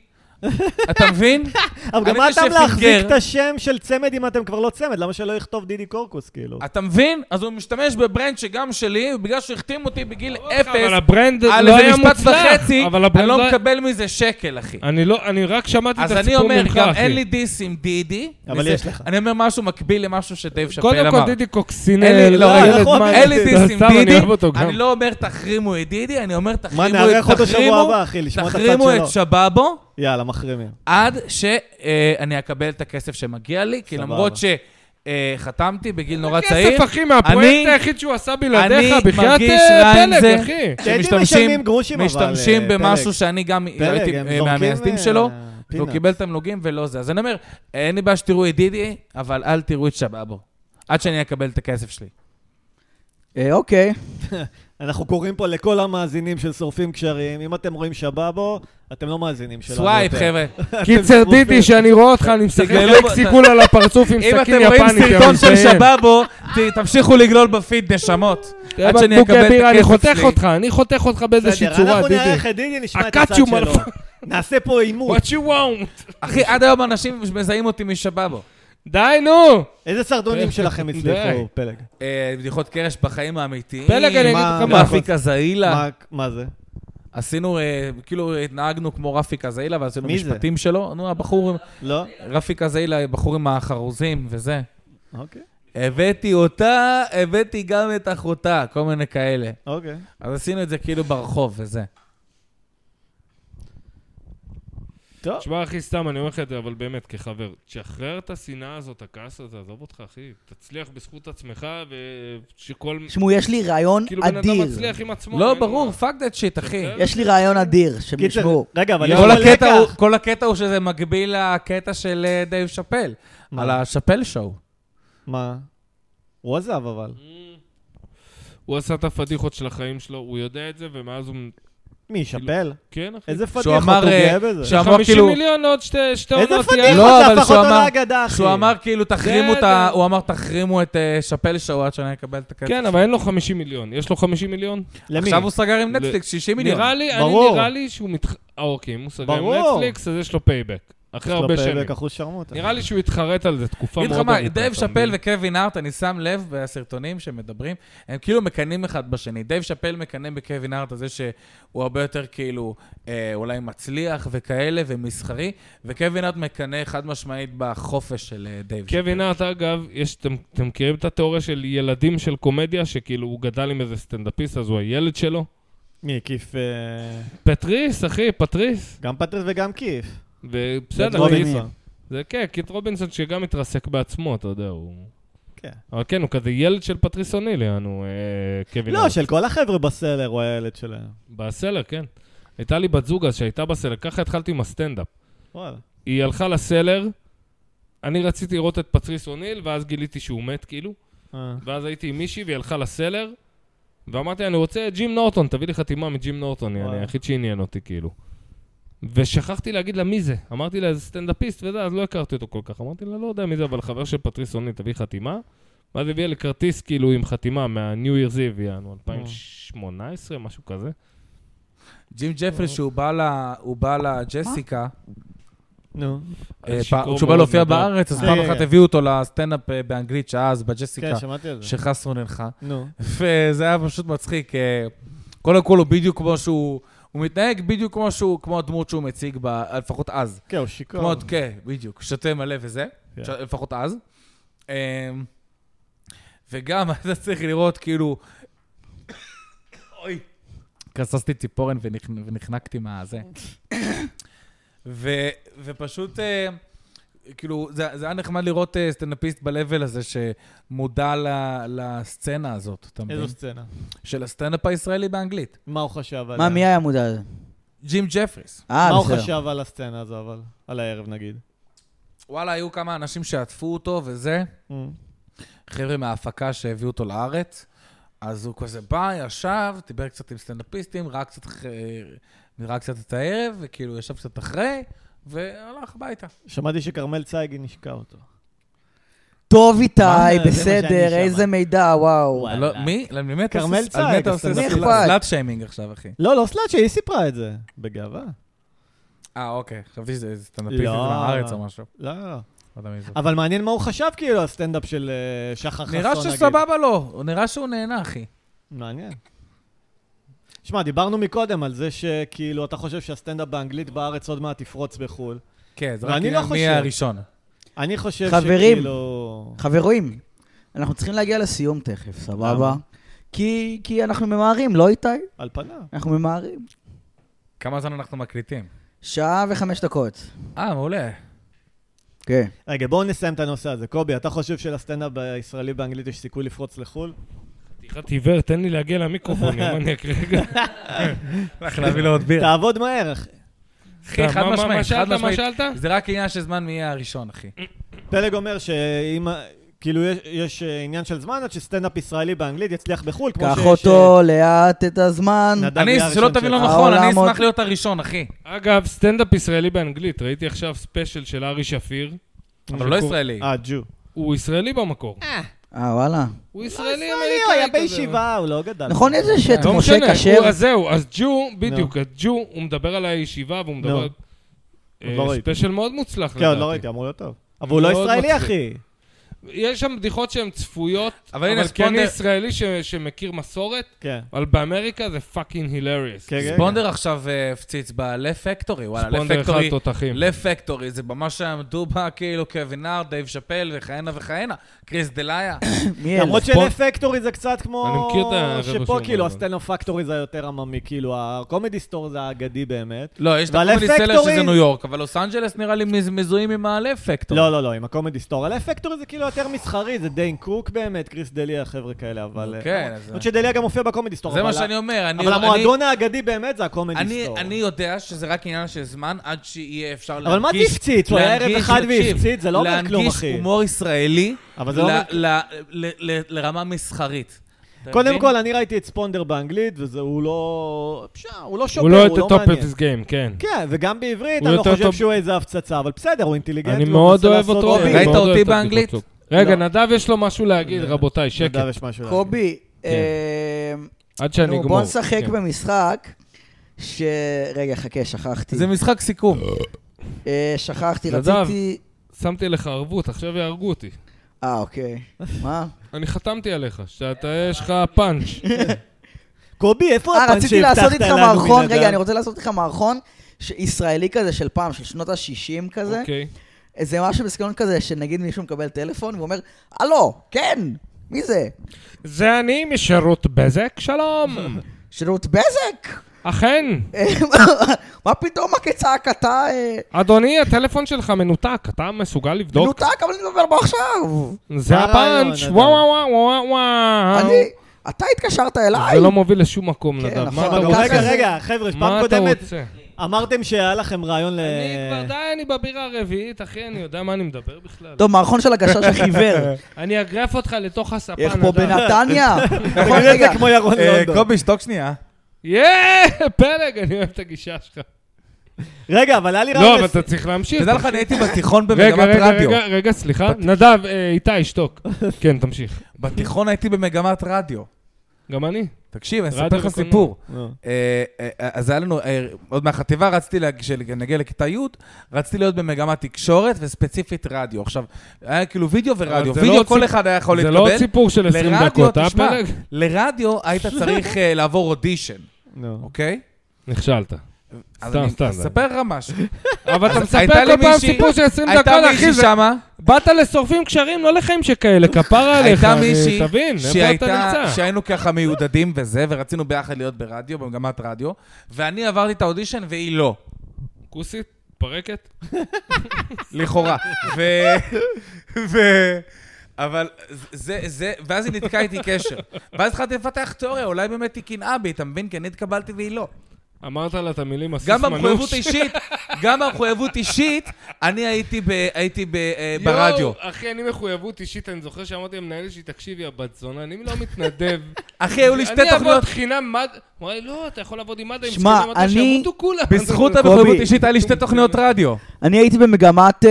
S4: אתה מבין?
S1: אבל גם
S4: אני
S1: מה
S4: זה
S1: הטעם להחזיק
S4: שפינגר.
S1: את השם של צמד אם אתם כבר לא צמד? למה שלא יכתוב דידי קורקוס, כאילו?
S4: אתה מבין? אז הוא משתמש בברנד שגם שלי, ובגלל שהחתים אותי בגיל
S3: אבל
S4: אפס,
S3: הברנד
S4: על
S3: לא
S4: איזה
S3: היה
S4: אה, משפט
S3: מוצלח.
S4: וחצי,
S3: אבל
S4: אני
S3: הברנד
S4: לא
S3: לא...
S4: מקבל מזה שקל, אחי.
S3: אני לא, אני רק שמעתי את
S4: אז
S3: הסיפור ממך,
S4: אני
S3: אחי.
S4: אומר, גם אין לי דיס עם דידי.
S1: אבל
S4: וזה-
S1: יש לך.
S4: אני אומר משהו מקביל למשהו שדייב שפל
S3: קודם
S4: אמר.
S3: כל דידי
S4: אין לי-
S3: קוקסינל,
S4: לא,
S3: ילד
S1: נכון,
S3: מה-
S4: אין לי
S3: סתם,
S4: דיס עם
S3: אני
S4: דידי,
S3: אוהב אותו גם.
S4: אני לא אומר תחרימו את דידי, אני אומר תחרימו את...
S1: נארח אותו שבוע
S4: תחרימו-
S1: הבא, אחי, לשמוע את הצד
S4: תחרימו
S1: שלו.
S4: את שבאבו
S1: יאללה, מחרימים.
S4: עד שאני אקבל את הכסף שמגיע לי, כי
S1: סבבה.
S4: למרות שחתמתי בגיל נורא צעיר,
S3: כסף, אחי, מהפרויקט
S4: אני-
S3: היחיד שהוא עשה בלעדיך,
S4: אני
S3: בחייאת
S4: מרגיש
S3: אה,
S4: רע עם
S3: פלג,
S4: זה.
S3: אחי.
S1: טדי
S4: שמשתמשים-
S1: משלמים גרושים, אבל...
S4: משתמשים
S1: אה,
S4: במשהו
S1: פלג.
S4: שאני גם
S1: פלג,
S4: הייתי
S1: הם
S4: אה,
S1: זורקים,
S4: מהמייסדים
S1: אה,
S4: שלו, והוא
S1: peanuts.
S4: קיבל תמלוגים ולא זה. אז אני אומר, אין לי בעיה שתראו את דידי, אבל אל תראו את שבאבו, עד שאני אקבל את הכסף שלי.
S2: אה, אוקיי.
S1: אנחנו קוראים פה לכל המאזינים של שורפים קשרים, אם אתם רואים שבאבו, אתם לא מאזינים שלנו.
S4: סווייפ,
S1: יותר.
S4: חבר'ה.
S1: אתם
S3: קיצר
S1: שורפים.
S3: דידי, שאני רואה אותך, אני משחק
S4: תגלו ב-
S3: סיגול על הפרצוף עם
S4: אם
S3: סכין
S4: אתם רואים
S3: יפנית.
S4: סרטון של שבאבו, ת- תמשיכו לגלול בפיד, נשמות.
S3: עד
S4: עד שאני אקבל את
S3: אני
S4: הכסף
S3: חותך
S4: שלי.
S3: אותך, אני חותך אותך באיזושהי
S1: בסדר,
S3: צורה,
S1: אנחנו
S3: דידי.
S1: נארח את דידי, נשמע את הצד
S3: הקאצ'ו
S1: שלו.
S3: מלפ-
S1: נעשה פה עימות.
S3: What you want?
S4: אחי, עד היום אנשים מזהים אותי משבאבו.
S3: די, נו!
S1: איזה סרטונים שלכם
S3: די.
S1: הצליחו, פלג?
S4: אה, בדיחות קרש בחיים האמיתיים.
S3: פלג, אני אגיד
S1: מה-
S3: לך
S1: מה-
S3: מה.
S4: רפי קזאילה.
S1: מה- מה זה?
S4: עשינו, אה, כאילו, התנהגנו כמו רפי קזאילה, ועשינו
S1: מי זה?
S4: משפטים שלו. נו, הבחור, עם-
S1: לא?
S4: רפי קזאילה, הבחור עם החרוזים וזה.
S1: אוקיי.
S4: הבאתי אותה, הבאתי גם את אחותה, כל מיני כאלה.
S1: אוקיי.
S4: אז עשינו את זה כאילו ברחוב וזה.
S1: טוב.
S3: תשמע, אחי, סתם, אני אומר לך את זה, אבל באמת, כחבר, תשחרר את השנאה הזאת, הכעס הזה, עזוב אותך, אחי. תצליח בזכות עצמך, ושכל...
S2: תשמעו, יש לי רעיון
S3: כאילו, בן אדם
S2: אדיר.
S3: מצליח עם עצמו.
S4: לא,
S3: אין לו
S4: ברור,
S3: מה.
S4: fuck that shit, אחי.
S3: אוקיי.
S2: יש לי רעיון אדיר, שתשמעו.
S1: רגע, אבל יש
S4: כל
S1: פה
S4: הקטע הוא-
S1: לקח.
S4: כל הקטע הוא שזה מקביל לקטע של אה, דייב שאפל,
S1: מה?
S4: על השאפל שואו.
S1: מה? הוא עזב, אבל.
S3: הוא עשה את הפדיחות של החיים שלו, הוא יודע את זה, ומאז הוא...
S1: מי, שאפל?
S3: כן, אחי.
S1: איזה פדיחות,
S4: כאילו, שהוא
S1: הוא
S4: אמר,
S1: גאה
S4: אה,
S1: בזה.
S4: שהוא אמר
S3: 50
S4: כאילו,
S3: מיליון עוד שתי שתי
S1: איזה
S3: עונות יהיה.
S1: פדיחות,
S4: לא,
S1: זה
S4: אבל
S1: הפך
S4: שהוא
S1: אותו
S4: אמר-
S1: לאגדה, אחי.
S4: שהוא אמר כאילו, תחרימו את ה...
S3: בסדר.
S4: הוא אמר, תחרימו את אה, שאפל שואו עד שאני אקבל את הכסף.
S3: כן, אבל אין לו 50 מיליון. יש לו 50 מיליון?
S1: למי?
S4: עכשיו הוא סגר עם נטפליקס 60 מיליון.
S3: נראה לי, אני
S1: ברור.
S3: נראה לי שהוא מתח... אה, אוקיי, אם הוא סגר עם
S1: ברור.
S3: נטפליקס, אז יש לו פייבק. אחרי
S1: יש לו
S3: הרבה
S1: לא פרק
S3: שנים.
S1: אחוז שרמוטה.
S3: נראה לי שהוא התחרט על זה תקופה
S4: אגיד
S3: מאוד
S4: לך
S3: ארוכה.
S4: מה, דייב
S3: אתה
S4: שאפל
S3: מבין?
S4: וקווין הארט, אני שם לב בסרטונים שמדברים, הם כאילו מקנאים אחד בשני. דייב שאפל מקנא בקווין הארט על זה שהוא הרבה יותר כאילו אה, אולי מצליח וכאלה ומסחרי, וקווין הארט מקנא חד משמעית בחופש של אה, דייב שאפל.
S3: קווין הארט, אגב, יש, אתם, אתם מכירים את התיאוריה של ילדים של קומדיה, שכאילו הוא גדל עם איזה סטנדאפיסט, אז הוא הילד שלו?
S1: מי, כיף... אה,
S3: פטריס, אחי, פטריס.
S1: גם פטריס וגם כיף. לא
S3: ובסדר,
S1: ואת
S3: אני-
S1: רובינסון.
S3: זה כן, קיט רובינסון שגם מתרסק בעצמו, אתה יודע, הוא...
S1: כן.
S3: אבל כן, הוא כזה ילד של פטריס אונילי, אנו, אה, קווין.
S1: לא,
S3: ארנס.
S1: של כל החבר'ה בסלר הוא הילד שלהם.
S3: בסלר, כן. הייתה לי בת זוג אז שהייתה בסלר, ככה התחלתי עם הסטנדאפ.
S1: וואלה.
S3: היא הלכה לסלר, אני רציתי לראות את פטריס אוניל, ואז גיליתי שהוא מת, כאילו.
S1: אה.
S3: ואז הייתי עם מישהי והיא הלכה לסלר, ואמרתי לה, אני רוצה את ג'ים נורטון, תביא לי חתימה מג'ים נורטון,
S1: וואלה.
S3: אני היחיד שעניין אותי, כאילו. ושכחתי להגיד לה מי זה. אמרתי לה, זה סטנדאפיסט וזה, אז לא הכרתי אותו כל כך. אמרתי לה, לא יודע מי זה, אבל חבר של פטריס אוניל, תביא חתימה. ואז הביאה לי כרטיס, כאילו, עם חתימה מה-New Year's Eve,
S4: אה.
S3: יענו, 2018, משהו כזה.
S4: ג'ים ג'פרי, שהוא בא ל- הוא בא לג'סיקה,
S1: נו.
S4: אה,
S3: שיכור
S4: פעם- כשהוא בא להופיע
S3: מאוד גדול. כן.
S4: בארץ, אז
S1: אה,
S4: פעם
S1: אה,
S4: אחת
S1: אה.
S4: הביאו אותו לסטנדאפ אה, באנגלית, שהיה אז בג'סיקה,
S1: כן, שמעתי על זה.
S4: שחסרו נלכה.
S1: נו.
S4: וזה היה פשוט מצחיק. אה, קודם כל הוא בדיוק כמו שהוא, הוא מתנהג בדיוק כמו שהוא, כמו הדמות שהוא מציג, ב- לפחות אז.
S1: כן, הוא שיכור.
S4: כמו, כן, בדיוק, שותה מלא וזה,
S1: כן.
S4: ש- לפחות אז. אמ, וגם אתה צריך לראות כאילו... אוי. כססתי ציפורן ונכ- ונחנקתי מהזה. ו- ופשוט, אה, כאילו, זה זה היה נחמד לראות אה, סטנדאפיסט ב-level הזה שמודע ל- לסצנה הזאת, אתה מבין?
S1: איזו סצנה.
S4: של הסטנדאפ הישראלי באנגלית.
S1: מה הוא חשב עליה?
S2: מה, מי היה מודע לזה?
S4: ג'ים ג'פריס.
S2: אה,
S1: מה הוא
S2: בסדר.
S1: חשב על הסצנה הזו, אבל? על הערב, נגיד.
S4: וואלה, היו כמה אנשים שעטפו אותו וזה.
S1: אה.
S4: חבר'ה מההפקה שהביאו אותו לארץ, אז הוא כזה בא, ישב, דיבר קצת עם סטנדאפיסטים, ראה קצת, ח- ראה קצת את הערב, וכאילו ישב קצת אחרי, והלך הביתה.
S1: שמעתי שכרמל צייגין השקע אותו.
S2: טוב איתי,
S1: מה, זה מה שאני
S2: בסדר,
S1: שמע.
S2: איזה מידע, וואו.
S5: וואלה.
S4: לא, מי? למי מת?
S1: כרמל
S4: על מי
S1: צייג,
S4: אתה עושה
S1: הסטנדאפיסט.
S2: מי אכפת?
S4: סלאט שיימינג עכשיו, אחי.
S1: לא, לא סלאט שהיא סיפרה את זה. בגאווה.
S4: אה, אוקיי. חשבתי שזה סטנדאפיסט
S1: לא.
S4: מהארץ או משהו.
S1: לא, לא, לא.
S4: לא יודע מי זה.
S1: אבל מעניין מה הוא חשב, כאילו, הסטנדאפ של אה, שחר חסון,
S4: נראה
S1: נגיד.
S4: שסבבה לו, הוא נראה שהוא נהנה, אחי.
S1: מעניין. שמע, דיברנו מקודם על זה שכאילו, אתה חושב שהסטנדאפ באנגלית בארץ עוד מעט תפרוץ בחו"ל.
S4: כן, זה רק
S1: ואני לא
S4: עניין מי
S1: חושב.
S4: הראשון.
S1: אני חושב
S2: חברים.
S1: שכאילו...
S2: חברים, אנחנו צריכים להגיע לסיום תכף, סבבה? כי כי אנחנו ממהרים, לא איתי?
S1: על פניו.
S2: אנחנו ממהרים.
S4: כמה זמן אנחנו מקליטים?
S2: שעה וחמש דקות.
S4: אה, מעולה.
S2: כן.
S1: רגע, בואו נסיים את הנושא הזה. קובי, אתה חושב שלסטנדאפ הישראלי באנגלית יש סיכוי לפרוץ לחו"ל?
S3: חתיכת עיוור, תן לי להגיע למיקרופון, יא מניאק רגע.
S4: הולך להביא לו עוד בירה.
S1: תעבוד מהר, אחי.
S4: אחי, חד
S3: לא, מה- מה- מה
S4: משמעית, חד
S3: שאלת? מה
S4: משמעית.
S3: שאלת?
S4: זה רק עניין של זמן מי יהיה הראשון, אחי.
S1: פלג אומר שאם... כאילו, יש, יש אה, עניין של זמן עד שסטנדאפ ישראלי באנגלית יצליח בחו"ל, כמו
S2: קח
S1: שיש...
S2: אותו לאט את הזמן.
S1: נדב
S4: אני,
S1: יהיה
S4: שלא
S1: הראשון אה,
S4: תבין לא
S1: שלך.
S4: נכון, אני
S2: העולם עוד-
S4: אשמח להיות הראשון,
S1: אה,
S4: אחי.
S3: אגב, סטנדאפ ישראלי באנגלית, ראיתי עכשיו ספיישל של ארי שפיר.
S4: אבל הוא לא ישראלי.
S1: אה, ג'ו.
S3: הוא ישראלי במקור.
S2: אה, וואלה.
S3: הוא ישראלי
S1: לא ישראלי, הוא היה
S3: אמריקאי כזה.
S1: בישיבה, הוא לא גדל.
S2: נכון, איזה שאת
S3: לא
S2: משה
S3: משנה,
S2: כשר?
S3: הוא- אז זהו, אז ג'ו, בדיוק, אז ג'ו, הוא מדבר על הישיבה והוא
S1: נו.
S3: מדבר... אה,
S1: עוד לא ראיתי.
S3: ספיישל מאוד מוצלח לדעתי.
S1: כן, עוד לא ראיתי, אמור להיות טוב. אבל הוא לא
S3: מאוד
S1: ישראלי,
S3: מצחיק.
S1: אחי.
S3: יש שם בדיחות שהן צפויות,
S4: אבל הנה,
S3: אבל כן
S4: ספונדר-
S3: ישראלי ש- שמכיר מסורת,
S1: כן.
S3: אבל באמריקה זה פאקינג הילריוס.
S1: כן, כן.
S4: ספונדר עכשיו אה, הפציץ ב-Left Factory, וואלה,
S3: ספונדר
S4: Left
S3: אחד
S4: Factory.
S3: תותחים.
S4: Left Factory, זה ממש עמדו בה כאילו קווין נארד, דייב שאפל וכהנה וכהנה. קריס דלאיה.
S2: מי אלה?
S1: למרות שלפקטורי זה קצת
S3: אני
S1: כמו...
S3: מכיר את החבר'ה
S1: שפה
S3: שלו,
S1: כאילו
S3: אבל.
S1: הסטנדאפ פקטורי זה היותר עממי, כאילו הקומדי סטור זה האגדי באמת.
S4: לא, יש את
S1: וה-Left
S4: הקומדי סלר שזה
S1: Factory-
S4: ניו יורק, אבל לוס אנג'לס נראה לי מז- מזוהים עם ה-Left Factory.
S1: לא, לא, לא, עם הקומדי סטור. הלפקטורי זה כאילו יותר מסחרי, זה דיין קוק באמת, קריס דליה, חבר'ה כאלה, אבל... אה,
S4: כן, אז-
S1: למרות שדליה גם מופיע בקומדי סטור.
S4: זה מה
S1: לא, אבל ה-
S4: שאני אומר. אני-
S1: אבל
S4: אני-
S1: המועדון האגדי באמת זה הקומדי
S4: אני,
S1: סטור.
S4: אני יודע שזה רק עניין של זמן עד שיהיה אפשר להנגיש...
S1: אבל מה זה הפציץ? הוא היה ערב
S4: להנגיש-
S1: אחד
S4: תקשיב,
S1: והפציץ? זה לא אומר כלום, אחי.
S4: להנגיש הומור ישראלי
S1: אבל זה לא
S4: ל-
S1: אומר-
S4: ל- ל- ל- לרמה מסחרית. אתה
S1: קודם
S4: מבין?
S1: כל, אני ראיתי את ספונדר באנגלית, וזה, הוא לא... פשע, הוא לא שופר,
S3: הוא
S1: הוא
S3: לא
S1: לא
S3: את הטופ
S1: מעניין.
S3: אפס גיים, כן.
S1: כן, וגם בעברית,
S3: הוא
S1: אני לא
S3: יותר
S1: חושב
S3: טוב-
S1: שהוא איזה הפצצה, אבל בסדר, כן, הוא אינטליגנט.
S3: אני
S1: והוא
S3: מאוד
S1: מנסה
S3: אוהב
S1: לעשות
S3: אותו.
S1: הובי.
S3: אני לא-
S4: ראית
S3: מאוד אוהב
S4: אותי
S3: את הבדיחות
S4: באנגלית?
S3: שלו. רגע,
S1: לא.
S3: נדב יש לו משהו להגיד, רבותיי, שקט.
S1: נדב, יש משהו להגיד.
S2: קובי, אה,
S3: עד שאני
S2: נו,
S3: אגמור.
S2: בוא נשחק
S3: כן.
S2: במשחק ש... רגע, חכה, שכחתי.
S4: זה משחק סיכום.
S2: אה, שכחתי,
S3: נדב.
S2: רציתי...
S3: שמתי לך ערבות, עכשיו יהרגו אותי.
S2: אה, אוקיי. מה?
S3: אני חתמתי עליך, שאתה, יש לך פאנץ'.
S1: קובי, איפה
S2: אה,
S1: הפאנץ'
S2: רציתי לעשות איתך
S1: לנו
S2: מערכון,
S1: מנדב?
S2: רגע, אני רוצה לעשות איתך מערכון ש- ישראלי כזה של פעם, של שנות ה-60 כזה.
S3: אוקיי.
S2: זה משהו בסגנון כזה, שנגיד מישהו מקבל טלפון והוא אומר, הלו, כן, מי זה?
S3: זה אני משירות בזק, שלום.
S2: שירות בזק!
S3: אכן,
S2: מה פתאום הקצעק אתה אה,
S3: אדוני, הטלפון שלך מנותק, אתה מסוגל לבדוק?
S2: מנותק, אבל אני מדבר בו עכשיו!
S3: זה
S1: מה הרעיון,
S3: הפאנץ',
S1: נדב?
S3: וואו וואו וואו וואו.
S2: אה, אני... אתה התקשרת אליי!
S3: אה, זה לא מוביל לשום מקום,
S2: כן,
S3: נדב.
S2: נכון,
S3: מה
S2: אבל
S3: אתה
S1: רגע,
S2: גם
S3: רוצה?
S1: רגע,
S2: ככה-
S1: רגע, חבר'ה,
S3: מה
S1: פעם
S3: אתה
S1: קודמת
S3: רוצה?
S1: אמרתם שהיה לכם רעיון ל...
S3: אני
S2: אה,
S3: כבר די, אני בבירה הרביעית, אחי, אני יודע מה אני מדבר בכלל.
S2: טוב, מערכון של הגשש החיוור.
S3: אני אגרף אותך לתוך הספה,
S2: איך פה
S3: נדב.
S2: בנתניה? נכון,
S1: תגיד את
S2: רגע.
S1: זה כמו ירון
S4: אה,
S1: לונדון.
S4: קובי, שתוק שנייה.
S3: יאה, פלג, אני אוהב את הגישה שלך.
S1: רגע, אבל היה לי
S3: לא,
S1: רעיון...
S3: אבל
S1: לס-
S3: אתה צריך להמשיך.
S4: תדע לך, אני הייתי בתיכון
S3: רגע,
S4: במגמת
S3: רגע,
S4: רדיו.
S3: רגע, רגע, סליחה. נדב, אה, איתי, שתוק. כן, תמשיך.
S4: בתיכון הייתי במגמת רדיו.
S3: גם אני.
S4: תקשיב, אני
S3: רדיו
S4: אספר לך
S3: וקולנוע.
S4: סיפור.
S1: לא.
S4: אה, אה, אה, אז היה לנו, אה, עוד מהחטיבה רציתי, לה- כשנגיע לכיתה י', רציתי להיות במגמת תקשורת וספציפית רדיו. עכשיו, היה כאילו וידאו ורדיו.
S3: אבל זה לא
S4: וידאו כל
S3: ציפ-
S4: אחד היה יכול
S3: זה
S4: להתקבל.
S3: לא סיפור של 20
S4: לרדיו,
S3: דקות, אה,
S4: תשמע,
S3: פלג?
S4: לרדיו היית צריך אה, לעבור אודישן,
S1: נו.
S4: אוקיי?
S3: נכשלת.
S4: אז
S3: סתם,
S4: אני
S3: סתם.
S4: אספר לך משהו.
S3: אבל אתה מספר
S4: הייתה לי
S3: כל פעם
S4: מישהי-
S3: סיפור של 20
S4: הייתה
S3: דקות, אחי,
S4: מישהי
S3: זה...
S4: שמה,
S3: באת לשורפים קשרים, לא לחיים שכאלה, כפרה עליך, אה,
S4: הייתה מישהי
S3: תבין, איפה אתה
S4: שהייתה,
S3: נמצא?
S4: שהיינו ככה מיודדים וזה, ורצינו ביחד להיות ברדיו, במגמת רדיו, ואני עברתי את האודישן והיא לא.
S3: כוסית? פרקת?
S4: לכאורה. ו... ו... אבל זה, זה, ואז היא נתקעה איתי קשר. ואז התחלתי לפתח תיאוריה, אולי באמת היא קנאה בי, אתה מבין? כי אני התקבלתי והיא לא.
S3: אמרת לה את המילים הסיס
S4: גם
S3: מנוש.
S4: במחויבות אישית, גם במחויבות אישית, אני הייתי, ב, הייתי ב, אה,
S3: יואו,
S4: ברדיו.
S3: אחי, אני מחויבות אישית, אני זוכר שאמרתי למנהל שלי, תקשיבי, הבת זונה, אני לא מתנדב.
S4: אחי, היו לי שתי
S3: אני אעבוד
S4: תוכניות.
S3: חינם מד... אמר לי, לא, אתה יכול לעבוד עם מד"א, עם
S2: שמע,
S3: זקנים מד"א,
S2: אני-
S3: שימותו כולם.
S4: בזכות
S2: קובי.
S4: המחויבות אישית, היה לי שתי תוכניות רדיו.
S2: אני הייתי במגמת... אה,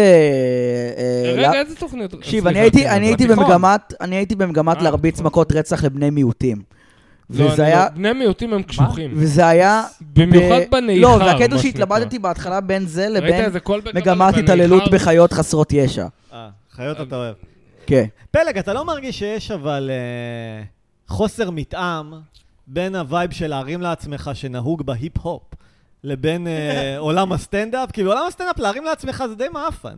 S2: אה,
S3: רגע,
S2: לה-
S3: איזה תוכניות?
S2: תקשיב,
S3: סליחה,
S2: אני הייתי-
S3: כן,
S2: אני הייתי
S4: בתיכון.
S2: במגמת, אני הייתי במגמת
S3: אה,
S2: להרביץ
S3: נכון.
S2: מכות רצח לבני מיעוטים.
S3: לא,
S2: וזה
S3: אני
S2: היה...
S3: לא- בני מיעוטים הם קשוחים.
S2: וזה היה...
S3: במיוחד
S2: ב-
S3: בנאיחר,
S2: לא, זה הקטע
S3: מה
S2: שהתלבטתי
S3: שנקרא.
S2: בהתחלה בין זה
S3: ראית
S2: לבין
S3: איזה קול בקבל
S2: מגמת
S3: בנאיחר?
S2: התעללות בחיות חסרות ישע.
S1: אה, חיות אתה אוהב.
S2: כן.
S1: פלג, אתה לא מרגיש שיש אבל אה, חוסר מתאם בין הווייב של להרים לעצמך שנהוג בהיפ-הופ לבין אה, עולם הסטנדאפ? כי בעולם הסטנדאפ להרים לעצמך זה די מעפן.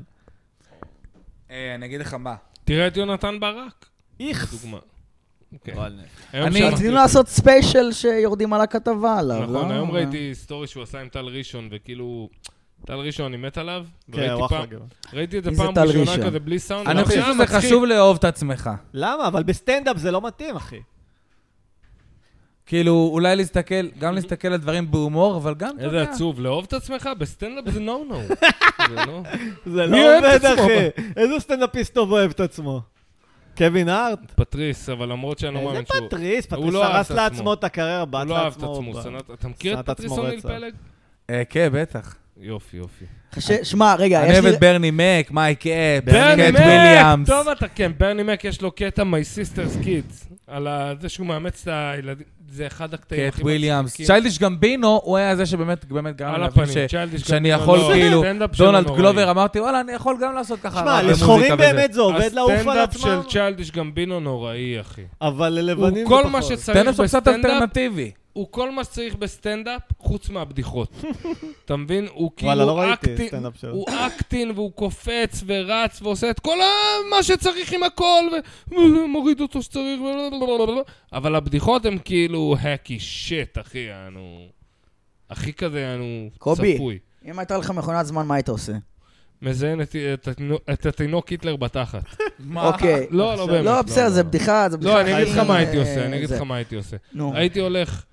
S4: אה, אני אגיד לך מה.
S3: תראה את יונתן ברק,
S1: איכס.
S3: דוגמה. אוקיי. היום
S4: אני-
S2: רצינו לעשות ספיישל שיורדים על הכתבה עליו, לא?
S3: נכון, היום ראיתי סטורי שהוא עשה עם טל ראשון, וכאילו... טל ראשון, אני מת עליו.
S1: כן,
S3: וראיתי
S1: הוא אחלה
S3: פעם-
S1: גבר.
S3: ראיתי את זה
S2: מי זה
S3: פעם
S2: טל
S3: ראשונה
S2: ראשון?
S3: כזה בלי סאונד.
S4: אני
S3: אבל
S4: חושב
S3: היה
S4: שזה
S3: לא, מצחיק.
S4: חשוב לאהוב את עצמך.
S1: למה? אבל בסטנדאפ זה לא מתאים, אחי.
S4: כאילו, אולי להסתכל, גם להסתכל על דברים בהומור, אבל גם, אתה
S3: איזה
S4: יודע.
S3: עצוב, לאהוב את עצמך? בסטנדאפ זה נו נו.
S1: זה
S3: מי אוהב
S1: לא
S3: את
S1: עובד,
S3: עצמו?
S1: אחי. איזה סטנדאפיסט טוב אוהב את עצמו? קווין הארט?
S3: פטריס, אבל למרות שאני לא
S1: איזה
S3: מאמין שהוא...
S1: פטריס,
S3: הוא
S1: פטריס
S3: לא אהב
S1: הרס
S3: את
S1: לעצמו
S3: עצמו.
S1: את הקריירה,
S3: הוא
S1: בעט
S3: לא אהב את
S1: לעצמו.
S3: עצמו,
S1: ב-
S3: שנא... אתה מכיר
S1: שנא
S3: את
S1: את עצמו
S3: פטריס אוניל
S1: רצח.
S3: פלג?
S4: אה, כן, בטח.
S3: יופי, יופי.
S2: חש- שמע, רגע,
S4: אני
S2: יש
S4: אוהב
S2: לי...
S4: את ברני מק, מייק אפ,
S3: ברני
S4: קט
S3: מק!
S4: וויליאמס.
S3: טוב אתה, כן, ברני מק יש לו קטע My Sister's Kids, על ה- זה שהוא מאמץ את הילדים, זה אחד הקטעים
S4: קט
S3: הכי
S4: וויליאמס.
S3: מצחיקים.
S4: צ'יילדיש גמבינו, הוא היה זה שבאמת באמת גרם לי
S3: על
S4: להבין
S3: הפנים,
S4: ש-
S3: צ'יילדיש
S4: שאני
S3: גמבינו,
S4: יכול
S3: לא,
S4: כאילו,
S3: הסטנדאפ שלו
S4: דונלד
S3: נוראי.
S4: גלובר, אמרתי, וואלה, אני יכול גם לעשות ככה.
S1: שמע,
S4: רב במוזיקה
S1: לשחורים
S4: וזה."
S1: באמת זה עובד לעוף על עצמם,
S3: אה, הסטנדאפ של צ'יילדיש גמבינו נוראי, אחי.
S1: אבל
S3: הוא
S1: ללבנים זה
S3: כל מה
S1: פחות.
S3: שצריך
S4: סטנדאפ שהוא קצת
S3: בסטנדאפ,
S4: אלטרנטיבי.
S3: הוא כל מה שצריך בסטנדאפ, חוץ מהבדיחות. אתה מבין? הוא
S1: וואלה, לא
S3: כאילו
S1: ראיתי
S3: אקטין,
S1: סטנדאפ שלו.
S3: הוא אקטין והוא קופץ ורץ ועושה את כל ה- מה שצריך עם הכל, ומוריד אותו שצריך, ולא- אבל הבדיחות הן כאילו האקי שיט, אחי, אנו... הכי כזה, אנו...
S2: קובי.
S3: צפוי.
S2: אם הייתה לך מכונת זמן, מה היית עושה?
S3: מזיין את- את התינו- את התינוק היטלר בתחת.
S2: אוקיי.
S3: לא, לא באמת.
S2: לא, בסדר, זה
S3: לא.
S2: בדיחה, זה בדיחה.
S3: לא, אני אגיד לך
S2: חיים,
S3: מה הייתי
S2: אה,
S3: עושה, אני אגיד
S2: זה.
S3: לך מה הייתי עושה.
S2: נו.
S3: הייתי הולך,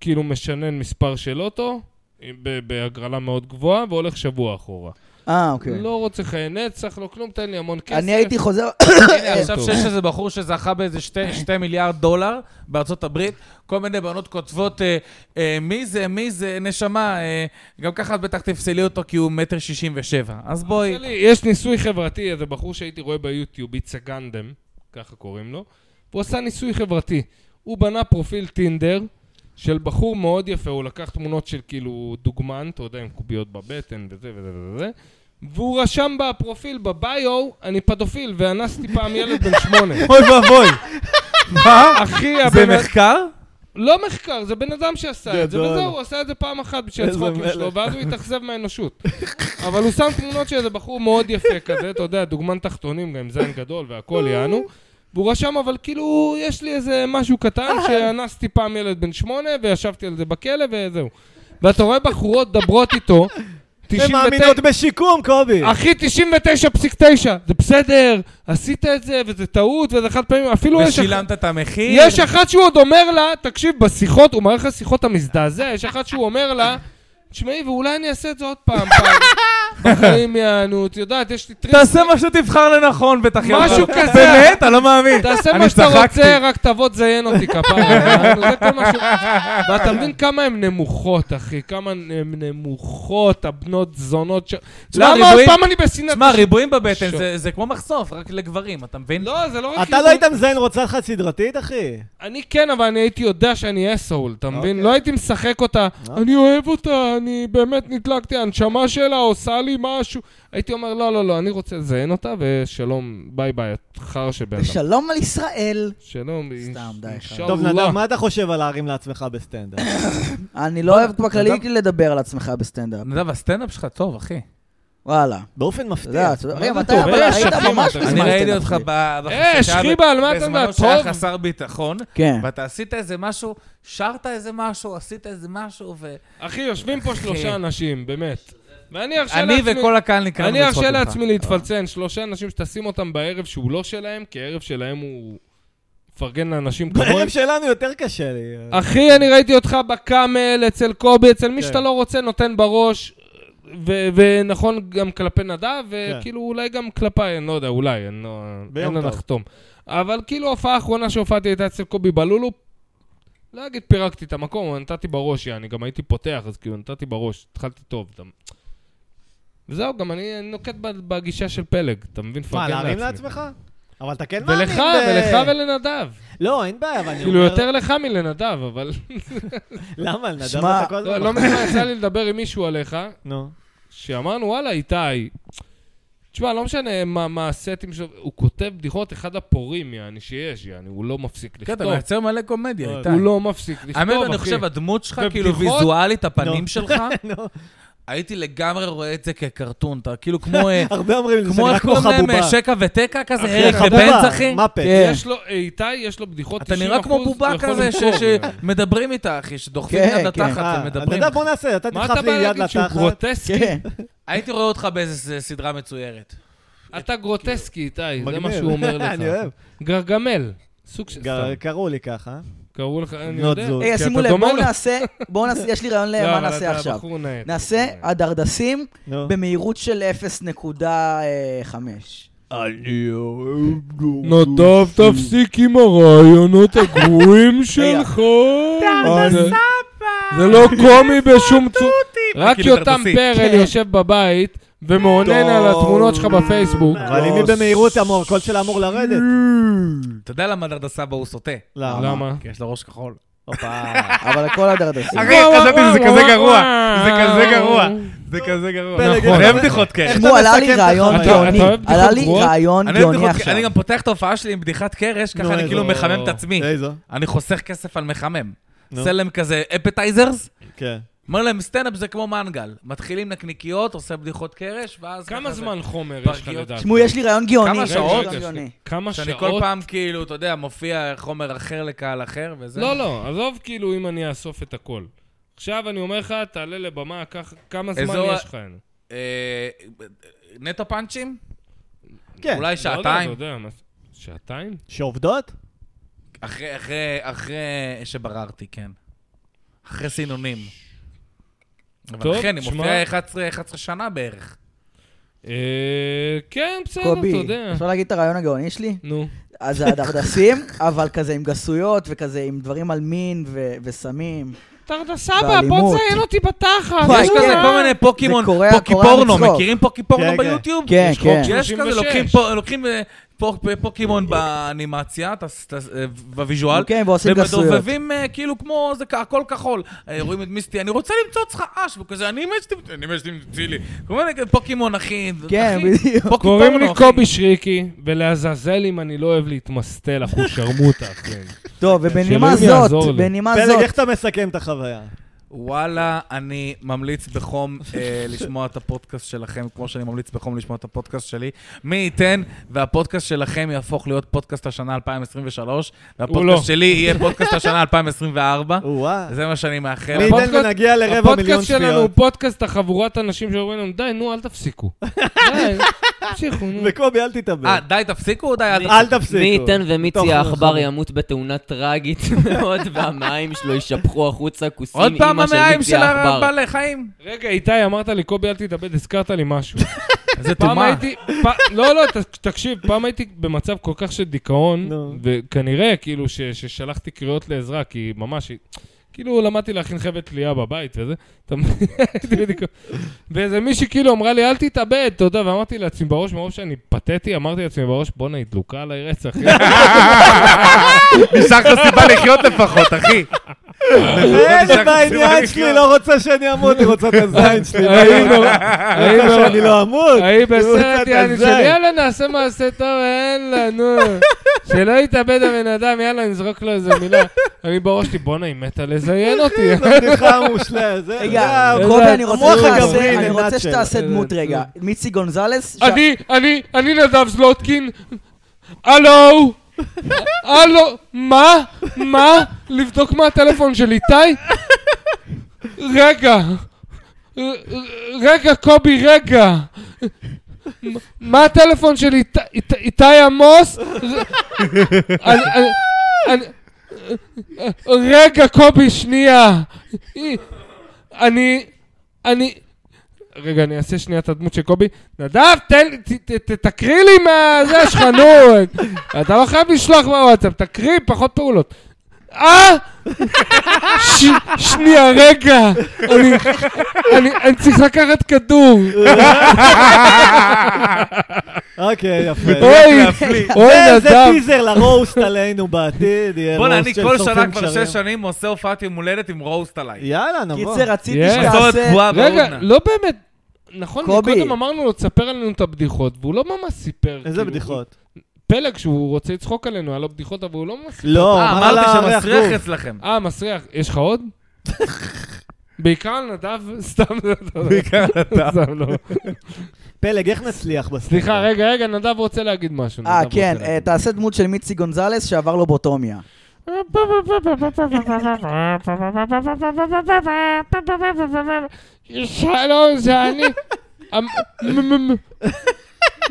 S3: כאילו משנן מספר של אוטו, עם- ב- בהגרלה מאוד גבוהה, והולך שבוע אחורה.
S2: אה, אוקיי.
S3: לא רוצה חיי נצח, לא כלום, תן לי המון כסף.
S2: אני הייתי חוזר...
S4: הנה, עכשיו שיש איזה בחור שזכה באיזה שתי- שתי מיליארד דולר בארצות הברית, כל מיני בנות כותבות, אה, אה, מי זה, מי זה, נשמה, אה, גם ככה את בטח תפסלי אותו כי הוא מטר שישים ושבע. אז בואי.
S3: שלי, יש ניסוי חברתי, איזה בחור שהייתי רואה ביוטיוב, איצה גנדם, ככה קוראים לו, והוא עשה ניסוי חברתי. הוא בנה פרופיל טינדר של בחור מאוד יפה, הוא לקח תמונות של כאילו דוגמן, אתה יודע, עם קוביות בבטן וזה וזה וזה, והוא רשם בפרופיל, בביו, אני פדופיל, ואנסתי פעם ילד בן שמונה.
S4: אוי ואבוי. מה?
S3: אחי, הבן...
S4: זה מחקר?
S3: לא מחקר, זה בן אדם שעשה את זה,
S1: גדול.
S3: וזהו, הוא עשה את זה פעם אחת בשביל
S1: איזה
S3: הצחוקים
S1: מלך.
S3: שלו, ואז הוא התאכזב מהאנושות. אבל הוא שם תמונות של איזה בחור מאוד יפה כזה, אתה יודע, דוגמן תחתונים, גם עם זין גדול והכל, יענו. והוא רשם, אבל כאילו, יש לי איזה משהו קטן שאנסתי פעם ילד בן שמונה, וישבתי על זה בכלא, וזהו. ואתה רואה בחורות דברות איתו, 99
S1: הן מאמינות בשיקום, קובי.
S3: אחי, 99.9, זה בסדר, עשית את זה, וזה טעות, וזה חד פעמים, אפילו יש... אח-
S4: ושילמת את המחיר.
S3: יש אחת שהוא עוד אומר לה, תקשיב, בשיחות, הוא מערך השיחות המזדעזע, יש אחת שהוא אומר לה, תשמעי, ואולי אני אעשה את זה עוד פעם, פעם. בחיים יענו, את יודעת, יש לי טריק,
S8: תעשה מה שתבחר לנכון, בטח.
S3: משהו כזה.
S8: באמת? אני לא מאמין.
S3: תעשה
S8: אני
S3: מה שאתה
S8: צחקתי.
S3: רוצה, רק תבוא תזיין אותי כפרה. זה כל מה ש... ואתה מבין כמה הן נמוכות, אחי, כמה הן נמוכות, הבנות זונות ש...
S8: תשמע,
S3: למה עוד
S8: ריבועים-
S3: פעם אני בשנאת...
S8: תשמע, ריבועים בבטן
S3: שוק.
S8: זה- זה כמו מחשוף, רק לגברים, אתה מבין?
S3: לא, זה לא רק...
S1: אתה לא היית מזיין רוצה חד סדרתית, אחי?
S3: אני כן, אבל אני הייתי יודע שאני אסהול, אתה מבין? לא הייתי משחק אותה, אני אוהב אותה, אני באמת נדלקתי, הנשמה שלה עושה לי משהו. הייתי אומר, לא, לא, לא, אני רוצה לזיין אותה, ושלום, ביי ביי, את חרא שבן אדם.
S2: שלום על ישראל.
S3: שלום,
S2: סתם, די,
S3: אינשאללה.
S1: טוב, נדב, מה אתה חושב על להרים לעצמך בסטנדאפ?
S2: אני לא אוהב בכללי
S4: אדם-
S2: לדבר על עצמך
S3: לא.
S2: בסטנדאפ.
S4: נדב, הסטנדאפ שלך טוב, אחי.
S2: וואלה.
S1: באופן
S2: אתה
S1: מפתיע.
S2: יודע, אתה יודע,
S3: מה
S2: מתי
S3: זה טוב?
S2: אבל
S3: אה,
S2: היית
S3: שכיב,
S2: ממש
S3: אתה-
S2: מזמן
S4: אני ראיתי
S2: סטנדאפ
S4: אותך
S2: שלי.
S4: ב-
S3: אה,
S4: בחצי שעה
S3: שכיב, על מה אתה מדבר?
S4: בזמנו שהיה
S3: טוב.
S4: חסר ביטחון,
S2: כן.
S4: ואתה עשית איזה משהו, שרת איזה משהו, עשית איזה משהו, ו...
S3: אחי, יושבים פה שלושה אנשים, באמת. ואני ארשה
S4: אני
S3: לעצמי...
S4: וכל הקהל נקרא
S3: אני ארשה לעצמי להתפלצן, שלושה אנשים שתשים אותם בערב שהוא לא שלהם, כי הערב שלהם הוא... מפרגן לאנשים כמוהם.
S1: בערב שלנו יותר קשה לי.
S3: אחי, אני ראיתי אותך בקאמל, אצל קובי, אצל
S1: כן.
S3: מי שאתה לא רוצה, נותן בראש. ו- ונכון גם כלפי נדב, וכאילו אולי גם כלפיי, אני לא יודע, אולי, אני לא... אין
S1: כן. ביום
S3: לה
S1: טוב.
S3: לחתום. אבל כאילו ההופעה האחרונה שהופעתי הייתה אצל קובי בלולו, לא אגיד פירקתי את המקום, אבל נתתי בראש, יעני, גם הייתי פותח, אז כאילו נתתי בראש, התחלתי טוב. אתה- וזהו, גם אני אני נוקט ב- בגישה של פלג, אתה מבין?
S1: מה,
S3: פרגן
S1: להרים
S3: לעצמי.
S1: לעצמך? אבל אתה כן מאמין.
S3: כן, ולך,
S1: ב-
S3: ולך ולנדב.
S1: לא, אין בעיה, אבל אני
S3: כאילו,
S1: אומר...
S3: יותר לך מלנדב, אבל...
S1: למה, נדב
S2: שמע,
S1: אתה כל
S3: לא,
S1: הזמן...
S3: לא מזמן יצא לי לדבר עם מישהו עליך,
S1: נו.
S3: שאמרנו, וואלה, איתי, תשמע, לא משנה מה, מה הסטים שלו, הוא כותב בדיחות אחד הפורעים, יעני, שיש, יעני, הוא לא מפסיק
S4: כן, אתה
S3: לכתוב.
S4: מייצר מלא קומדיה, איתי.
S3: הוא לא מפסיק לכתוב,
S4: האמת,
S3: אחי.
S4: אני חושב, הדמות שלך,
S3: ובדיחות-
S4: כאילו ויזואלית, הפנים
S1: נו.
S4: שלך,
S1: נו.
S4: הייתי לגמרי רואה את זה כקרטון, אתה כאילו כמו... אה,
S1: הרבה אומרים לי, זה
S4: כמו
S1: נראה
S4: איך
S1: כמו
S4: קוראים להם?
S1: חבובה.
S4: אה, שקע ותקע כזה?
S1: אחי,
S3: אה,
S4: אריק
S1: חבובה,
S4: ובנץ, אחי?
S1: מפת.
S2: כן.
S3: יש לו, איתי, יש לו בדיחות 90%.
S4: אתה נראה כמו בובה
S3: הוא יכול
S4: כזה
S3: למכור, יעני.
S4: שמדברים איתה, אחי, שדוחפים
S2: כן,
S4: יד
S2: כן.
S4: לתחת
S1: אה,
S4: ומדברים.
S1: נדב, בוא נעשה, אתה
S3: מה אתה
S1: תדחף לי
S3: בא
S1: יד
S3: להגיד שהוא
S1: לתחת.
S3: גרוטסקי?
S2: כן.
S4: הייתי רואה אותך באיזה ס- סדרה מצוירת.
S3: אתה גרוטסקי, איתי, זה מה
S1: מגניב.
S3: שהוא אומר לך.
S1: אני אוהב.
S3: גרגמל. סוג של...
S1: גר-
S3: סתם.
S1: קראו לי ככה.
S3: קראו לך, אני
S1: בנות
S3: יודע.
S1: זוג.
S3: כי
S2: רגע,
S3: אתה
S2: אה, שימו לב,
S3: דומה
S2: בואו
S3: לו.
S2: נעשה, בואו נעשה, יש לי רעיון
S3: לא,
S2: למה
S3: אבל
S2: נעשה
S3: אתה
S2: עכשיו.
S3: בחור נאה.
S2: נעשה הדרדסים
S1: נו.
S2: במהירות של אה, 0.5.
S3: נדב,
S4: אוקיי.
S3: תפסיק עם הרעיונות הגרועים שלך. זה- זה לא קומי בשום צורה. רק
S4: כאילו
S3: יותם
S4: תרדסי.
S3: פרל יושב בבית ומעונן על התמונות שלך בפייסבוק.
S1: אבל אם היא במהירות, אמור, הקול שלה אמור לרדת.
S4: אתה יודע למה דרדה סבא הוא סוטה?
S1: למה?
S3: למה?
S4: כי יש לו ראש כחול.
S1: הופה.
S2: אבל הכל הדרדסים.
S4: אחי, חשבתי שזה אוקיי, כזה גרוע. זה כזה גרוע. זה
S1: לא.
S4: כזה גרוע. נכון. אני אוהב בדיחות כאלה.
S1: איך אתה
S2: תשמעו, עלה לי
S1: מסכם את
S2: רעיון
S1: החוויה?
S2: גאוני.
S3: אתה אוהב בדיחות
S2: עלה לי
S3: גרועות?
S2: רעיון
S4: אני אוהב
S2: גאוני
S4: בדיחות-
S2: עכשיו.
S4: אני גם פותח את ההופעה שלי עם בדיחת קרש,
S1: נו,
S4: ככה אני
S1: איזו-
S4: כאילו מחמם
S1: לא.
S4: את עצמי.
S1: איזו?
S4: אני חוסך כסף על מחמם.
S1: נו.
S4: סלם כזה אפטייזרס,
S1: כן.
S4: אומר להם סטנדאפ זה כמו מנגל. מתחילים נקניקיות, עושה בדיחות קרש, ואז...
S3: כמה
S4: ככה זה-
S3: זמן חומר יש לך
S4: פרגיות.
S3: לדעת?
S2: תשמעו, יש לי רעיון גאוני.
S4: כמה
S2: יש לי
S4: שעות?
S2: רעיון גאוני.
S3: כמה
S4: שאני כל
S3: שעות?
S4: פעם כאילו, אתה יודע, מופיע חומר אחר לקהל אחר וזה.
S3: לא, לא, עזוב כאילו אם אני אאסוף את הכל. עכשיו אני אומר לך, תעלה לבמה, קח- כמה זמן
S4: אזור ה-
S3: יש לך? לא
S4: אה, נטו פאנצ'ים?
S1: כן.
S4: אולי
S3: לא
S4: שעתיים?
S3: יודע, מה- שעתיים?
S1: שעובדות?
S4: אחרי- אחרי אחרי שבררתי, כן. אחרי סינונים.
S3: טוב,
S4: אבל אחי, אני
S3: תשמע.
S4: מופיע 11 11 שנה בערך.
S3: אה, כן, בסדר, אתה
S2: קובי,
S3: יודע.
S2: אפשר להגיד את הרעיון הגאוני שלי?
S3: נו.
S2: אז זה הדרדסים, אבל כזה עם גסויות וכזה עם דברים על מין ו- וסמים.
S3: תרדה
S2: סבא, בוא באלימות. תזיין
S3: אותי בתחת.
S2: וואי, כן.
S4: יש כזה
S6: לא-
S4: כל מיני פוקימון,
S2: זה קורע-
S4: פוקי
S2: קורע
S4: פורנו,
S2: מצחוק.
S4: מכירים פוקי פורנו
S1: כן, כן.
S4: ביוטיוב?
S2: כן,
S3: יש
S2: כן.
S3: חוק
S4: יש כזה,
S3: 36.
S4: לוקחים פה- לוקחים אה, פוק- פוקימון באנימציה, תס- תס- אה, בוויז'ואל,
S2: כן, ועושים גסויות.
S4: ומדובבים אה, כאילו כמו, זה כ- הכל כחול. אה, רואים את מיסטי, אני רוצה למצוא אותך אש, וכזה, אני מת שתמצא, אני מת שתמצא לי. כל מיני כאלה פוקימון, אחי.
S2: כן,
S4: אחי,
S2: בדיוק.
S4: פוקי
S3: קוראים
S4: פורנו,
S3: לי
S4: אחי.
S3: קובי שריקי, ולעזאזל אם אני לא אוהב להתמסטל, אחו שרמוטה. כן.
S2: טוב, ובנימה
S3: שאלוהים יעזור
S2: זאת,
S3: לי.
S2: בנימה
S1: פלג,
S2: זאת,
S1: איך אתה מסכם את החוויה?
S4: וואלה, אני ממליץ בחום אה, לשמוע את הפודקאסט שלכם, כמו שאני ממליץ בחום לשמוע את הפודקאסט שלי. מי ייתן והפודקאסט שלכם יהפוך להיות פודקאסט השנה 2023,
S3: לא.
S4: והפודקאסט שלי יהיה פודקאסט השנה 2024.
S1: וואו.
S4: זה מה שאני מאחל.
S1: מי ייתן
S3: הפודקאסט-
S1: ונגיע לרבע מיליון
S3: הפודקאסט שלנו הוא
S1: צפיות.
S3: פודקאסט החבורת אנשים שאומרים לנו, די, נו, אל תפסיקו. די, תמשיכו, נו.
S1: וקובי, אל תתאבד.
S4: אה, די, תפסיקו, די, אל
S5: מי-
S1: אל תפסיקו.
S5: מי ייתן
S1: מתוך
S5: ומיצי העכבר
S1: רחמים.
S5: ימות בתאונה טרגית מאוד, והמים שלו יישפכו החוצה, כוסים
S4: עוד פעם
S5: אימא של
S4: המעיים
S5: מיצי
S4: של
S5: העכבר.
S4: הבעלי חיים.
S3: רגע, איתי, אמרת לי, קובי, אל תתאבד, הזכרת לי משהו.
S4: זה
S3: פעם
S4: טומאה.
S3: הייתי, פ- לא, לא, ת- תקשיב, פעם הייתי במצב כל כך של דיכאון,
S1: נו.
S3: וכנראה, כאילו, ש- ששלחתי קריאות לעזרה, כי ממש, כאילו, למדתי להכין חבל תלייה בבית וזה, אתה מבין? הייתי בדיכאון. ואיזה מישהי כאילו אמרה לי, אל תתאבד, אתה יודע, ואמרתי לעצמי בראש, מרוב שאני פתטי, אמרתי לעצמי בראש, בואנה, היא דלוקה עליי רצח.
S4: נשארת סיבה לחיות לפחות, אחי.
S3: אה, לא
S1: זה בעניין שלי, לא רוצה שאני אמות, היא רוצה את הזין שלי.
S3: האם- האם-
S1: רוצה שאני לא אמות.
S3: ההיא
S1: רוצה
S3: בסרט,
S1: את
S3: יעני, של
S1: הזין.
S3: יאללה, נעשה מעשה טוב, יאללה, נו. שלא יתאבד הבן אדם, יאללה, נזרוק לו איזה מילה. אני בראש שלי, בואנה, היא מתה לזיין אותי.
S1: זו הבדיחה המושלמת. זה- זה
S2: רגע,
S1: ה-
S2: קובי, אני רוצה
S1: המוח
S2: שתעשה-
S1: הגברי,
S2: אני רוצה
S1: נאצ'ל.
S2: שתעשה דמות
S3: אה,
S2: רגע. מיצי גונזלס? ש-
S3: אני, אני, אני נדב זלוטקין. הלו! הלו! מה? מה? לבדוק מה הטלפון של איתי? רגע. ר- ר- רגע, קובי, רגע. מ- מה הטלפון של איתי- אית- איתי עמוס? ר- אני- אני- אני- רגע, קובי, שנייה. אני... אני... רגע, אני אעשה שנייה את הדמות של קובי. נדב, תן לי, ת- ת- ת- תקריא לי מהזה שלך, נו. אתה לא חייב לשלוח בוואטסאפ, תקריא, פחות פעולות. אה? ש- שנייה, רגע. אני, אני, אני צריך לקחת כדור.
S1: אוקיי, יפה.
S3: אוי, אוי,
S1: אה, זה- זה
S3: נדב.
S1: טיזר לרוסט עלינו בעתיד. יהיה
S4: בוא'נה,
S1: רוסט
S4: אני
S1: כן, של
S4: כל
S1: שורפים
S4: שנה כבר
S1: קשרים.
S4: שש שנים עושה הופעת יום הולדת עם רוסט עליי.
S1: יאללה, נבוא.
S2: קיצר, רציתי
S3: Yeah.
S4: מסורת
S2: שתעשה...
S4: קבועה
S3: רגע,
S4: בהודנה.
S3: לא באמת. נכון,
S2: קובי.
S3: קודם אמרנו לו, תספר עלינו את הבדיחות, והוא לא ממש סיפר.
S1: איזה
S3: כאילו,
S1: בדיחות?
S3: פלג שהוא רוצה לצחוק עלינו על הבדיחות, אבל הוא לא ממש סיפר.
S1: לא,
S4: אה,
S1: אמר
S4: אמרתי
S1: לה, ריח גוף.
S4: שמסריח אצלכם.
S3: אה, מסריח. יש לך עוד? בעיקר על נדב, סתם, לא,
S4: בעיקר
S3: סתם לא.
S1: פלג, איך נצליח בסוף?
S3: סליחה, רגע, רגע, נדב רוצה להגיד משהו.
S2: אה,
S3: נדב
S2: כן,
S3: רוצה
S2: אה,
S3: להגיד.
S2: תעשה דמות של מיצי גונזלס שעבר לובוטומיה.
S3: שלום, זה אני. אמ- מ- מ-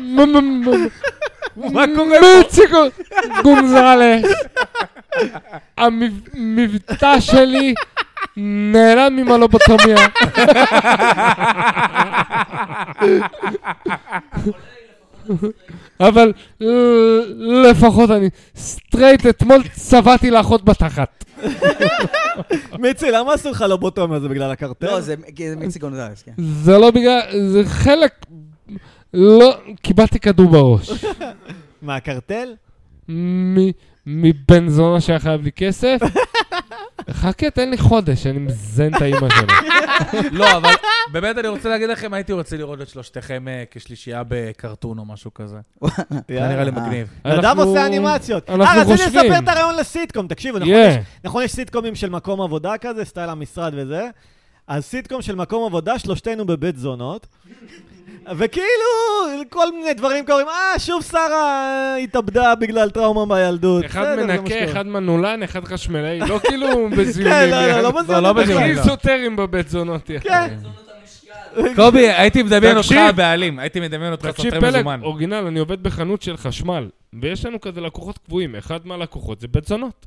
S3: מ- מ- מ- מ- מיציקו גונזלס. המבטא שלי נעלם עם הלובוטומיה. אבל ל- לפחות אני סטרייט, אתמול צבעתי לאחות בתחת.
S1: מיצי, למה עשו לך לובוטומיה? זה בגלל הקרטל?
S2: לא, זה כי זה מיצי גונזלס, כן.
S3: זה לא בגלל, זה חלק... לא, קיבלתי כדור בראש.
S1: מה, הקרטל?
S3: אה, מ- מבן זונה שהיה חייב לי כסף. חכה, תן לי חודש, אני מזיין את האימא שלו.
S4: לא, אבל באמת אני רוצה להגיד לכם, הייתי רוצה לראות את שלושתכם אה, כשלישייה בקרטון או משהו כזה. זה נראה לי מגניב.
S1: נדב
S3: אנחנו-
S1: עושה אנימציות.
S3: אנחנו
S1: אה, רציתי
S3: חושבים.
S1: לספר את הרעיון לסיטקום. תקשיבו, נכון,
S3: Yeah.
S1: יש- נכון, יש סיטקומים של מקום עבודה כזה, סטייל המשרד וזה. אז סיטקום של מקום עבודה, שלושתנו בבית זונות. וכאילו, כל מיני דברים קורים, אה, שוב שרה התאבדה בגלל טראומה בילדות. בסדר,
S3: אחד
S1: זה מה
S3: מנקה,
S1: שקורה.
S3: אחד מנעולן, אחד חשמלאי, לא כאילו בזיונים.
S1: כן, לא, לא,
S3: יעני.
S1: לא בזונות. בכלל.
S3: הכי איזוטרים בבית זונות. יעני.
S1: כן. אה.
S4: קובי, הייתי מדמיין אותך
S3: תקשיב.
S4: הבעלים, הייתי מדמיין אותך
S3: תקשיב,
S4: סוטרי
S3: פלג,
S4: מזומן.
S3: אורגינל, אני עובד בחנות של חשמל, ויש לנו כזה לקוחות קבועים. אחד מהלקוחות זה בית זונות.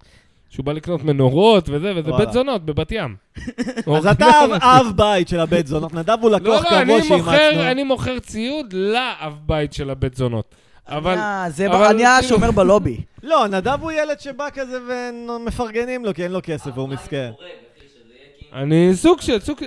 S3: שהוא בא לקנות מנורות וזה, וזה
S1: וואלה.
S3: בית זונות בבת ים.
S1: אז אתה אב- אב בית של הבית זונות, נדב הוא
S3: לא,
S1: לקוח
S3: אה, אוקיי. לא,
S1: קבוע
S3: אני
S1: שאימצנו.
S3: מוכר, אני מוכר ציוד לאב בית של הבית זונות. אבל...
S2: אה, זה
S3: אבל
S2: אני
S3: כאילו-
S2: השומר בלובי.
S1: לא, נדב הוא ילד שבא כזה ומפרגנים לו, כי אין לו כסף והוא מסכן.
S3: אני סוג של, סוג של...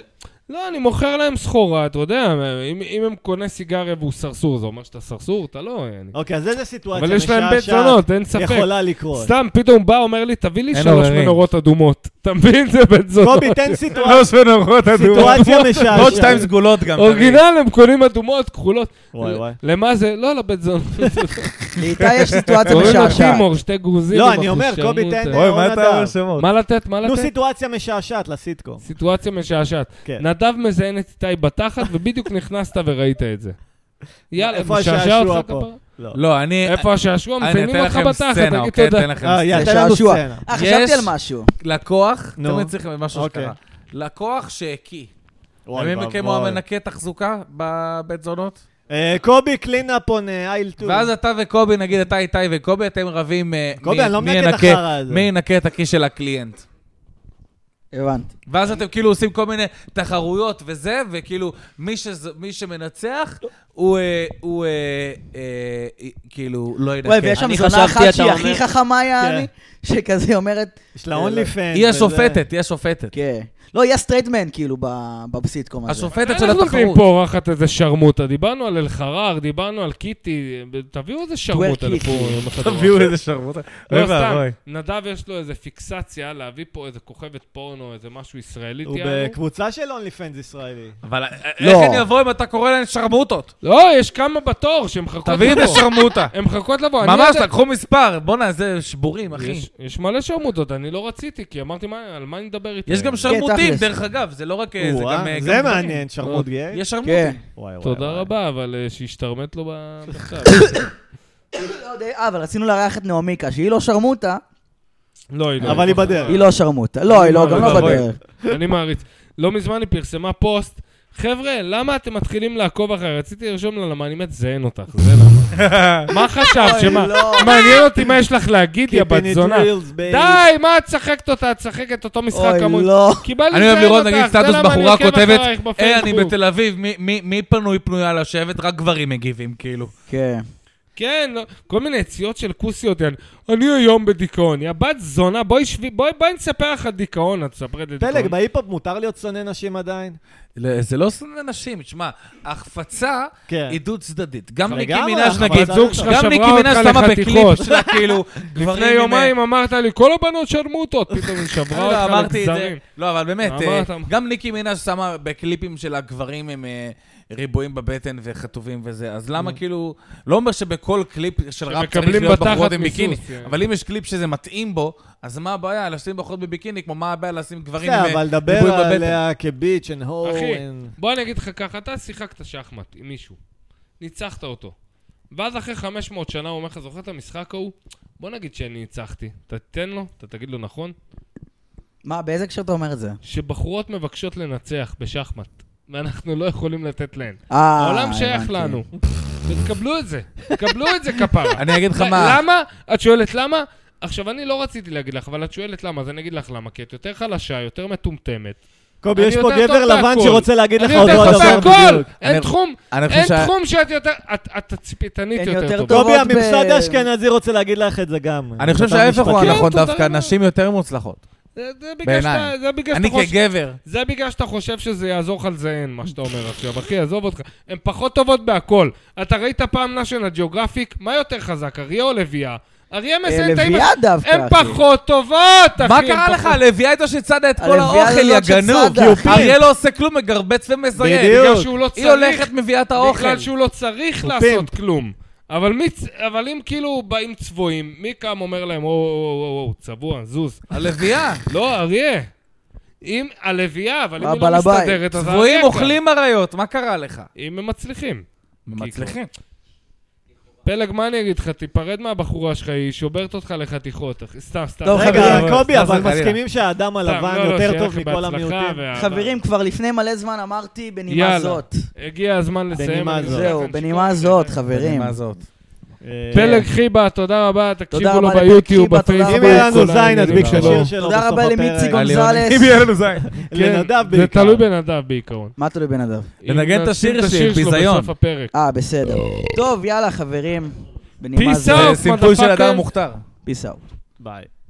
S3: לא, אני מוכר להם סחורה, אתה יודע, אם, אם הם קונה סיגריה והוא סרסור, זה אומר שאתה סרסור? אתה לא... אני...
S1: אוקיי, אז איזה סיטואציה
S3: אבל יש להם בית
S1: משעשעת
S3: זונות, אין ספק.
S1: יכולה לקרות?
S3: סתם, פתאום הוא בא, אומר לי, תביא לי
S4: אין
S3: שלוש
S4: עוררין.
S3: מנורות אדומות. אתה מבין? זה בית זונות.
S1: קובי, תן סיטואציה.
S4: שלוש מנורות
S1: סיטואציה משעשעת.
S4: עוד שתיים
S1: אוקיי,
S4: סגולות גם. תמיד.
S3: אורגינל, הם קונים אדומות, כחולות.
S1: וואי וואי.
S3: למה זה? לא, לבית זונות.
S2: לאיתי יש סיטואציה
S3: לא, קוראים לו
S2: משעשעת.
S3: טימור, שתי גוזים.
S1: לא,
S3: עם
S1: אני אומר,
S3: החושמות
S1: קובי, תן
S3: ה-
S1: אוי, מה אתה אומר
S8: שמות?
S3: אה, מה לתת? מה
S1: נו,
S3: לתת?
S1: סיטואציה משעשעת לסיטקום.
S3: סיטואציה משעשעת.
S1: כן.
S3: נדב מזיין את איתי בתחת, ובדיוק נכנסת וראית את זה. יאללה,
S1: איפה
S3: משעשע
S1: השעשוע
S3: אותך
S1: פה?
S3: כפרה?
S1: לא.
S4: לא, אני...
S3: איפה השעשוע?
S4: אני
S3: מציינים
S4: אתן
S3: אותך
S4: לכם
S3: בתחת,
S4: סצנה,
S3: תגיד
S4: אוקיי?
S3: תודה.
S4: אתן לכם
S1: אה, יאללה,
S2: זה
S1: תן לנו
S2: שעשוע.
S1: סצנה.
S2: אה,
S4: יש-
S2: חשבתי על משהו.
S4: לקוח,
S1: נו.
S4: תמיד צריך משהו
S1: אוקיי.
S4: שקרה. לקוח שהקיא.
S1: אוי,
S4: ומי כמו
S1: ואבוי.
S4: המנקה תחזוקה בבית זונות?
S1: אה, קובי, קלינאפ און אייל טו.
S4: ואז אתה וקובי, נגיד אתה איתי וקובי, אתם רבים אה,
S1: קובי,
S4: מי-
S1: אני לא
S4: מי
S1: מנקה את
S4: ינקה-
S1: החרא הזה.
S4: מי ינקה את הכיס של הקליינט.
S2: הבנתי.
S4: ואז אתם כאילו עושים כל מיני תחרויות וזה, וכאילו מי, שז, מי שמנצח, הוא, אה, הוא אה, אה, אה, כאילו לא ינקה.
S2: וואי, ויש שם
S5: אני
S2: זונה
S5: חשבתי,
S2: אחת
S5: אתה
S2: שהיא הכי
S5: אומר-
S2: חכמה, יעני,
S3: כן.
S2: שכזה היא אומרת,
S1: יש לה אונלי פן.
S4: היא השופטת, היא השופטת.
S2: כן. לא, היא הסטרייטמן, כאילו, ב- בסיטקום הזה.
S4: השופטת של
S3: אנחנו נותנים
S4: התחרות.
S3: לא פה אורחת איזה שרמוטה, דיברנו על אלחרר, דיברנו על קיטי, תביאו איזה שרמוטה
S2: טוורק
S3: לפה.
S2: קיטי.
S3: יום אחד.
S8: תביאו איזה שרמוטה.
S3: לא
S8: אוי
S3: סתם,
S8: ואבוי.
S3: נדב יש לו איזה פיקסציה להביא פה איזה כוכבת פורנו, איזה משהו ישראלית.
S1: הוא
S3: יענו.
S1: בקבוצה של אונלי פנס ישראלי.
S4: אבל אה,
S2: לא.
S4: איך אני אבוא אם אתה קורא להן שרמוטות?
S3: לא, יש כמה בתור שהן מחכות
S4: תביא את
S3: לבוא.
S4: השרמוטה.
S3: הן מחכות לבוא. אני
S4: ממש,
S3: יודע-
S4: לקחו מספר. בואנה, זה שבורים, אחי.
S3: יש- יש מלא שרמוטות, אני לא רציתי, כי אמרתי, "מה- על מה אני אדבר איתם?
S4: יש גם שרמוטים,
S2: תכלס.
S4: דרך אגב, זה לא רק... אה, זה
S1: וואה,
S4: גם... אה,
S1: כן, זה
S4: גם-
S1: מעניין, שרמוט גיי.
S4: יש
S2: כן.
S4: שרמוטים.
S1: וואי, וואי,
S3: תודה
S1: וואי.
S3: רבה, אבל אה, שהשתרמת לו ב- בכתב.
S2: לא יודע, אה, אבל רצינו לארח את נעמיקה, שהיא לא שרמוטה,
S3: לא, היא לא.
S1: אבל היא בדרך.
S2: היא לא שרמוטה. לא, היא לא, גם
S3: אוי
S2: לא
S3: ואבוי.
S2: בדרך.
S3: אני מעריץ. לא מזמן היא פרסמה פוסט, חבר'ה, למה אתם מתחילים לעקוב אחריי? רציתי לרשום לה, למה אני מזיין אותך, זה למה. מה חשבת? שמה?
S2: לא.
S3: מעניין אותי מה יש לך להגיד, יא
S1: Keeping
S3: בת
S1: it
S3: זונה.
S1: real, babe.
S3: די, מה את שחקת אותה? את שחקת אותו משחק
S2: אוי,
S3: כמוני.
S2: לא.
S3: קיבלתי
S4: אני אוהב
S3: לציין
S4: לראות,
S3: אותך,
S4: נגיד,
S3: זה
S4: סטטוס
S3: למה אני
S4: בחורה
S3: עוקב
S4: כותבת,
S3: אחרייך
S4: היי,
S3: בפייסבוק."
S4: אני בתל אביב, מי- מי- מי פנוי פנויה לשבת? רק גברים מגיבים, כאילו.
S2: כן.
S3: כן, לא, כל מיני יציאות של כוסיות, יעני, אני היום בדיכאון, יא בת זונה, בואי שבי, בואי, בואי נספר לך על דיכאון, את ספרת לי דיכאון.
S1: פלג, בהיפ-הופ מותר להיות שונא נשים עדיין?
S4: לא, זה לא שונא נשים, תשמע, החפצה
S1: כן.
S4: היא דו-צדדית. גם ניקי
S1: לגמרי,
S4: מנאז'
S1: אבל
S4: נגיד,
S1: זה- זוג
S3: שלך
S4: גם
S3: שברה
S4: ניקי
S3: אותך
S4: מנאז' שמה
S3: לחתיכות.
S4: בקליפ שלה, כאילו, גברים...
S3: לפני
S4: עם-
S3: יומיים אמרת לי, כל הבנות שרמוטות, פתאום היא
S4: לא,
S3: שברה אותך
S4: אמרתי את זה.
S3: לגזרים.
S4: לא, אבל באמת,
S3: אמרת,
S4: אה,
S3: אמרת.
S4: גם ניקי מנאז' שמה בקליפים שלה גברים עם אה, ריבועים בבטן וחטובים וזה, אז למה כאילו... לא אומר שבכל קליפ של ראפ צריך
S3: Mm. שמקבלים
S4: להיות
S3: בתחת
S4: בחורות עם
S3: מסוס,
S4: ביקיני,
S3: כן.
S4: אבל אם יש קליפ שזה מתאים בו, אז מה הבעיה לשים בחורות בביקיני, כמו מה הבעיה לשים גברים עם
S1: בסדר,
S4: אה,
S1: אבל דבר
S4: ריבועים בבטן?
S1: עליה כביץ' אנד הו.
S3: אחי,
S1: and-
S3: בוא אני אגיד לך ככה, אתה שיחקת שחמט עם מישהו, ניצחת אותו, ואז אחרי 500 שנה הוא אומר לך, זוכר את המשחק ההוא? בוא נגיד שאני ניצחתי, אתה תיתן לו, אתה תגיד לו נכון,
S2: מה, באיזה קשר אתה אומר את זה?
S3: שבחורות מבקשות לנצח בשחמט, ואנחנו לא יכולים לתת להן.
S2: אה,
S3: העולם שייך
S2: הבנתי.
S3: לנו. תקבלו את זה, תקבלו את זה כפרה.
S4: אני אגיד לך
S3: ל-
S4: מה...
S3: למה? את שואלת למה? עכשיו, אני לא רציתי להגיד לך, אבל את שואלת למה, אז אני אגיד לך למה, כי את יותר חלשה, יותר מטומטמת.
S1: קובי,
S3: אני
S1: יש פה
S3: יודע
S1: גבר
S3: טוב
S1: לבן
S3: בהכל.
S1: שרוצה להגיד לך
S3: אני
S1: אותו
S3: יותר טוב
S1: הדבר
S3: בהכל!
S1: בדיוק.
S3: אין
S4: אני-
S3: תחום,
S4: אני חושב
S3: אין
S4: שה-
S3: תחום שאת יותר, את- את תצפיתנית
S2: הן
S3: יותר
S2: יותר
S3: טובה.
S1: קובי,
S2: טובות ב-
S1: הממסד האשכנזי רוצה להגיד לך את זה גם.
S4: אני חושב
S1: אתה
S4: שההפך הוא
S1: משפטי.
S4: הנכון
S3: כן, תודה
S4: דווקא,
S3: רבה.
S4: נשים יותר מוצלחות.
S3: זה- זה בגלל שאתה-
S4: בעיניי.
S3: זה בגלל שאתה
S4: אני
S3: חושב...
S4: כגבר.
S3: זה בגלל שאתה חושב שזה יעזור לך לזיין, מה שאתה אומר עכשיו. אחי, עזוב אותך. הן פחות טובות בהכל. אתה ראית פעם national geographic? מה יותר חזק, אריה או לביאה? אריה מזיין את האמא...
S2: לביאה אה, דווקא,
S3: הן
S2: אחי.
S3: פחות טובות, אחי.
S4: מה
S3: הן
S4: קרה
S3: פחות-
S4: לך? הלוויה הייתה שצדה את כל
S2: הלוויה
S4: האוכל,
S1: לא
S2: הזאת
S4: יא גנוב.
S2: שצדה, אחי.
S4: אריה לא עושה כלום, מגרבץ ומזיין.
S1: בדיוק.
S3: בגלל שהוא לא צריך...
S4: היא הולכת, מביאה את האוכל.
S3: בגלל שהוא לא צריך לעשות כלום. אבל, מי, צ- אבל אם כאילו באים צבועים, מי קם אומר להם, או, או, או, או, צבוע, זוז.
S4: הלוויה.
S3: לא, אריה. אם הלוויה, אבל אם היא
S2: הבעל
S3: לא
S2: הבית.
S3: מסתדרת, אז אריה
S4: צבועים
S3: קם.
S4: אוכלים אריות, מה קרה לך?
S3: אם הם מצליחים.
S4: מצליחים.
S3: פלג, מה אני אגיד לך? תיפרד מהבחורה שלך, היא שוברת אותך לחתיכות. אחי. סתם, סתם.
S2: טוב,
S1: רגע,
S2: חברים,
S1: קובי,
S4: חס
S1: אבל
S4: וחלילה.
S1: מסכימים שהאדם
S3: סתם,
S1: הלבן
S3: לא, לא,
S1: יותר
S3: שיהיה
S1: טוב
S3: לכם
S1: מכל
S3: בהצלחה
S1: המיעוטים?
S3: ואהבה.
S2: חברים, כבר לפני מלא זמן אמרתי בנימה
S3: יאללה. לא,
S2: זאת.
S3: הגיע הזמן לסיים.
S1: בנימה
S3: אני
S1: זאת.
S3: נותן
S2: זהו,
S3: לכם
S2: בנימה
S3: שיקום.
S2: זאת, חברים.
S4: מה זאת?
S1: אה,
S3: פלג חיבה, תודה רבה, תקשיבו
S2: רבה
S3: לו
S2: לפלג
S3: ביוטיוב,
S2: חיבה, תודה
S3: בפייסבוק.
S1: אם יהיה לנו
S3: כל
S1: זין,
S3: העניינים
S1: נדביק את
S3: האלה. כן,
S1: השיר שלו
S2: תודה
S1: בסוף
S2: רבה
S1: הפרק.
S2: למיצי
S4: ליוני.
S2: גונזלס.
S8: אם יהיה לנו זין.
S1: לנדב
S3: זה
S1: בעיקר.
S3: תלוי בנדב בעיקרון.
S2: מה תלוי בנדב?
S4: לנגן את השיר
S3: אם נשים
S4: שלי, ביזיון.
S3: בסוף הפרק.
S2: אה, בסדר. טוב, יאללה, חברים. בנימה
S3: Peace
S2: זאת.
S3: out.
S4: זה סימפול של
S3: motherfucker.
S4: אדם מוכתר.
S2: פיס אאוט.
S1: ביי.